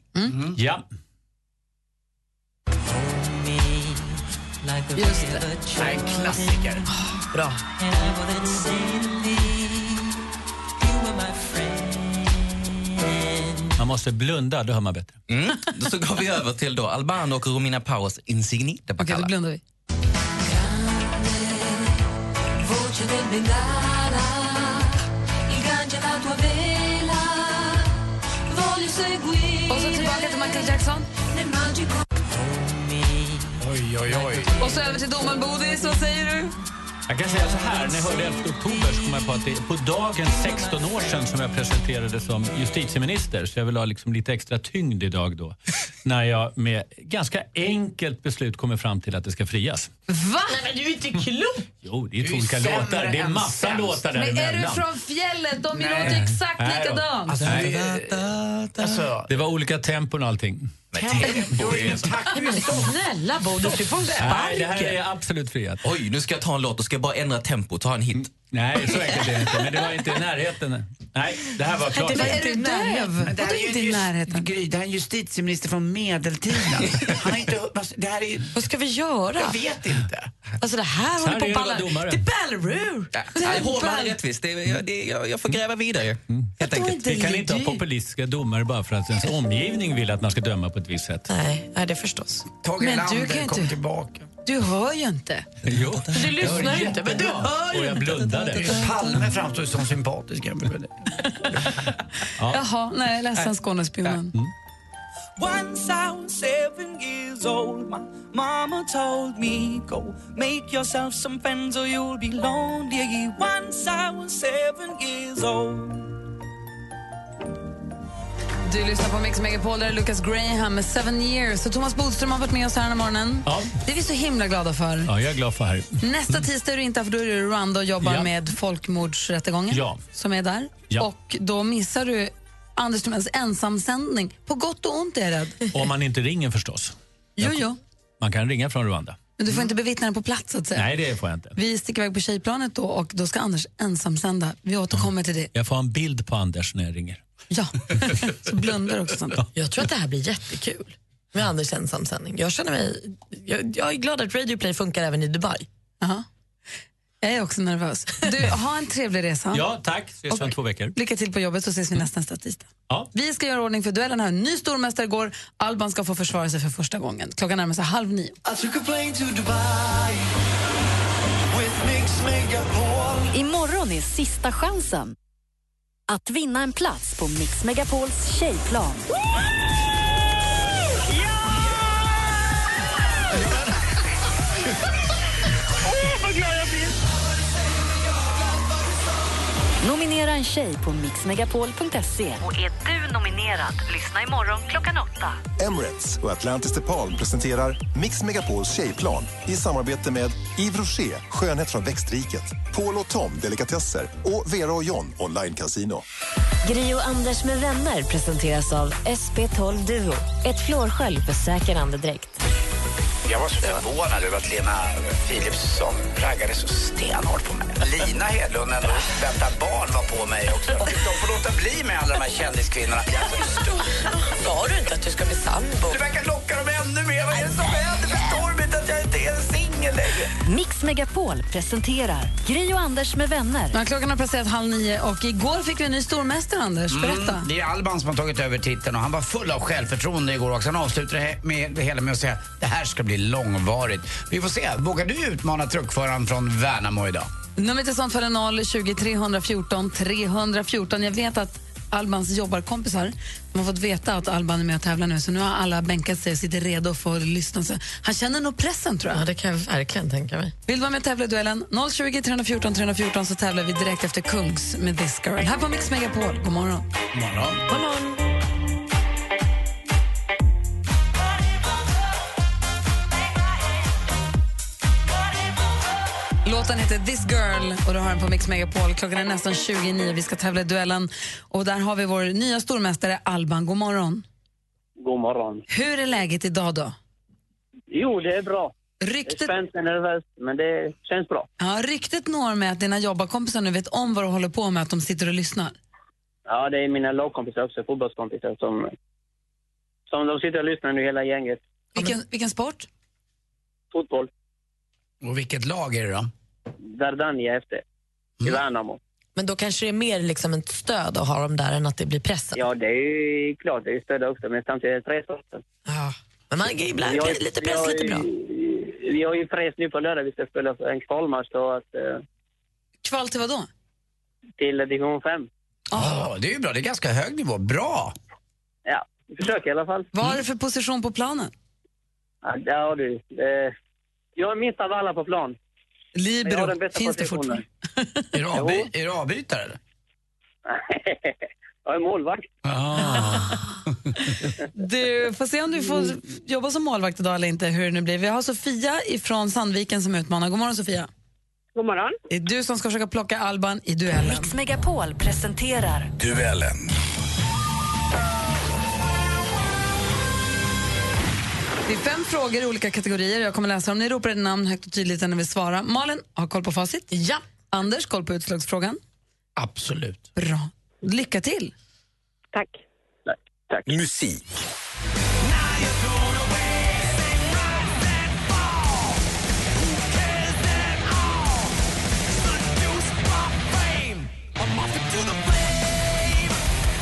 [SPEAKER 14] Ja.
[SPEAKER 2] Just det.
[SPEAKER 3] En klassiker.
[SPEAKER 4] Bra.
[SPEAKER 14] Man måste blunda, då hör man bättre.
[SPEAKER 21] Mm. Då så går vi över till då Alban och Romina Powers Insigni di
[SPEAKER 2] Okej,
[SPEAKER 21] Bacala.
[SPEAKER 2] då blundar vi.
[SPEAKER 19] Voce del Bengala, ingaggia la tua vela, voglio seguire.
[SPEAKER 2] Och så tillbaka till é Michael Jackson.
[SPEAKER 19] Nel magico
[SPEAKER 3] Oj, oj, oj.
[SPEAKER 2] Och så över till domaren Bodis, vad säger du?
[SPEAKER 14] Jag kan säga så här, när jag hörde 11 oktober så kom jag på att det är på dagen 16 år sedan som jag presenterades som justitieminister, så jag vill ha liksom lite extra tyngd idag då. När jag med ganska enkelt beslut kommer fram till att det ska frias.
[SPEAKER 2] Va?
[SPEAKER 4] Nej, men du är inte klok!
[SPEAKER 14] Jo, det är
[SPEAKER 4] Du
[SPEAKER 14] två
[SPEAKER 4] är
[SPEAKER 14] olika
[SPEAKER 4] sämre
[SPEAKER 14] låtar. Det är
[SPEAKER 4] än
[SPEAKER 14] massa
[SPEAKER 4] sämst.
[SPEAKER 14] låtar
[SPEAKER 2] Men är du
[SPEAKER 14] däremellan.
[SPEAKER 2] från fjället? De
[SPEAKER 14] Nej.
[SPEAKER 2] låter exakt
[SPEAKER 14] Nej då.
[SPEAKER 2] likadant.
[SPEAKER 14] Alltså, Nej.
[SPEAKER 3] Alltså,
[SPEAKER 14] Det var olika tempon och allting.
[SPEAKER 4] Men snälla Bodil, du får
[SPEAKER 21] Nej,
[SPEAKER 4] sparken.
[SPEAKER 21] det här är
[SPEAKER 14] absolut friat.
[SPEAKER 21] Oj, nu ska jag ta en låt och ska jag bara ändra tempo ta en hit.
[SPEAKER 14] Nej, så enkelt är det inte. Men det var inte i närheten. Nej, det här var klart.
[SPEAKER 2] Det var- är du döv?
[SPEAKER 3] Det här
[SPEAKER 2] Vadå
[SPEAKER 3] är
[SPEAKER 2] inte
[SPEAKER 3] ju
[SPEAKER 2] i
[SPEAKER 3] närheten? Gry, det här är en justitieminister från medeltiden. Han har inte... alltså, Det här är
[SPEAKER 4] Vad ska vi göra?
[SPEAKER 3] Jag vet inte.
[SPEAKER 4] Alltså det här
[SPEAKER 21] Så här
[SPEAKER 4] håller på
[SPEAKER 21] är
[SPEAKER 4] att
[SPEAKER 21] alla
[SPEAKER 4] balla...
[SPEAKER 21] domare.
[SPEAKER 4] Det är Ballerur!
[SPEAKER 21] Nej, Hårdare än rättvist. Det, är- jag- det, jag, jag får gräva vidare. Helt enkelt.
[SPEAKER 14] Mm. Vi kan inte ha populistiska domare bara för att ens omgivning vill att man ska döma på ett visst sätt.
[SPEAKER 4] Nej, nej det förstås.
[SPEAKER 3] Tage
[SPEAKER 2] Men du
[SPEAKER 3] Erlander
[SPEAKER 2] kan ju
[SPEAKER 3] kom
[SPEAKER 2] inte-
[SPEAKER 3] tillbaka.
[SPEAKER 2] Du hör ju inte.
[SPEAKER 14] Jo.
[SPEAKER 4] Du lyssnar
[SPEAKER 3] ju
[SPEAKER 4] inte, men du hör
[SPEAKER 14] Och jag blundade.
[SPEAKER 3] Palme framstår ju som sympatisk jämfört med dig.
[SPEAKER 2] Jaha, nej, ledsen Skånespionen.
[SPEAKER 11] Once I was seven years old, my mama told me, Go make yourself some friends or you'll be lonely. Once I was seven years old.
[SPEAKER 14] Mm.
[SPEAKER 2] Du lyssnar på Mix Megapol, där är Lucas Graham med Seven Years. Och Thomas Bodström har varit med oss här den här morgonen.
[SPEAKER 14] Ja.
[SPEAKER 2] Det är vi så himla glada för.
[SPEAKER 14] Ja, jag är glad för här.
[SPEAKER 2] Nästa tisdag är du inte här, för då är du i Rwanda och jobbar
[SPEAKER 14] Ja.
[SPEAKER 2] med folkmordsrättegången
[SPEAKER 14] Ja.
[SPEAKER 2] som är där.
[SPEAKER 14] Ja.
[SPEAKER 2] Och då missar du Anders Timells ensamsändning. På gott och ont är jag rädd.
[SPEAKER 14] Om man inte ringer förstås.
[SPEAKER 2] Jo, jo.
[SPEAKER 14] Man kan ringa från Rwanda.
[SPEAKER 2] Men du får inte bevittna den på plats så att säga.
[SPEAKER 14] Nej, det får jag inte.
[SPEAKER 2] Vi sticker iväg på tjejplanet då och då ska Anders ensamsända. Vi återkommer till det.
[SPEAKER 14] Jag får ha en bild på Anders när jag ringer.
[SPEAKER 2] Ja, så blundar också sånt.
[SPEAKER 4] Jag tror att det här blir jättekul med Anders ensamsändning. Jag känner mig... Jag, jag är glad att Radio Play funkar även i Dubai.
[SPEAKER 2] Jaha. Jag är också nervös. Du, ha en trevlig resa.
[SPEAKER 14] Ja, tack. Ses om två veckor.
[SPEAKER 2] Lycka till på jobbet så ses vi nästa nästa tisdag.
[SPEAKER 14] Ja.
[SPEAKER 2] Vi ska göra ordning för duellen här. Ny stormästare går. Alban ska få försvara sig för första gången. Klockan närmar sig halv nio.
[SPEAKER 11] I took a plane to Dubai with Mix Megapol.
[SPEAKER 1] Imorgon är sista chansen att vinna en plats på Mix Megapols tjejplan.
[SPEAKER 11] Åh, vad glad jag blir!
[SPEAKER 1] Nominera en tjej på mixmegapol.se.
[SPEAKER 17] Och är du nominerad, lyssna imorgon klockan åtta.
[SPEAKER 7] Emirates och Atlantis DePaul presenterar Mix Megapols tjejplan i samarbete med Yves Rocher, skönhet från växtriket, Paul och Tom, delikatesser och Vera och John, online casino.
[SPEAKER 17] Gri och Anders med vänner presenteras av SP12 Duo. Ett flårskölj för säker andedräkt.
[SPEAKER 22] Jag var så förvånad över att Lena Philipsson raggade så stenhårt på mig. Lina Hedlund, en väntad barn, var på mig också. De får låta bli med alla de här kändiskvinnorna.
[SPEAKER 4] Sa du inte att du ska bli sambo?
[SPEAKER 22] Du verkar locka dem ännu mer. Vad är det som händer? Förstår de inte att jag inte är singel längre?
[SPEAKER 1] Mix Megapol presenterar Gri och Anders med vänner.
[SPEAKER 2] Ja, klockan har passerat halv nio och igår fick vi en ny stormästare, Anders. Berätta.
[SPEAKER 3] Mm, det är Alban som har tagit över titeln och han var full av självförtroende igår också. Han avslutade he- med det hela med att säga det här ska bli långvarigt. Vi får se, vågar du utmana truckföraren från Värnamo idag?
[SPEAKER 2] Numret till sånt för 020 314 314. Jag vet att Albans jobbarkompisar de har fått veta att Alban är med och tävlar nu så nu har alla bänkat sig och sitter redo för att lyssna. Så han känner nog pressen tror jag.
[SPEAKER 4] Ja, det kan jag verkligen tänka mig.
[SPEAKER 2] Vill du vara med och tävla i duellen? 020 314 314 så tävlar vi direkt efter Kungs med This Girl. Här på Mix Megapol. God morgon.
[SPEAKER 3] Morgon.
[SPEAKER 2] God morgon. Låten heter This Girl och du har den på Mix Megapol. Klockan är nästan 29. Vi ska tävla i duellen och där har vi vår nya stormästare Alban. God morgon.
[SPEAKER 5] God morgon.
[SPEAKER 2] Hur är läget idag då?
[SPEAKER 5] Jo, det är bra.
[SPEAKER 2] Ryktet...
[SPEAKER 5] Det är spänt och nervöst, men det känns bra.
[SPEAKER 2] Ja, ryktet når mig att dina jobbarkompisar nu vet om vad du håller på med, att de sitter och lyssnar.
[SPEAKER 5] Ja, det är mina lagkompisar också, fotbollskompisar som, som de sitter och lyssnar nu hela gänget.
[SPEAKER 2] Vilken, vilken sport?
[SPEAKER 5] Fotboll.
[SPEAKER 3] Och vilket lag är det då? Mm.
[SPEAKER 5] Verdania efter. I Värnamo.
[SPEAKER 4] Men då kanske det är mer liksom ett stöd att ha dem där än att det blir pressen.
[SPEAKER 5] Ja, det är ju klart, det är ju stöd också, men samtidigt är det träsporten.
[SPEAKER 4] Men man, ibland
[SPEAKER 5] Vi har-
[SPEAKER 4] lite
[SPEAKER 5] vi
[SPEAKER 4] press,
[SPEAKER 5] har
[SPEAKER 4] lite
[SPEAKER 5] ju-
[SPEAKER 4] bra.
[SPEAKER 5] Vi har ju press nu på lördag, vi ska spela för en kvalmatch då, att, eh,
[SPEAKER 2] Kval till vad då?
[SPEAKER 5] till division 5.
[SPEAKER 3] Ja, det är ju bra. Det är ganska hög nivå. Bra!
[SPEAKER 5] Ja, vi försöker i alla fall. Mm.
[SPEAKER 2] Vad har du för position på planen?
[SPEAKER 5] Ja, ja du. Eh, jag är minst av alla på plan.
[SPEAKER 2] Libero,
[SPEAKER 5] Men jag har den bästa
[SPEAKER 2] finns det
[SPEAKER 5] positionen.
[SPEAKER 2] fortfarande?
[SPEAKER 3] Är du, avby- är du avbytare eller?
[SPEAKER 5] jag är målvakt.
[SPEAKER 2] Du får se om du får jobba som målvakt idag eller inte, hur det nu blir. Vi har Sofia ifrån Sandviken som utmanar. God morgon Sofia.
[SPEAKER 5] God morgon.
[SPEAKER 2] Det är du som ska försöka plocka Alban i duellen.
[SPEAKER 1] Mix Megapol presenterar
[SPEAKER 7] Duellen.
[SPEAKER 2] Det är fem frågor i olika kategorier. Jag kommer läsa dem. Ni ropar ett namn högt och tydligt när ni vill svara. Malin har koll på facit.
[SPEAKER 4] Ja.
[SPEAKER 2] Anders, koll på utslagsfrågan.
[SPEAKER 3] Absolut.
[SPEAKER 2] Bra. Lycka till.
[SPEAKER 5] Tack. Tack.
[SPEAKER 7] Musik.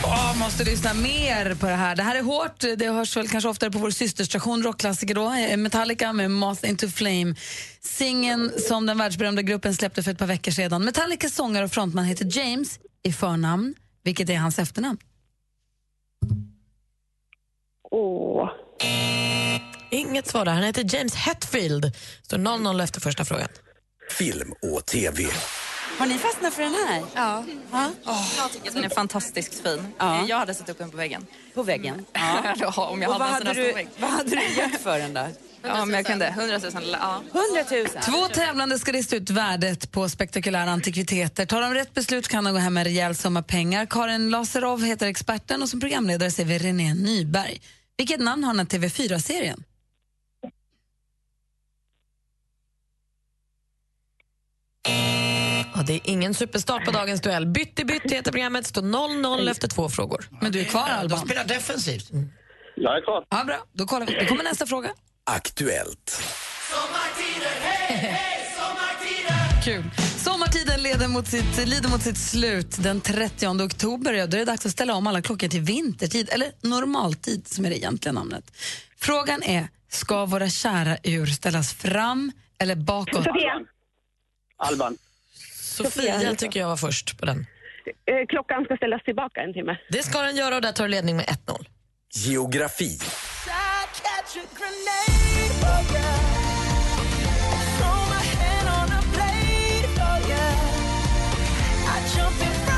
[SPEAKER 2] Åh, måste lyssna mer på det här. Det här är hårt. Det hörs väl kanske oftare på vår systerstation Rockklassiker då. Eh, Metallica med Moth Into Flame. Singen som den världsberömda gruppen släppte för ett par veckor sedan. Metallicas sångare och frontman heter James i förnamn. Vilket är hans efternamn?
[SPEAKER 5] Åh.
[SPEAKER 4] Inget svar där. Han heter James Hetfield. Står 0-0 efter första frågan.
[SPEAKER 23] Film och TV.
[SPEAKER 24] Har ni fastnat för den här? Ja.
[SPEAKER 25] Jag tycker att den är fantastiskt fin.
[SPEAKER 24] Ja.
[SPEAKER 25] Jag hade satt upp den på väggen.
[SPEAKER 24] På väggen?
[SPEAKER 25] Ja, ja, om jag
[SPEAKER 24] Och vad
[SPEAKER 25] hade
[SPEAKER 24] hade,
[SPEAKER 25] en sån här stor
[SPEAKER 24] du,
[SPEAKER 25] vägg.
[SPEAKER 24] vad hade du gett för den där?
[SPEAKER 25] Ja, men jag kunde. 100 000. Ja.
[SPEAKER 24] 100 000?
[SPEAKER 2] Två tävlande ska lista ut värdet på spektakulära antikviteter. Tar de rätt beslut kan de gå hem med en rejäl summa pengar. Karin Laserov heter experten och som programledare ser vi René Nyberg. Vilket namn har den här TV4-serien?
[SPEAKER 4] Ja, det är ingen superstart på dagens duell. Bytt i bytt heter programmet. Står 0-0 efter två frågor.
[SPEAKER 2] Men du är kvar, Alban.
[SPEAKER 3] De spelar defensivt.
[SPEAKER 5] Jag är kvar.
[SPEAKER 2] Ja, bra. Då kollar vi. Då kommer nästa fråga.
[SPEAKER 23] Aktuellt.
[SPEAKER 2] Kul. Sommartiden leder mot sitt, lider mot sitt slut den 30 oktober. Ja, då är det dags att ställa om alla klockor till vintertid, eller normaltid som är det egentliga namnet. Frågan är, ska våra kära ur ställas fram eller bakåt?
[SPEAKER 5] Alban.
[SPEAKER 4] Sofia tycker jag var först på den.
[SPEAKER 26] eh, Klockan ska ställas tillbaka en timme.
[SPEAKER 4] Det ska den göra och där tar du ledning med 1-0.
[SPEAKER 23] Geografi.
[SPEAKER 13] Throw my hand on a blade for ya. I jump in front.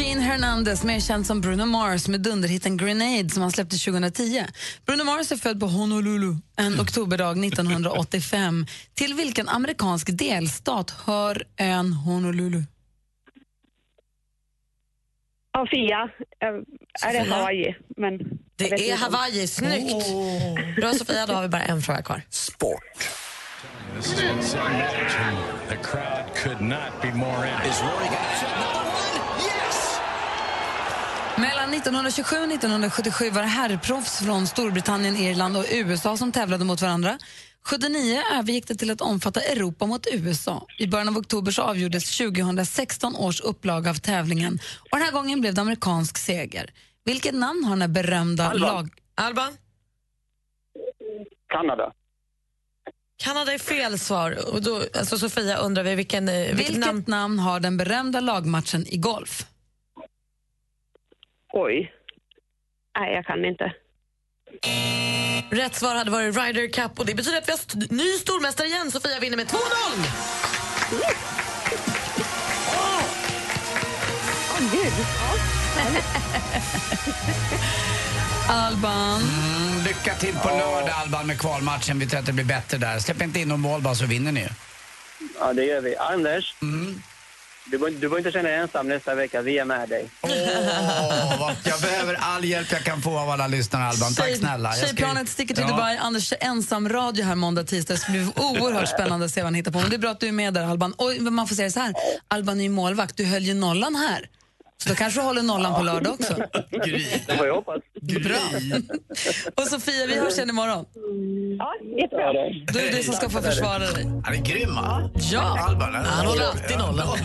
[SPEAKER 2] Gene Hernandez, mer känd som Bruno Mars med dunderhitten Grenade som han släppte 2010. Bruno Mars är född på Honolulu en oktoberdag 1985. Till vilken amerikansk delstat hör ön Honolulu?
[SPEAKER 26] Ja, Fia. Eh, Är det
[SPEAKER 4] Sofia?
[SPEAKER 26] Hawaii? Men jag vet
[SPEAKER 4] Det är
[SPEAKER 26] inte.
[SPEAKER 4] Hawaii, snyggt! Bra Sofia, då har vi bara en fråga kvar.
[SPEAKER 23] Sport.
[SPEAKER 6] This is insane action. The crowd could not be more in it.
[SPEAKER 2] Mellan 1927 och 1977 var det herrproffs från Storbritannien, Irland och USA som tävlade mot varandra. 79 övergick det till att omfatta Europa mot USA. I början av oktober så avgjordes 2016 års upplaga av tävlingen och den här gången blev det amerikansk seger. Vilket namn har den här berömda
[SPEAKER 4] Alban.
[SPEAKER 2] lag...
[SPEAKER 4] Alban?
[SPEAKER 5] Kanada.
[SPEAKER 4] Kanada är fel svar. Och då, alltså Sofia undrar vi vilken, eh, vilket,
[SPEAKER 2] Vilket namn... har den berömda lagmatchen i golf?
[SPEAKER 26] Oj. Nej, jag kan inte.
[SPEAKER 4] Rätt svar hade varit Ryder Cup och det betyder att vi har st- ny stormästare igen. Sofia vinner med 2-0!
[SPEAKER 2] Alban.
[SPEAKER 3] Mm, lycka till på lördag Alban med kvalmatchen. Vi tror att det blir bättre där. Släpp inte in någon mål bara så vinner ni ju.
[SPEAKER 5] Ja, det gör vi. Anders,
[SPEAKER 3] Mm.
[SPEAKER 5] du behöver du bör inte känna dig ensam nästa vecka. Vi är med dig.
[SPEAKER 3] Åh, vad- jag behöver all hjälp jag kan få av alla lyssnare Alban. Tack
[SPEAKER 2] Tjej-
[SPEAKER 3] snälla. Jag ska ju-
[SPEAKER 2] Tjejplanet sticker till
[SPEAKER 3] Ja.
[SPEAKER 2] Dubai. Anders kör ensam radio här måndag, tisdag. Det ska bli oerhört spännande att se vad han hittar på. Men det är bra att du är med där, Alban. Och man får säga så här, Alban är ju målvakt. Du höll ju nollan här. Så då kanske du håller nollan på lördag också.
[SPEAKER 5] Det får jag hoppas.
[SPEAKER 2] Och Sofia, vi hörs igen imorgon.
[SPEAKER 26] Ja, jättebra.
[SPEAKER 2] Då är det du som ska få försvara dig.
[SPEAKER 3] Han är grym han.
[SPEAKER 2] Ja.
[SPEAKER 3] Alban,
[SPEAKER 2] Han håller alltid
[SPEAKER 4] nollan.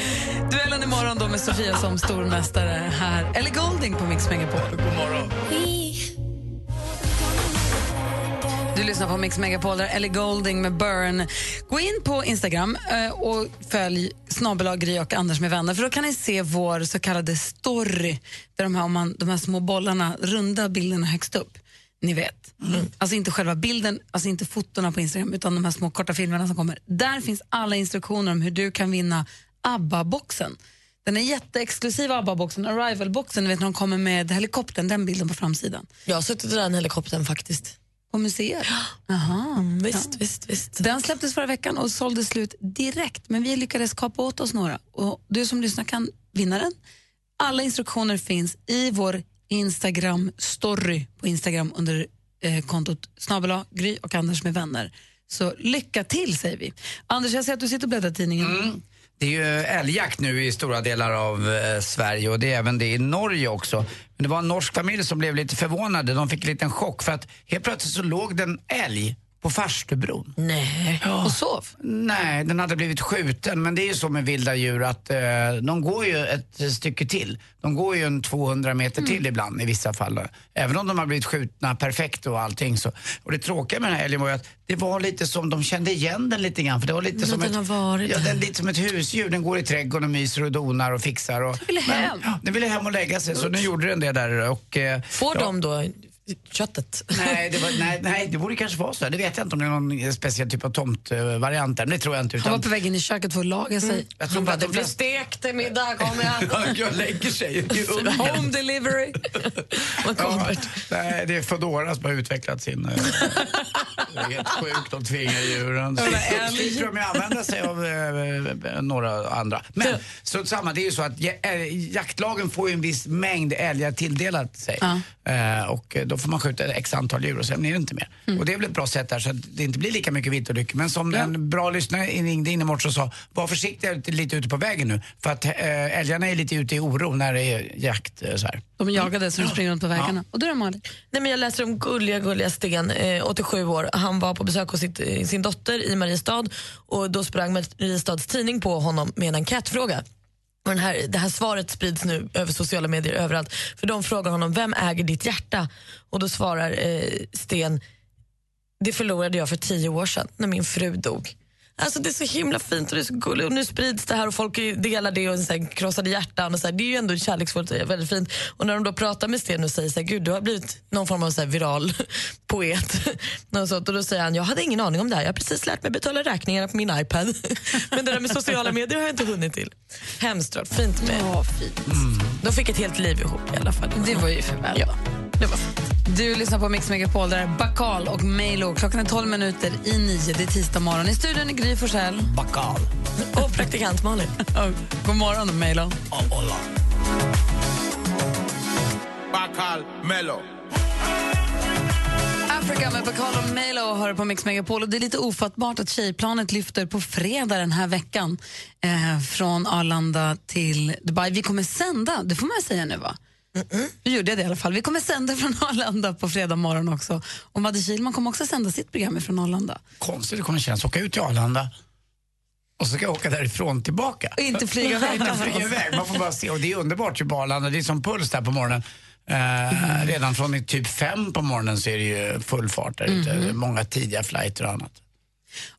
[SPEAKER 2] Duellen imorgon då med Sofia som stormästare här. Eller Golding på Mix Megapol. God morgon. Du lyssnar på Mix Megapol där Ellie Golding med Burn. Gå in på Instagram eh, och följ snabel-a Gry och Anders med vänner för då kan ni se vår så kallade story där de här, om man, de här små bollarna, runda bilderna högst upp. Ni vet.
[SPEAKER 4] Mm.
[SPEAKER 2] Alltså inte själva bilden, alltså inte fotona på Instagram utan de här små korta filmerna som kommer. Där finns alla instruktioner om hur du kan vinna ABBA-boxen. Den är jätteexklusiva ABBA-boxen, Arrival-boxen, ni vet när de kommer med helikoptern, den bilden på framsidan.
[SPEAKER 4] Jag har suttit i den helikoptern faktiskt.
[SPEAKER 2] På museet? Aha.
[SPEAKER 4] visst, visst, visst.
[SPEAKER 2] Den släpptes förra veckan och sålde slut direkt, men vi lyckades kapa åt oss några. Och du som lyssnar kan vinna den. Alla instruktioner finns i vår Instagram-story på Instagram under eh, kontot snabel Gry och Anders med vänner. Så lycka till, säger vi. Anders, jag ser att du sitter och bläddrar i tidningen.
[SPEAKER 3] Det är ju älgjakt nu i stora delar av eh, Sverige och det är även det i Norge också. Men det var en norsk familj som blev lite förvånade. De fick en liten chock för att helt plötsligt så låg den älg på farstubron.
[SPEAKER 4] Nej.
[SPEAKER 2] Och sov?
[SPEAKER 3] Nej, den hade blivit skjuten. Men det är ju så med vilda djur att eh, de går ju ett stycke till. De går ju en 200 meter till
[SPEAKER 2] Mm.
[SPEAKER 3] ibland i vissa fall. Även om de har blivit skjutna perfekt och allting. Så. Och det tråkiga med den här älgen var ju att det var lite som de kände igen den lite grann. För det var lite
[SPEAKER 4] Men
[SPEAKER 3] som
[SPEAKER 4] den
[SPEAKER 3] ett,
[SPEAKER 4] har varit
[SPEAKER 3] ja,
[SPEAKER 4] här.
[SPEAKER 3] den, lite som ett husdjur. Den går i trädgården och myser och donar och fixar. Och,
[SPEAKER 4] ville hem.
[SPEAKER 3] ja, den ville hem och lägga sig. Så nu gjorde den det där. Och, eh,
[SPEAKER 4] Får
[SPEAKER 3] ja.
[SPEAKER 4] de då köttet?
[SPEAKER 3] Nej det, var, nej, nej, det borde kanske vara så. Det vet jag inte om det är någon speciell typ av tomtvariant där. Men det tror jag inte.
[SPEAKER 2] Han
[SPEAKER 3] Utan...
[SPEAKER 2] var på väg in i köket för att laga sig.
[SPEAKER 3] Mm. Jag tror bara att de flesta...
[SPEAKER 4] Stek till middag kommer
[SPEAKER 3] Ja, jag lägger sig
[SPEAKER 2] Alltså,
[SPEAKER 3] i ugnen.
[SPEAKER 4] Home delivery.
[SPEAKER 3] Ja, nej, det är Foodora som har utvecklat sin... eh, det är helt sjukt, de tvingar djuren. Slipper de ju använda sig av eh, några andra. Men så samma, det är ju så att ja- eh, jaktlagen får ju en viss mängd älgar tilldelat sig. Eh, och eh, då får man skjuta x antal djur och sen är det inte mer. Och det är väl ett bra sätt där så att det inte blir lika mycket viltolyckor. Men som en bra lyssnare ringde in i morse och sa, var försiktiga ute- lite ute på vägen nu. För att eh, älgarna är lite ute i oro när det är jakt eh, så här.
[SPEAKER 2] De jagade så de springer runt på vägarna. Och du då Malin?
[SPEAKER 4] Nej, men jag läser om gulliga, gulliga Sten, eh, 87 år. Han var på besök hos sitt, eh, sin dotter i Mariestad och då sprang Mariestads tidning på honom med en enkätfråga. Och den här, det här svaret sprids nu över sociala medier överallt. För De frågar honom, vem äger ditt hjärta? Och Då svarar eh, Sten, det förlorade jag för tio år sedan när min fru dog. Alltså det är så himla fint och det är så gulligt. Och nu sprids det här och folk delar det och sen krossade hjärtan. Och så här. Det är ju ändå kärleksfullt och väldigt fint. Och när de då pratar med Sten och säger så här, gud du har blivit någon form av så här viral poet. Något sånt. Och då säger han, jag hade ingen aning om det här. Jag har precis lärt mig betala räkningarna på min iPad. Men det där med sociala medier har jag inte hunnit till. Hemskt vad fint med.
[SPEAKER 2] Ja, fint.
[SPEAKER 3] Mm.
[SPEAKER 4] De fick ett helt liv ihop i alla fall.
[SPEAKER 2] Det var ju för väl.
[SPEAKER 4] Ja. Det var
[SPEAKER 2] Du lyssnar på Mix Megapol, där är Bakal och Milo. Klockan är 12 minuter i nio. Det är tisdag morgon. I studion är Gry Forssell.
[SPEAKER 3] Bakal.
[SPEAKER 4] Och praktikant Malin.
[SPEAKER 2] God morgon, Milo.
[SPEAKER 9] Bacal Mello.
[SPEAKER 2] Africa med Bacall och Milo hör på Mix Megapol. Och det är lite ofattbart att tjejplanet lyfter på fredag den här veckan eh, från Arlanda till Dubai. Vi kommer sända, det får man säga nu va? Nu gjorde jag det i alla fall. Vi kommer sända från Arlanda på fredag morgon också. Och Madde Kihlman kommer också sända sitt program från Arlanda.
[SPEAKER 3] Konstigt det kommer kännas. Åka ut till Arlanda och så ska jag åka därifrån tillbaka.
[SPEAKER 2] Och inte flyga iväg.
[SPEAKER 3] Inte flyga iväg. Man får bara se. Och det är underbart ju på Arlanda. Det är som puls där på morgonen. Eh, Redan från i typ fem på morgonen så är det ju full fart där ute.
[SPEAKER 2] Mhm.
[SPEAKER 3] Många tidiga flighter och annat.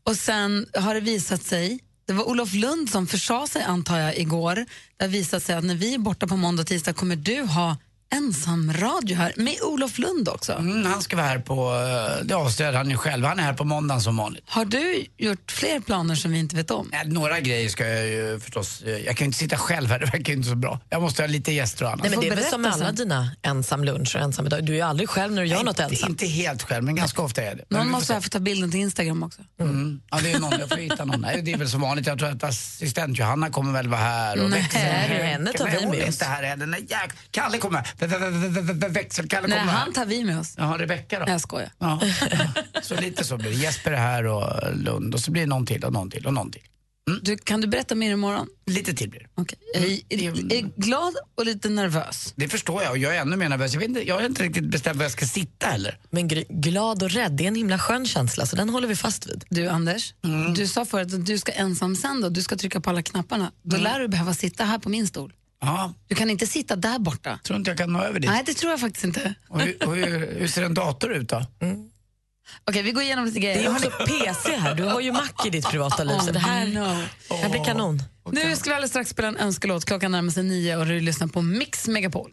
[SPEAKER 2] Och sen har det visat sig, det var Olof Lund som försa sig antar jag igår, det har visat sig att när vi är borta på måndag och tisdag kommer du ha ensam radio här med Olof Lund också.
[SPEAKER 3] Mm, han ska vara här på, eh, det avslöjade han ju själv, han är här på måndagen som vanligt.
[SPEAKER 2] Har du gjort fler planer som vi inte vet om?
[SPEAKER 3] Eh, Några grejer ska jag ju förstås, eh, jag kan ju inte sitta själv här, det verkar ju inte så bra. Jag måste ha lite gäster och annat.
[SPEAKER 4] Nej, men det är väl som med alla
[SPEAKER 3] sen.
[SPEAKER 4] dina ensamluncher och ensamiddagar. Du är ju aldrig själv när du gör
[SPEAKER 3] Nej,
[SPEAKER 4] något
[SPEAKER 3] inte-
[SPEAKER 4] ensam.
[SPEAKER 3] Inte helt själv, men ganska ofta är det. Men
[SPEAKER 2] Någon
[SPEAKER 3] vi får
[SPEAKER 2] måste här få ta bilden till Instagram också.
[SPEAKER 3] Mm. Ja, det är någon. Jag får hitta någon. Nej, det är väl som vanligt. Jag tror att assistent Johanna kommer väl vara här.
[SPEAKER 2] Nej,
[SPEAKER 3] växeln-
[SPEAKER 2] henne tar
[SPEAKER 3] Nej,
[SPEAKER 2] vi
[SPEAKER 3] hon
[SPEAKER 2] med
[SPEAKER 3] är
[SPEAKER 2] oss.
[SPEAKER 3] inte här heller. Nej, jäk... Kalle kommer. V- v- v- v- v- Växelkalle
[SPEAKER 2] Nej,
[SPEAKER 3] kommer.
[SPEAKER 2] han tar vi med oss.
[SPEAKER 3] Jaha, Rebecka då?
[SPEAKER 2] Nej, jag skojar.
[SPEAKER 3] Ja. Så lite så blir det. Jesper är här och Lund och så blir det någon till och någon till och någon till.
[SPEAKER 2] Du, kan du berätta mer imorgon?
[SPEAKER 3] Mm. Lite till blir det. Mm.
[SPEAKER 2] Jag är, är, är glad och lite nervös.
[SPEAKER 3] Det förstår jag och jag är ännu mer nervös. Jag, vet inte, jag har inte riktigt bestämt var jag ska sitta heller.
[SPEAKER 4] Men gr- glad och rädd, det är en himla skön känsla så den håller vi fast vid.
[SPEAKER 2] Du Anders,
[SPEAKER 3] Mm.
[SPEAKER 2] du sa förut att du ska ensam sända och du ska trycka på alla knapparna. Då
[SPEAKER 3] Mm.
[SPEAKER 2] lär du behöva sitta här på min stol.
[SPEAKER 3] Ja.
[SPEAKER 2] Du kan inte sitta där borta.
[SPEAKER 3] Tror inte jag kan nå över dit.
[SPEAKER 2] Nej, det tror jag faktiskt inte.
[SPEAKER 3] Och hur, och hur, hur ser en dator ut då?
[SPEAKER 2] Okej, vi går igenom lite grejer.
[SPEAKER 4] Det är också PC här, du har ju Mac i ditt privata liv Mm. så det här,
[SPEAKER 2] Oh, no.
[SPEAKER 4] det här blir kanon.
[SPEAKER 2] Nu ska vi alldeles strax spela en önskelåt. Klockan närmar sig nio och du lyssnar på Mix Megapol.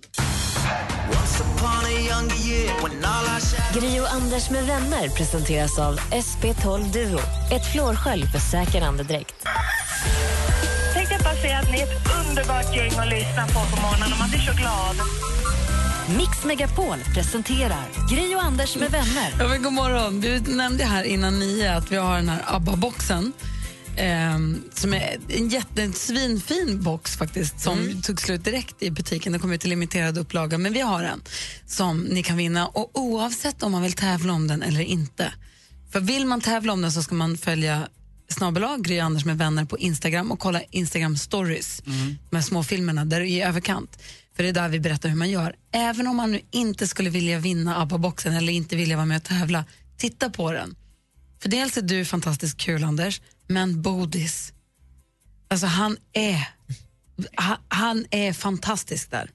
[SPEAKER 17] Gri och Anders med vänner presenteras av SP12 Duo. Ett flårskölj för säker andedräkt.
[SPEAKER 26] Tänkte jag bara säga att ni är ett underbart gäng att lyssna på på morgonen och man blir så glad.
[SPEAKER 1] Mix Megapol presenterar Gri och Anders med vänner.
[SPEAKER 2] Ja, men god morgon. Du nämnde här innan nio att vi har den här ABBA-boxen. ehm, som är en, jätte, en svinfin box faktiskt som
[SPEAKER 1] Mm.
[SPEAKER 2] tog slut direkt i butiken. Den kom ut i limiterad upplaga, men vi har en som ni kan vinna. Och Oavsett om man vill tävla om den eller inte. För Vill man tävla om den så ska man följa snabbelag Gry Anders med vänner på Instagram och kolla Instagram stories
[SPEAKER 3] Mm.
[SPEAKER 2] de här små filmerna där i överkant. För det är där vi berättar hur man gör. Även om man nu inte skulle vilja vinna ABBA-boxen eller inte vilja vara med och tävla, titta på den. För dels är du fantastiskt kul, Anders, men Bodis, alltså han är, han, han är fantastisk där.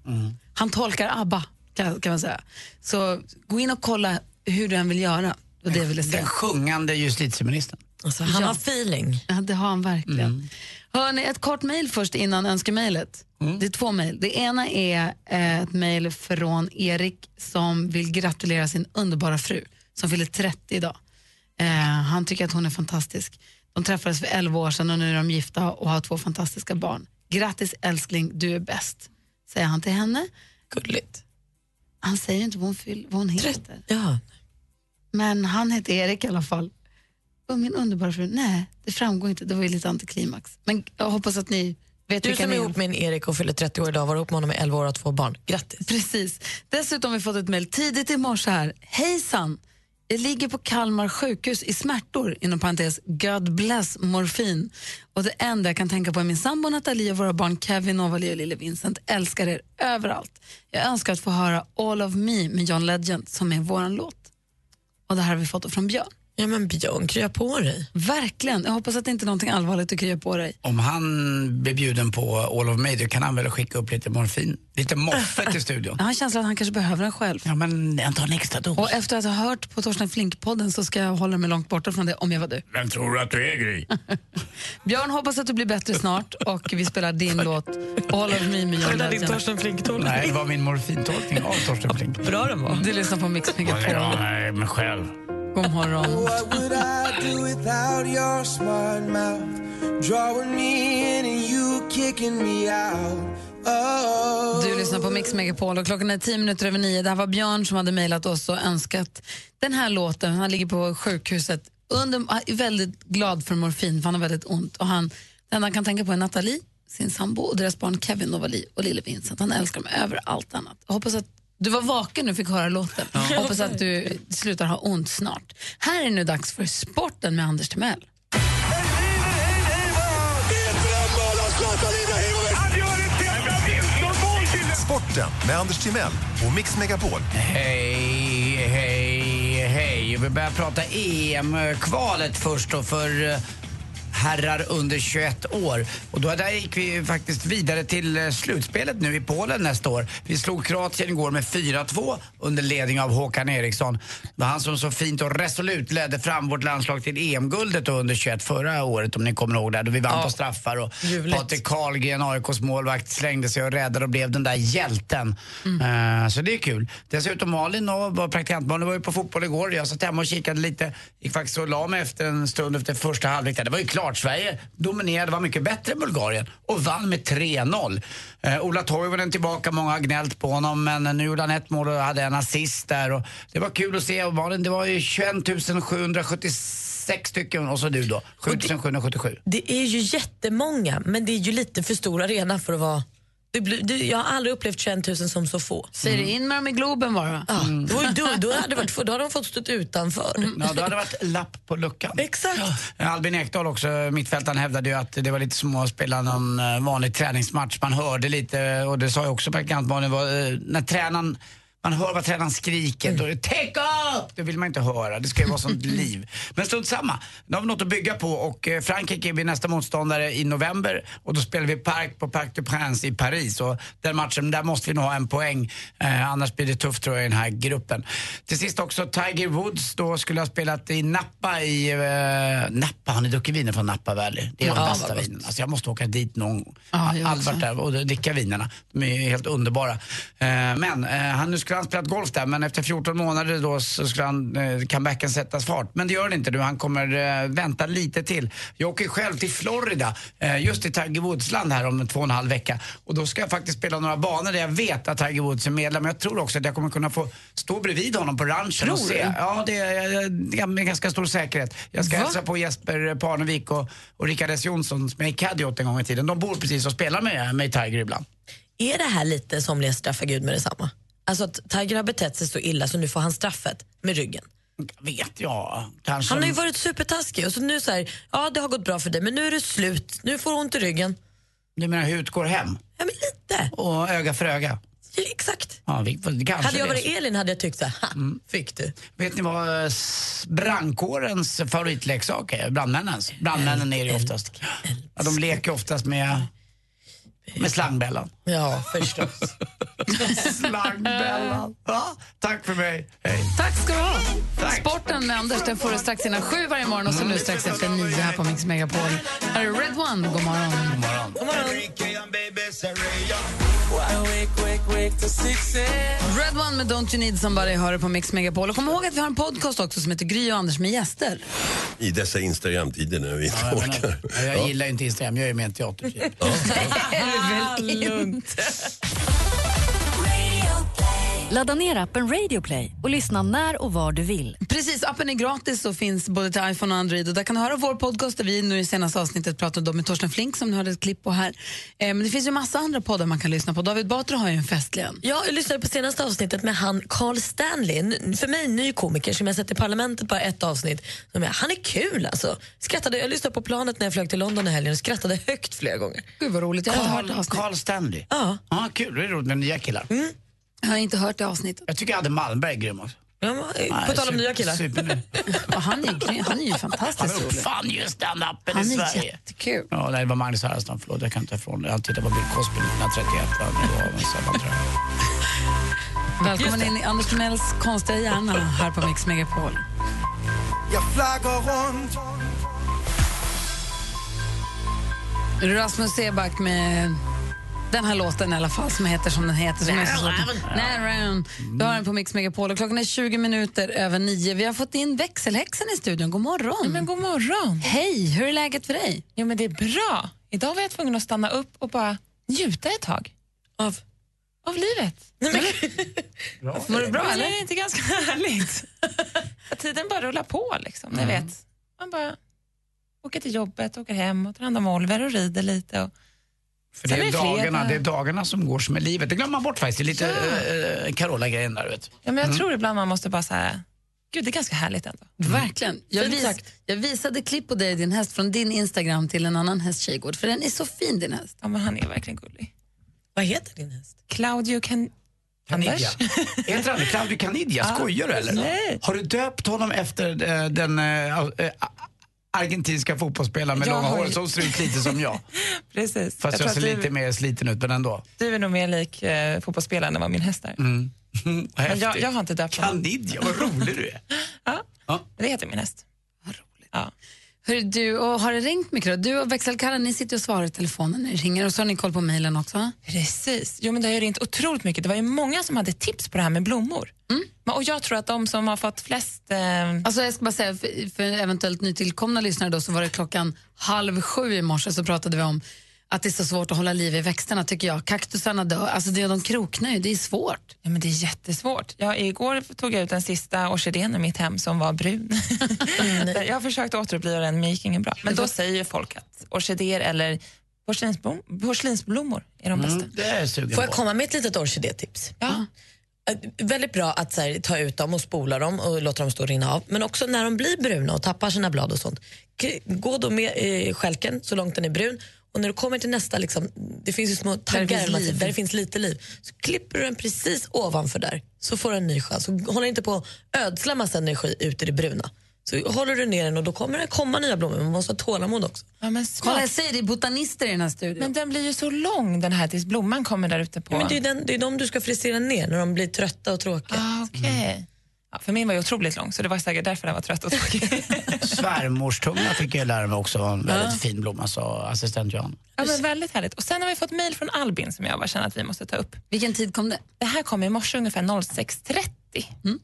[SPEAKER 2] Han tolkar ABBA, kan, kan man säga. Så gå in och kolla hur du än vill göra. Och det vill Alltså, jag säga.
[SPEAKER 3] Den sjungande justitieministern. Mm.
[SPEAKER 4] han har feeling.
[SPEAKER 2] Ja, det har han verkligen. Hörni, ett kort mejl först innan önskemejlet. Det är två mejl. Det ena är eh, ett mejl från Erik som vill gratulera sin underbara fru som fyller 30 idag. Eh, han tycker att hon är fantastisk. De träffades för 11 år sedan och nu är de gifta och har två fantastiska barn. Grattis älskling, du är bäst, säger han till henne.
[SPEAKER 4] Gulligt.
[SPEAKER 2] Han säger inte vad hon, fyll, vad hon heter.
[SPEAKER 4] Ja.
[SPEAKER 2] Men han heter Erik i alla fall. Och min underbara fru, nej, det framgår inte. Det var ju lite antiklimax. Men jag hoppas att ni vet
[SPEAKER 4] Du
[SPEAKER 2] vilka
[SPEAKER 4] som är
[SPEAKER 2] ni
[SPEAKER 4] ihop med en Erik och fyller 30 år idag var ihop med honom i 11 år och har två barn. Grattis.
[SPEAKER 2] Precis. Dessutom har vi fått ett mejl tidigt i morse här. Hejsan! Jag ligger på Kalmar sjukhus i smärtor, inom parentes God bless morfin. Och det enda jag kan tänka på är min sambo Nathalie och våra barn Kevin, Ovalie och lille Vincent. Älskar er överallt. Jag önskar att få höra All of me med John Legend som är våran låt. Och det här har vi fått från Björn.
[SPEAKER 4] Ja men Björn, krya på dig.
[SPEAKER 2] Verkligen. Jag hoppas att det inte är någonting allvarligt att krya på dig.
[SPEAKER 3] Om han blir bjuden på All of Me, då kan han väl skicka upp lite morfin? Lite moffe till studion.
[SPEAKER 2] Jag har en känsla att han kanske behöver den själv.
[SPEAKER 3] Ja, men han tar en extra dos.
[SPEAKER 2] Och efter att ha hört på Torsten Flink-podden så ska jag hålla mig långt borta från det om jag var du.
[SPEAKER 3] Vem tror du att du är, Gry?
[SPEAKER 2] Björn, hoppas att du blir bättre snart och vi spelar din låt All of me med John
[SPEAKER 3] Kolla din
[SPEAKER 2] Legend.
[SPEAKER 3] Torsten Flink-tolkning. Nej, det var min morfintolkning av Torsten Flink.
[SPEAKER 4] Bra den var.
[SPEAKER 2] Du lyssnar på Mix
[SPEAKER 3] Ja,
[SPEAKER 2] Megapol.
[SPEAKER 3] nej, men själv.
[SPEAKER 2] God morgon.
[SPEAKER 10] What would I do without your smart mouth? Drawing me in and you kicking me out. Oh.
[SPEAKER 2] Du lyssnar på Mix Megapol och klockan är tio minuter över nio. Det här var Björn som hade mejlat oss och önskat den här låten. Han ligger på sjukhuset under, han är väldigt glad för morfin för han har väldigt ont. Och han, det enda han kan tänka på är Nathalie, sin sambo och deras barn Kevin Novali och lille Vincent. Han älskar dem över allt annat. Jag hoppas att du var vaken när du fick höra låten. Jag Hoppas att du slutar ha ont snart. Här är nu dags för sporten med Anders Timell.
[SPEAKER 7] Sporten med Anders Timell och Mix Megapol.
[SPEAKER 3] Hej, hej, hej. Vi börjar prata EM-kvalet först då för eh, herrar under 21 år. Och då där gick vi faktiskt vidare till eh, slutspelet nu i Polen nästa år. Vi slog Kroatien igår med 4-2 under ledning av Håkan Eriksson. Det var han som så fint och resolut ledde fram vårt landslag till EM-guldet då under 21 förra året om ni kommer ihåg det. Då vi vann på straffar och Patrik Karlgren, AIKs målvakt, slängde sig och räddade och blev den där hjälten.
[SPEAKER 4] Mm.
[SPEAKER 3] Eh, så det är kul. Dessutom Malin och var praktikant Malin var ju på fotboll igår. Jag satt hemma och kikade lite. Gick faktiskt och la mig efter en stund efter första halvlek. Det var ju klart. Sverige dominerade, var mycket bättre än Bulgarien och vann med 3-0. Eh, Ola Toivonen tillbaka. Många har gnällt på honom men nu gjorde han ett mål och hade en assist där. Och det var kul att se. Och Malin, det var ju 21 776 stycken och så du då. 7777.
[SPEAKER 4] Det är ju jättemånga, men det är ju lite för stor arena för att vara... Det blir, det, jag har aldrig upplevt 21 000 som så få.
[SPEAKER 2] Säger du in med dem i Globen bara?
[SPEAKER 4] Mm.
[SPEAKER 2] Mm.
[SPEAKER 4] Ja, det var ju dumt. Då hade, det varit, då hade de fått stå utanför.
[SPEAKER 3] Ja, då hade det varit lapp på luckan.
[SPEAKER 4] Exakt.
[SPEAKER 3] Albin Ekdal också, mittfältaren, hävdade ju att det var lite som att spela någon eh, vanlig träningsmatch. Man hörde lite, och det sa ju också praktikant Malin, var, eh, när tränaren man hör vad tränaren skriker, då är det take up! Det vill man inte höra, det ska ju vara sånt liv. Men strunt samma, nu har vi något att bygga på och eh, Frankrike blir nästa motståndare i november och då spelar vi Park på Parc des Princes i Paris och den matchen, där måste vi nog ha en poäng eh, annars blir det tufft tror jag i den här gruppen. Till sist också Tiger Woods då skulle ha spelat i Napa i... Eh, Napa, har ni druckit viner från Napa Valley? Det är
[SPEAKER 12] Ja,
[SPEAKER 3] de bästa
[SPEAKER 12] vad gott.
[SPEAKER 3] vinerna. Alltså jag måste åka dit någon gång.
[SPEAKER 12] Ja, jag
[SPEAKER 3] Allt varit där och dricka vinerna. De är ju helt underbara. Eh, Men eh, han, nu skulle han spelat golf där, men efter 14 månader då så skulle han, eh, comebacken sättas fart. Men det gör den inte nu. Han kommer eh, vänta lite till. Jag åker själv till Florida, eh, just i Tiger Woods-land här om två och en halv vecka. Och då ska jag faktiskt spela några banor där jag vet att Tiger Woods är medlem. Jag tror också att jag kommer kunna få stå bredvid honom på ranchen och
[SPEAKER 12] Tror du?
[SPEAKER 3] se. Ja, det är, det är med ganska stor säkerhet. Jag ska
[SPEAKER 12] Va?
[SPEAKER 3] hälsa på Jesper Parnevik och, och Rickard S Jonsson som jag är caddy åt en gång i tiden. De bor precis och spelar med, med Tiger ibland.
[SPEAKER 4] Är det här lite somliga straffar Gud med detsamma? Alltså att Tiger har betett sig så illa så nu får han straffet med ryggen.
[SPEAKER 3] Vet jag. Kanske.
[SPEAKER 4] Han har ju varit supertaskig och så nu så här, ja det har gått bra för dig men nu är det slut, nu får du ont i ryggen.
[SPEAKER 3] Du menar hur utgår hem?
[SPEAKER 4] Ja men lite.
[SPEAKER 3] Och öga för öga.
[SPEAKER 4] Ja, exakt.
[SPEAKER 3] Ja, vi, kanske
[SPEAKER 4] hade jag
[SPEAKER 3] det är
[SPEAKER 4] varit
[SPEAKER 3] så.
[SPEAKER 4] Elin hade jag tyckt så här, ha, fick du.
[SPEAKER 3] Vet ni vad eh, s- brandkårens favoritleksak är? Brandmännens. Brandmännen är det ju oftast. Ja, de leker oftast med, med slangbällan.
[SPEAKER 4] Ja, förstås.
[SPEAKER 3] slangbällan. Ja, tack för mig. Hej.
[SPEAKER 2] Tack ska du ha. Sporten med Anders den får du strax innan sju varje morgon och så nu strax efter nio här på Mix Megapol. Här är Red One. God morgon. God
[SPEAKER 3] morgon.
[SPEAKER 2] Red One med Don't You Need Somebody hör du på Mix Megapol. Och kom ihåg att vi har en podcast också som heter Gry och Anders med gäster.
[SPEAKER 15] I dessa Instagram-tider när vi inte
[SPEAKER 3] Ja, jag menar-
[SPEAKER 15] orkar.
[SPEAKER 3] Ja, Jag gillar inte Instagram, jag är med i en teaterfilm.
[SPEAKER 1] Ladda ner appen Radio Play och lyssna när och var du vill.
[SPEAKER 2] Precis, appen är gratis och finns både till iPhone och Android. Och där kan du höra vår podcast där vi nu i senaste avsnittet pratade om med Torsten Flink som ni hörde ett klipp på här. Eh, men det finns ju massa andra poddar man kan lyssna på. David Batra har ju en festligen.
[SPEAKER 4] Ja, jag lyssnade på senaste avsnittet med han Carl Stanley, N- för mig ny komiker som jag sett i Parlamentet bara ett avsnitt. Som jag, han är kul alltså. Skrattade, jag lyssnade på planet när jag flög till London i helgen och skrattade högt flera gånger.
[SPEAKER 2] Gud vad roligt, jag har inte hört det avsnittet.
[SPEAKER 3] Carl, Carl Stanley.
[SPEAKER 4] Ja.
[SPEAKER 3] kul, det är roligt med nya killar.
[SPEAKER 2] Jag har inte hört det avsnittet. eh,
[SPEAKER 3] Jag tycker Adde Malmberg är grym också.
[SPEAKER 4] Ja, men, på tal om nya killar.
[SPEAKER 2] Och han, är, ju grym- han är ju fantastiskt
[SPEAKER 3] Han
[SPEAKER 2] rolig.
[SPEAKER 3] uppfann ju stand-upen i
[SPEAKER 2] Han är
[SPEAKER 3] Sverige.
[SPEAKER 2] jättekul.
[SPEAKER 3] Ja, nej, det var Magnus Härenstam, förlåt. Jag kan inte ifrån det. Han tittade på Bill Cosby 1931. va, men då var han samma, tror jag.
[SPEAKER 2] Välkommen in i Anders Timells konstiga hjärna här på Mix Megapol.
[SPEAKER 10] Jag flaggar runt
[SPEAKER 2] Rasmus Seback med den här låten i alla fall, som heter som den heter. Som är så svårt. Närround. Du har den på Mix Megapol och klockan är 20 minuter över nio. Vi har fått in växelhäxan i studion. God morgon.
[SPEAKER 20] men god morgon.
[SPEAKER 2] Hej, hur är läget för dig?
[SPEAKER 20] Jo, men det är bra. Idag var jag tvungen att stanna upp och bara njuta ett tag.
[SPEAKER 4] Av?
[SPEAKER 20] Av livet.
[SPEAKER 3] Bra.
[SPEAKER 20] Mår du bra eller? Det är inte ganska härligt. Att Tiden bara rullar på liksom, ni vet. Man bara åker till jobbet, åker hem och tar hand om Oliver och rider lite. Och...
[SPEAKER 3] För det
[SPEAKER 20] Sen
[SPEAKER 3] är,
[SPEAKER 20] är fredag.
[SPEAKER 3] dagarna, det är dagarna som går som är livet. Det glömmer man bort faktiskt. Det är lite
[SPEAKER 20] Ja.
[SPEAKER 3] eh, Carola-grejen där, vet
[SPEAKER 20] Ja, men jag
[SPEAKER 3] Mm.
[SPEAKER 20] tror ibland man måste bara så här, gud det är ganska härligt ändå.
[SPEAKER 2] Verkligen. Jag,
[SPEAKER 20] Fint
[SPEAKER 2] vis,
[SPEAKER 20] sagt.
[SPEAKER 2] jag visade klipp på dig, din häst, från din Instagram till en annan häst Tjejgård, för den är så fin din häst.
[SPEAKER 20] Ja, men han är verkligen gullig.
[SPEAKER 4] Vad heter din häst?
[SPEAKER 20] Claudio kan...
[SPEAKER 3] Canidia.
[SPEAKER 20] Anders?
[SPEAKER 3] Heter han Claudio Canidia?
[SPEAKER 20] Ja.
[SPEAKER 3] Skojar du eller?
[SPEAKER 20] Ah, Nej.
[SPEAKER 3] Har du döpt honom efter eh, den eh, eh, argentinska fotbollsspelaren med
[SPEAKER 20] Jag
[SPEAKER 3] långa
[SPEAKER 20] har
[SPEAKER 3] hår
[SPEAKER 20] ju-
[SPEAKER 3] som ser ut lite som jag?
[SPEAKER 20] Precis.
[SPEAKER 3] Fast jag,
[SPEAKER 20] tror
[SPEAKER 3] ser
[SPEAKER 20] att
[SPEAKER 3] lite mer sliten ut, men ändå.
[SPEAKER 20] Du är nog mer lik eh, fotbollsspelaren än vad min häst är.
[SPEAKER 3] Mm.
[SPEAKER 20] Men jag,
[SPEAKER 3] Häftigt.
[SPEAKER 20] jag har inte döpt honom.
[SPEAKER 3] Canidia, vad rolig du är.
[SPEAKER 20] Det heter min häst.
[SPEAKER 2] Hör du, och har det ringt mycket då? Du och växelkarren, ni sitter och svarar i telefonen när det ringer och så har ni koll på mejlen också.
[SPEAKER 20] Precis. Jo, men det har ju ringt otroligt mycket. Det var ju många som hade tips på det här med blommor. Men- Och jag tror att de som har fått flest... Eh,
[SPEAKER 2] Mm. Alltså jag ska bara säga, för, för eventuellt nytillkomna lyssnare då, så var det klockan halv sju i morse så pratade vi om att det är så svårt att hålla liv i växterna tycker jag. Kaktusarna dör, alltså det, de kroknar ju, det är svårt.
[SPEAKER 20] Ja, men det är jättesvårt. Jag, igår tog jag ut den sista orkidén i mitt hem som var brun.
[SPEAKER 4] Mm.
[SPEAKER 20] jag har försökt återuppliva den, men det gick ingen bra. Men då säger ju folk att orkidéer eller porslinsblom, porslinsblommor är de bästa.
[SPEAKER 3] Mm. Det är jag sugen
[SPEAKER 4] Får jag
[SPEAKER 3] på.
[SPEAKER 4] komma med ett litet orkidétips? Ja. Väldigt bra att så här, ta ut dem och spola dem och låta dem stå och rinna av. Men också när de blir bruna och tappar sina blad och sånt. k- Gå då med eh, skälken så långt den är brun och när du kommer till nästa, liksom, det finns ju små taggar
[SPEAKER 2] finns
[SPEAKER 4] eller något
[SPEAKER 2] liv.
[SPEAKER 4] där det finns lite liv, så klipper du den precis ovanför där så får du en ny chans. Och håll inte på att ödsla massa energi ut i det bruna. Så håller du ner den och då kommer det komma nya blommor. Man måste ha tålamod också.
[SPEAKER 20] Ja, men
[SPEAKER 2] Kolla jag
[SPEAKER 20] smart.
[SPEAKER 2] säger det är botanister i den här studion.
[SPEAKER 20] Men den blir ju så lång den här tills blomman kommer där ute på...
[SPEAKER 4] Men det är ju den, det är de du ska frisera ner när de blir trötta och tråkiga.
[SPEAKER 20] Ah, okej. ja, för min var ju otroligt lång så det var säkert därför den var trött och tråkig.
[SPEAKER 3] Svärmorstunga fick jag lära mig också. var En
[SPEAKER 20] Ah.
[SPEAKER 3] väldigt fin blomma, sa assistent Johan.
[SPEAKER 20] Ja, men väldigt härligt. Och sen har vi fått mejl från Albin som jag bara känner att vi måste ta upp.
[SPEAKER 2] Vilken tid kom det?
[SPEAKER 20] Det Mm. här kom i morse ungefär 06.30.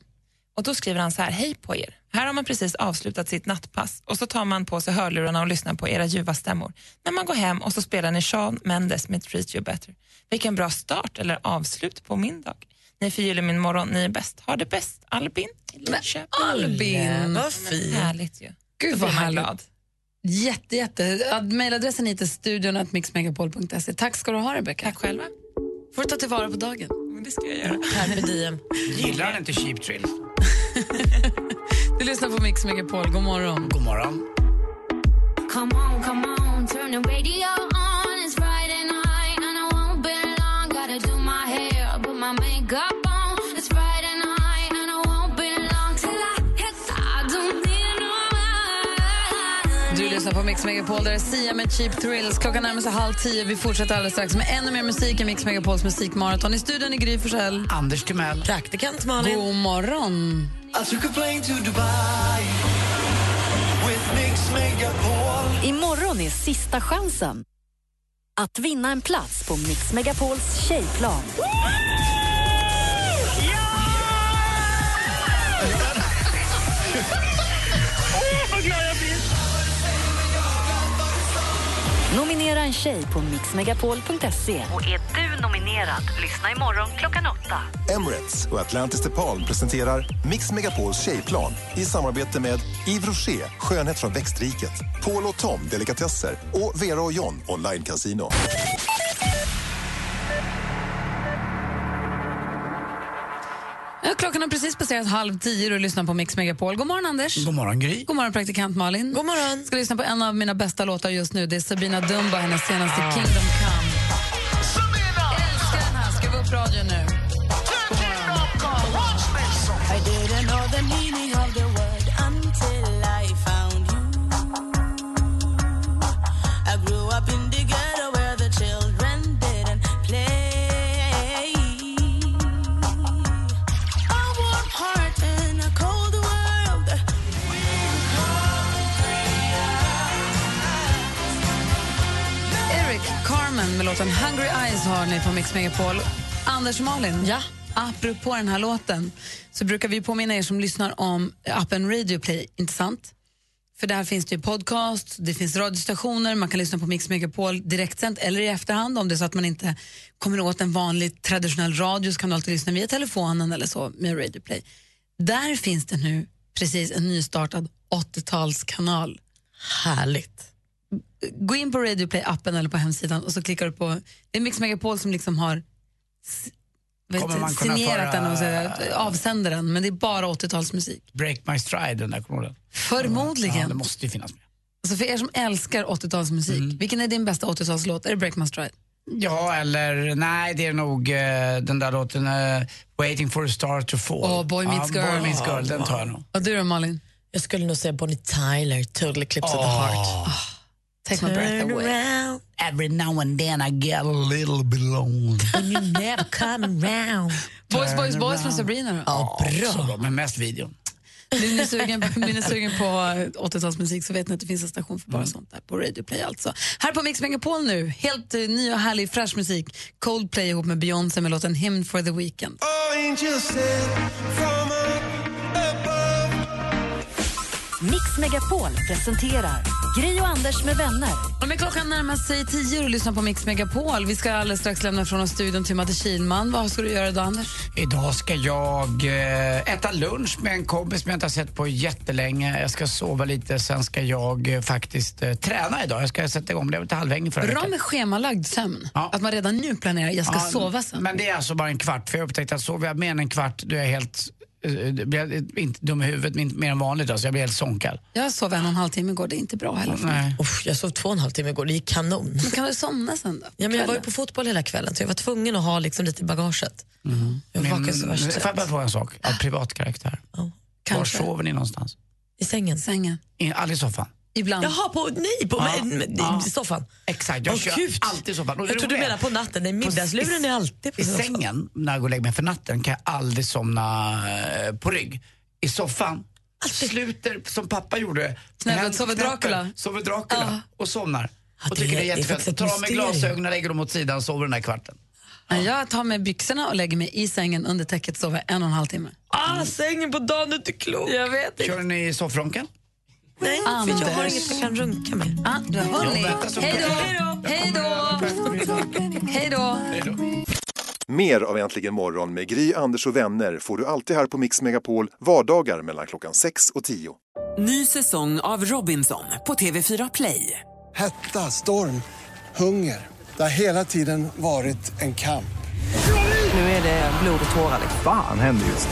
[SPEAKER 20] Och då skriver han så här, hej på er. Här har man precis avslutat sitt nattpass och så tar man på sig hörlurarna och lyssnar på era ljuva stämmor. När man går hem och så spelar ni Shawn Mendes med Treat You Better. Vilken bra start eller avslut på min dag. Ni förgyller min morgon, ni är bäst. Ha det bäst, Albin. i Linköping.
[SPEAKER 2] Albin!
[SPEAKER 4] Vad fint.
[SPEAKER 20] Härligt ju.
[SPEAKER 2] Gud
[SPEAKER 20] Då
[SPEAKER 2] vad
[SPEAKER 20] blir man
[SPEAKER 2] härligt.
[SPEAKER 20] glad.
[SPEAKER 2] Jätte, jätte. Ad- Mailadressen hit är studion at mixmegapol.se. Tack ska du ha Rebecka. Tack
[SPEAKER 20] själva.
[SPEAKER 2] Får du ta tillvara på dagen.
[SPEAKER 20] Det ska jag göra.
[SPEAKER 4] Carpe diem.
[SPEAKER 3] Gillar han inte Cheap Trill?
[SPEAKER 2] Du lyssnar på Mix Megapol. God morgon.
[SPEAKER 3] God morgon.
[SPEAKER 12] Come on, come on, turn the radio on. It's Friday night, and I won't be long. Gotta do my hair, put my makeup on. It's Friday night, and I won't be long till I hit. I don't need no
[SPEAKER 2] Du lyssnar på Mix Megapol, där är Sia med Cheap Thrills. Klockan närmar sig halv tio. Vi fortsätter alldeles strax med ännu mer musik än Mix Megapols musikmaraton. I studion i Gry Forssell.
[SPEAKER 3] Anders Timell.
[SPEAKER 4] Praktikant Malin.
[SPEAKER 2] God morgon.
[SPEAKER 10] I took a plane to Dubai With Mix Megapol
[SPEAKER 1] Imorgon är sista chansen att vinna en plats på Mix Megapols tjejplan. Nominera en tjej på mixmegapol.se. Och är du nominerad, lyssna imorgon klockan åtta.
[SPEAKER 7] Emirates och Atlantis DePaul presenterar Mix Megapols tjejplan i samarbete med Yves Rocher, skönhet från växtriket, Paul och Tom, delikatesser och Vera och John, online casino.
[SPEAKER 2] Ja, Klockan har precis passerat halv tio och du lyssnar på Mix Megapol. God morgon, Anders.
[SPEAKER 3] God morgon, Gry.
[SPEAKER 2] God morgon, praktikant Malin. God
[SPEAKER 4] morgon.
[SPEAKER 2] ska lyssna på en av mina bästa låtar just nu. Det är Sabina Dumba, hennes senaste
[SPEAKER 3] Ah.
[SPEAKER 2] Kingdom Come. Sabina! Älskar den här. Skruva upp radion nu.
[SPEAKER 10] I didn't know
[SPEAKER 2] låten Hungry Eyes har ni på Mix Megapol. Anders och Malin, ja. apropå den här låten så brukar vi påminna er som lyssnar om appen Radio Play, inte sant? För där finns det ju podcast, det finns radiostationer, man kan lyssna på Mix Megapol direktsänt eller i efterhand om det är så att man inte kommer åt en vanlig traditionell radio så kan du alltid lyssna via telefonen eller så med Radio Play. Där finns det nu precis en nystartad 80-talskanal. Härligt. Gå in på Radio Play-appen eller på hemsidan och så klickar du på, det är Mix Megapol som liksom har s- vad
[SPEAKER 3] Kommer
[SPEAKER 2] heter det,
[SPEAKER 3] man kunna
[SPEAKER 2] signerat
[SPEAKER 3] föra-
[SPEAKER 2] den och så, här, avsänder den, men det är bara 80-talsmusik.
[SPEAKER 3] Break My Stride, den där kommer du ihåg den?
[SPEAKER 2] Förmodligen.
[SPEAKER 3] Ja, det måste ju finnas Mm. med.
[SPEAKER 2] Alltså för er som älskar 80-talsmusik, vilken är din bästa 80-talslåt? Är det Break My Stride?
[SPEAKER 3] Ja, eller nej, det är nog eh, den där låten eh, Waiting for a star to fall.
[SPEAKER 2] Åh, Boy Meets
[SPEAKER 3] ja,
[SPEAKER 2] Girl.
[SPEAKER 3] Boy Meets Girl, den tar jag nog.
[SPEAKER 2] Och du då Malin?
[SPEAKER 4] Jag skulle nog säga Bonnie Tyler, Total Eclipse of the Heart.
[SPEAKER 2] Ah, Take my breath
[SPEAKER 4] Turn
[SPEAKER 2] away.
[SPEAKER 4] around,
[SPEAKER 3] Every now and then I get a little belong.
[SPEAKER 4] and you never come around.
[SPEAKER 2] Boys, boys,
[SPEAKER 3] Turn
[SPEAKER 2] boys från
[SPEAKER 3] around.
[SPEAKER 2] Sabrina då?
[SPEAKER 3] Ja, så bra. Men mest videon.
[SPEAKER 2] Blir ni sugen, blir ni sugen på 80-talsmusik så vet ni att det finns en station för bara
[SPEAKER 3] Mm.
[SPEAKER 2] sånt där på Radio Play alltså. Här på Mix Megapol nu, helt eh, ny och härlig fräsch musik. Coldplay ihop med Beyoncé med låten Hymn for the Weekend.
[SPEAKER 1] Mix Megapol presenterar Gri och Anders med vänner.
[SPEAKER 2] Och med klockan närmar sig tio och lyssnar på Mix Megapol. Vi ska alldeles strax lämna från oss studion till Matte Kihlman. Vad ska du göra idag Anders?
[SPEAKER 3] Idag ska jag eh, äta lunch med en kompis som jag inte har sett på jättelänge. Jag ska sova lite, sen ska jag eh, faktiskt eh, träna idag. Jag ska sätta igång, blev lite halväng förra
[SPEAKER 2] Bra
[SPEAKER 3] veckan.
[SPEAKER 2] med schemalagd sömn. Att man redan nu planerar, jag ska
[SPEAKER 3] Ja,
[SPEAKER 2] sova sen.
[SPEAKER 3] Men det är alltså bara en kvart, för jag upptäckte att sover jag mer än en kvart då är jag helt, eh, blir jag inte dum i huvudet men inte mer än vanligt. Alltså, jag blir helt sånkad.
[SPEAKER 2] Jag sov en och en halv timme igår, det är inte bra heller. för mig.
[SPEAKER 3] Nej.
[SPEAKER 4] Uff, jag sov två och en halv timme igår, det gick kanon.
[SPEAKER 2] Men kan du somna sen då?
[SPEAKER 4] Ja, men jag var ju
[SPEAKER 2] Kvällen?
[SPEAKER 4] på fotboll hela kvällen så jag var tvungen att ha liksom lite i bagaget. Jag
[SPEAKER 3] Men-
[SPEAKER 4] vaknade så värst
[SPEAKER 3] Mm. Får jag bara fråga en sak av privat karaktär? Var
[SPEAKER 4] kanske.
[SPEAKER 3] sover ni någonstans?
[SPEAKER 4] i sängen.
[SPEAKER 2] Sängen.
[SPEAKER 3] I- Aldrig i soffan?
[SPEAKER 2] Ibland.
[SPEAKER 4] Jaha, på, nej, på men- i soffan.
[SPEAKER 3] Exakt, jag
[SPEAKER 4] Åh,
[SPEAKER 3] kör
[SPEAKER 4] Gud.
[SPEAKER 3] alltid i soffan. Och det
[SPEAKER 4] Jag tror du
[SPEAKER 3] roliga är-
[SPEAKER 4] menar på natten, nej middagsluren är alltid på
[SPEAKER 3] I
[SPEAKER 4] soffan.
[SPEAKER 3] sängen, när jag går och lägger mig för natten, kan jag aldrig somna eh, på rygg. I soffan, sluter som pappa gjorde.
[SPEAKER 2] Knäppen,
[SPEAKER 3] Knäppen,
[SPEAKER 2] sover
[SPEAKER 3] knäppen,
[SPEAKER 2] Dracula.
[SPEAKER 3] Sover Dracula och somnar. och
[SPEAKER 4] det
[SPEAKER 3] tycker det är
[SPEAKER 4] är- det är faktiskt
[SPEAKER 3] jättefett.
[SPEAKER 4] ett
[SPEAKER 3] Tar av mig
[SPEAKER 4] mysterium.
[SPEAKER 3] glasögonen, lägger dem åt sidan och sover den där kvarten.
[SPEAKER 2] Nej, Jag tar med byxorna och lägger mig i sängen under täcket sover en och en halv timme.
[SPEAKER 4] Ah, sängen på dagen, du är inte klok. Jag vet
[SPEAKER 3] Kör ni soffronken?
[SPEAKER 4] Nej, för jag har
[SPEAKER 2] Anders.
[SPEAKER 4] inget jag kan runka med.
[SPEAKER 2] Ah, du har
[SPEAKER 3] Jo,
[SPEAKER 2] hörni.
[SPEAKER 3] vänta så-
[SPEAKER 2] Hej då! Hej då! Hej då!
[SPEAKER 7] Mer av Äntligen morgon med Gry, Anders och vänner får du alltid här på Mix Megapol vardagar mellan klockan 6 och 10.
[SPEAKER 21] Ny säsong av Robinson på TV4 Play.
[SPEAKER 14] Hetta, storm, hunger. Det har hela tiden varit en kamp.
[SPEAKER 21] Nu är det blod och tårar.
[SPEAKER 16] Fan händer just nu.